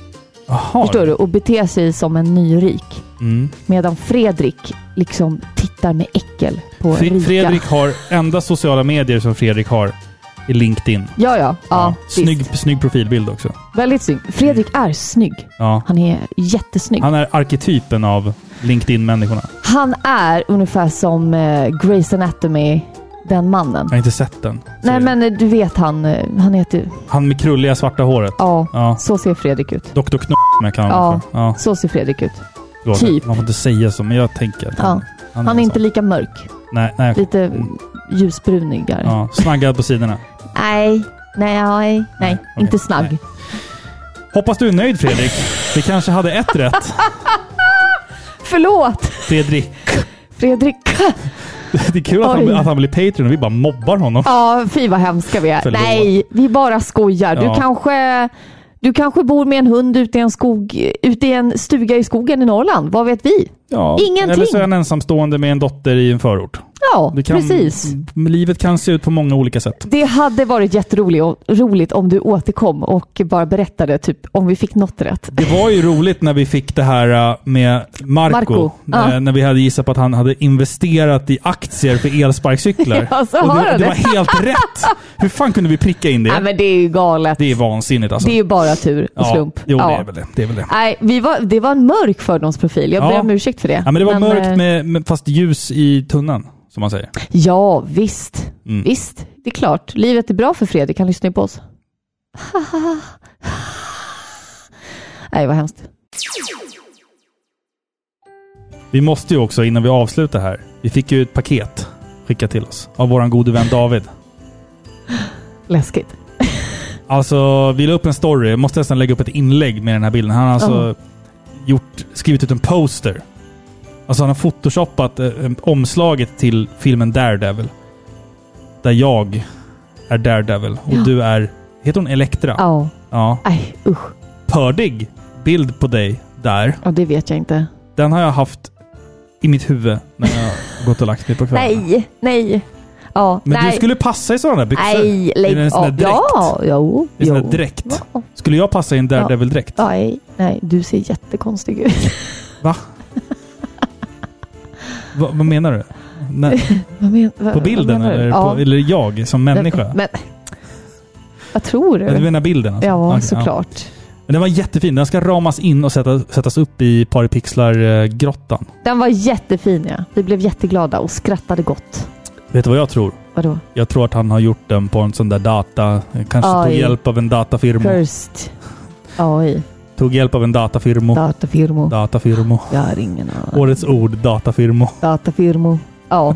Speaker 1: Jaha.
Speaker 2: förstår du? Och beter sig som en nyrik.
Speaker 1: Mm.
Speaker 2: Medan Fredrik liksom tittar med äckel på
Speaker 1: Fre-
Speaker 2: rika.
Speaker 1: Fredrik har... Enda sociala medier som Fredrik har är LinkedIn. Ja,
Speaker 2: Ja, ja. ja,
Speaker 1: snygg,
Speaker 2: visst.
Speaker 1: snygg profilbild också.
Speaker 2: Väldigt snygg. Fredrik är snygg.
Speaker 1: Ja.
Speaker 2: Han är jättesnygg. Han,
Speaker 1: Han är arketypen av LinkedIn-människorna.
Speaker 2: är ungefär som eh, Grey's Anatomy, den mannen.
Speaker 1: Jag har inte sett den.
Speaker 2: Nej,
Speaker 1: serien.
Speaker 2: men eh, du vet han. eh, Han heter...
Speaker 1: Han med krulliga svarta håret.
Speaker 2: Ja,
Speaker 1: Ja.
Speaker 2: så ser Fredrik ut.
Speaker 1: Dr. Knopp med kan
Speaker 2: Ja.
Speaker 1: man för. Ja,
Speaker 2: Så ser Fredrik ut.
Speaker 1: förlåt.
Speaker 2: Typ.
Speaker 1: Man får inte säga så, men jag tänker att
Speaker 2: Ja. Han är inte lika mörk.
Speaker 1: Nej, nej.
Speaker 2: Lite ljusbrunigare.
Speaker 1: Mm. Ja, snaggad på sidorna.
Speaker 2: Nej, nej, nej. Nej,
Speaker 1: okej.
Speaker 2: inte snagg.
Speaker 1: Nej. Hoppas du är nöjd Fredrik. Vi kanske hade ett rätt.
Speaker 2: Förlåt!
Speaker 1: Fredrik. <laughs>
Speaker 2: Fredrik.
Speaker 1: Det är kul att han,
Speaker 2: Oj.
Speaker 1: att han blir Patreon och vi bara mobbar honom.
Speaker 2: Ja, fy vad hemska vi är.
Speaker 1: Förlåt.
Speaker 2: Nej, vi bara skojar. Du
Speaker 1: Ja.
Speaker 2: kanske... Du kanske bor med en hund ute i en, skog, ute i en stuga i skogen i Norrland. Vad vet vi?
Speaker 1: Ja.
Speaker 2: Ingenting.
Speaker 1: Eller så är han ensamstående med en dotter i en förort.
Speaker 2: Ja,
Speaker 1: Det kan,
Speaker 2: precis.
Speaker 1: m- Livet kan se ut på många olika sätt.
Speaker 2: Det hade varit jätteroligt om du återkom och bara berättade typ, om vi fick något rätt.
Speaker 1: Det var ju roligt när vi fick det här äh, med Marco.
Speaker 2: Marco,
Speaker 1: När,
Speaker 2: ja.
Speaker 1: när vi hade gissat på att han hade investerat i aktier för elsparkcyklar.
Speaker 2: <laughs> Ja, så
Speaker 1: och
Speaker 2: har
Speaker 1: det,
Speaker 2: han
Speaker 1: det
Speaker 2: det.
Speaker 1: var helt rätt! Hur fan kunde vi pricka in det?
Speaker 2: Nej, men det är ju galet.
Speaker 1: Det är vansinnigt alltså.
Speaker 2: Det är ju bara tur och slump.
Speaker 1: Ja, jo, det
Speaker 2: Ja.
Speaker 1: är väl det. det, är väl det.
Speaker 2: Nej, vi var, det var en mörk fördomsprofil. Jag
Speaker 1: Ja.
Speaker 2: ber om ursäkt för det.
Speaker 1: Ja, men det var
Speaker 2: eh,
Speaker 1: mörkt med, med, fast ljus i tunnan, som man säger.
Speaker 2: Ja, visst.
Speaker 1: Mm.
Speaker 2: Visst, det är klart. Livet är bra för Fredrik. Han lyssnar ju på oss. <laughs> Nej, vad hemskt.
Speaker 1: Vi måste ju också, innan vi avslutar här, vi fick ju ett paket skickat till oss av våran gode vän David.
Speaker 2: Läskigt.
Speaker 1: Alltså, vi la upp en story. Jag måste nästan lägga upp ett inlägg med den här bilden. Han har alltså
Speaker 2: Ja.
Speaker 1: gjort, skrivit ut en poster. Alltså han har photoshopat eh, omslaget till filmen Daredevil. Där jag är Daredevil och
Speaker 2: Ja.
Speaker 1: du är... Heter hon Elektra?
Speaker 2: Ja.
Speaker 1: ja.
Speaker 2: Nej, usch.
Speaker 1: Pördig bild på dig där.
Speaker 2: Ja, det vet jag inte.
Speaker 1: Den har jag haft i mitt huvud när jag har gått och lagt mig på kvällen.
Speaker 2: Nej, nej. Ja,
Speaker 1: Men
Speaker 2: nej.
Speaker 1: du skulle passa i sådana där byxor.
Speaker 2: Nej, lägg
Speaker 1: Är det en sån där
Speaker 2: av. Ja, jo.
Speaker 1: I sån
Speaker 2: jo.
Speaker 1: där dräkt.
Speaker 2: Ja.
Speaker 1: Skulle jag passa i en Daredevil-dräkt?
Speaker 2: Nej, nej, du ser jättekonstig ut.
Speaker 1: Va? Va? Vad menar du? Nej,
Speaker 2: Vad men, vad,
Speaker 1: på bilden
Speaker 2: vad menar du?
Speaker 1: eller,
Speaker 2: Ja.
Speaker 1: på, eller jag som människa?
Speaker 2: Men, men, vad tror
Speaker 1: Men, du
Speaker 2: du?
Speaker 1: menar bilden alltså?
Speaker 2: Ja,
Speaker 1: Okej,
Speaker 2: såklart.
Speaker 1: Men den var jättefin. Den ska ramas in och sätta, sättas upp i Paripixlar-grottan.
Speaker 2: Den var jättefin ja. Vi blev jätteglada och skrattade gott.
Speaker 1: Vet du vad jag tror?
Speaker 2: Vadå?
Speaker 1: Jag tror att han har gjort den på en sån där data... Kanske tog
Speaker 2: Aj.
Speaker 1: hjälp av en datafirma.
Speaker 2: First. AI.
Speaker 1: Tog hjälp av en datafirma.
Speaker 2: Datafirmo.
Speaker 1: Datafirma.
Speaker 2: Jag har ingen aning.
Speaker 1: Årets ord, datafirma.
Speaker 2: Datafirmo. Ja.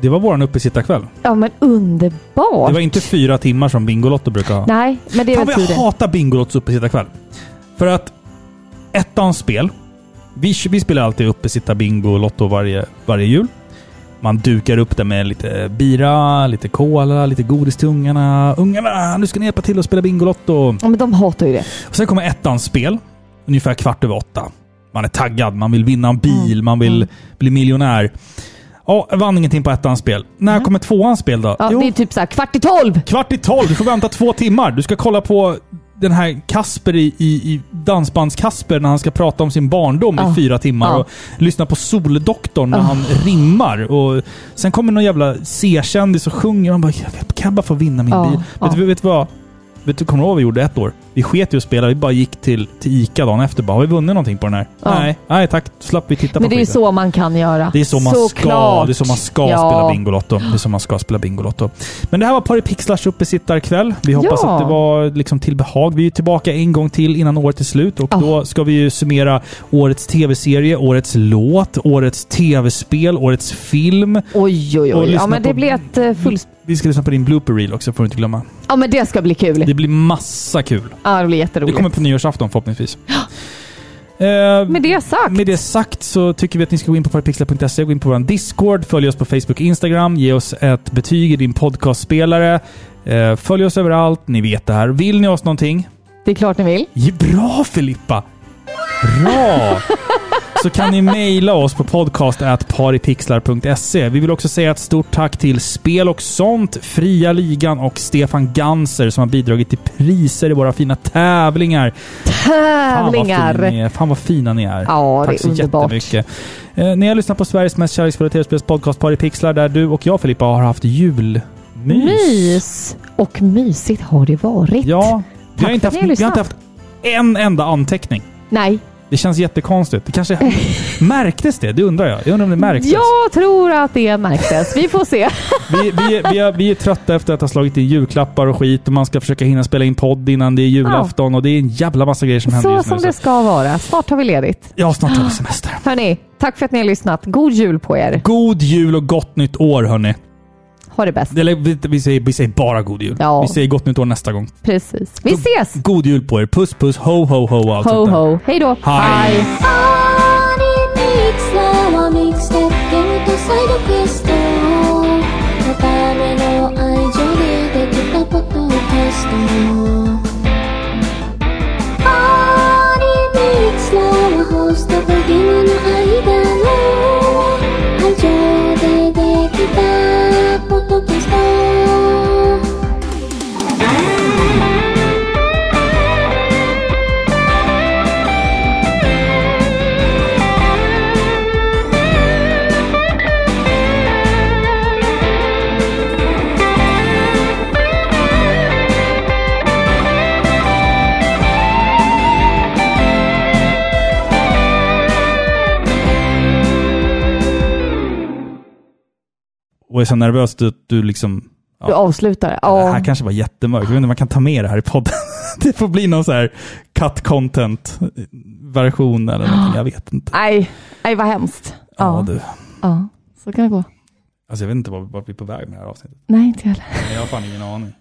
Speaker 1: Det var våran uppesittarkväll.
Speaker 2: ja, men underbart.
Speaker 1: Det var inte fyra timmar som Bingolotto brukar ha.
Speaker 2: Nej, men det är
Speaker 1: Fan
Speaker 2: väl
Speaker 1: vad jag
Speaker 2: tur det.
Speaker 1: hatar Bingolottos uppesittarkväll. För att ettans spel. Vi, vi spelar alltid uppesitta bingo och lotto varje, varje jul. Man dukar upp det med lite bira, lite cola, lite godis till ungarna. Ungarna, nu ska ni hjälpa till att spela Bingolotto.
Speaker 2: Ja, men de hatar ju det.
Speaker 1: Och sen kommer ettans spel, ungefär kvart över åtta. Man är taggad, man vill vinna en bil, man vill bli miljonär. Ja, vann ingenting på ettans spel. När kommer tvåans spel då?
Speaker 2: Ja,
Speaker 1: Jo,
Speaker 2: det är typ så här kvart i tolv.
Speaker 1: Kvart i tolv, du får vänta två timmar. Du ska kolla på den här Kasper i, i, i Dansbands-Kasper när han ska prata om sin barndom
Speaker 2: Ja.
Speaker 1: i fyra timmar.
Speaker 2: Ja.
Speaker 1: Och lyssna på Soldoktorn när han rimmar. Och sen kommer någon jävla C-kändis och sjunger. Och han bara, jag vet, kan jag bara få vinna min
Speaker 2: Ja,
Speaker 1: bil?
Speaker 2: ja.
Speaker 1: Vet, du, vet du vad? Vet du, kommer du ihåg vad vi gjorde ett år? Vi sket ju att spela. Vi bara gick till, till Ica dagen efter bara. Har vi vunnit någonting på den här?
Speaker 2: Ja.
Speaker 1: Nej, nej tack. Slapp vi titta på
Speaker 2: Men det är ju
Speaker 1: skiten.
Speaker 2: så man kan göra.
Speaker 1: Det är så man ska,
Speaker 2: Såklart.
Speaker 1: det är så man ska
Speaker 2: Ja.
Speaker 1: spela Bingolotto. Det är så man ska spela Bingolotto. Men det här var Pari Pixlars uppesittarkväll. Vi hoppas
Speaker 2: Ja.
Speaker 1: att det var liksom till behag. Vi är tillbaka en gång till innan året är slut och
Speaker 2: Ja.
Speaker 1: då ska vi ju summera årets tv-serie, årets låt, årets tv-spel, årets film.
Speaker 2: Oj, oj,
Speaker 1: Och
Speaker 2: oj. Ja,
Speaker 1: lyssna
Speaker 2: men det
Speaker 1: på-
Speaker 2: blir ett eh, full...
Speaker 1: Vi ska lyssna på din blooper reel också, får du inte glömma.
Speaker 2: Ja, men det ska bli kul.
Speaker 1: Det blir massa kul.
Speaker 2: Ja, det blir
Speaker 1: Det
Speaker 2: jätteroligt.
Speaker 1: kommer på nyårsafton förhoppningsvis. Eh,
Speaker 2: Med det sagt.
Speaker 1: Med det sagt så tycker vi att ni ska gå in på parapixlar.se, gå in på vår Discord, följ oss på Facebook och Instagram, ge oss ett betyg i din podcastspelare. Eh, Följ oss överallt, ni vet det här. Vill ni oss någonting?
Speaker 2: Det är klart ni vill.
Speaker 1: Ge bra Filippa! Bra! Så kan ni mejla oss på podcast.paripixlar.se. Vi vill också säga ett stort tack till Spel och sånt, Fria Ligan och Stefan Ganser som har bidragit till priser i våra fina tävlingar. Fan vad, fin
Speaker 2: Tävlingar.
Speaker 1: ni är. Fan vad fina ni är.
Speaker 2: Ja,
Speaker 1: Tack
Speaker 2: det
Speaker 1: så
Speaker 2: är underbart.
Speaker 1: jättemycket. Eh, ni har lyssnat på Sveriges mest kärleksfulla tv-spelspodcast Par i pixlar där du och jag Filippa har haft julmys.
Speaker 2: Mys. Och mysigt har det varit.
Speaker 1: Ja, vi har,
Speaker 2: Tack
Speaker 1: inte haft, vi
Speaker 2: för att ni har
Speaker 1: har inte
Speaker 2: lyssnat.
Speaker 1: haft en enda anteckning.
Speaker 2: Nej.
Speaker 1: Det känns jättekonstigt. Det kanske
Speaker 2: <laughs>
Speaker 1: märktes det? Det undrar jag. Jag undrar om det märktes.
Speaker 2: Jag tror att det märktes. Vi
Speaker 1: <laughs>
Speaker 2: får se.
Speaker 1: Vi, vi, vi, är, vi är trötta efter att ha slagit in julklappar och skit och man ska försöka hinna spela in podd innan det är julafton och det är en jävla massa grejer som händer
Speaker 2: Så
Speaker 1: just
Speaker 2: som
Speaker 1: nu.
Speaker 2: det
Speaker 1: så.
Speaker 2: ska vara. Snart har vi ledigt.
Speaker 1: Ja, snart
Speaker 2: <gasps>
Speaker 1: tar vi semester.
Speaker 2: Hörni, tack för att ni har lyssnat. God jul på er.
Speaker 1: God jul och gott nytt år hörni.
Speaker 2: Ha det bäst.
Speaker 1: Eller vi, vi, säger, vi säger bara god jul.
Speaker 2: Ja.
Speaker 1: Vi säger gott nytt år nästa gång.
Speaker 2: Precis. Vi ses!
Speaker 1: God Mm. jul på er. Puss puss, ho ho ho och allt
Speaker 2: Ho
Speaker 1: sånt där.
Speaker 2: ho. Hej då!
Speaker 1: Hej. Och är så nervös att du liksom...
Speaker 2: Du avslutar.
Speaker 1: Det
Speaker 2: Ja.
Speaker 1: här kanske var jättemörkt. Jag vet inte om man kan ta med det här i podden. <laughs> Det får bli någon så här cut content version eller
Speaker 2: <gasps>
Speaker 1: någonting. Jag vet inte.
Speaker 2: Nej, nej vad hemskt.
Speaker 1: Ja,
Speaker 2: Ja,
Speaker 1: du.
Speaker 2: ja. Så kan det gå.
Speaker 1: Alltså jag vet inte vart vart vi är på väg med det här avsnittet.
Speaker 2: Nej, inte jag heller.
Speaker 1: Men jag har fan ingen aning.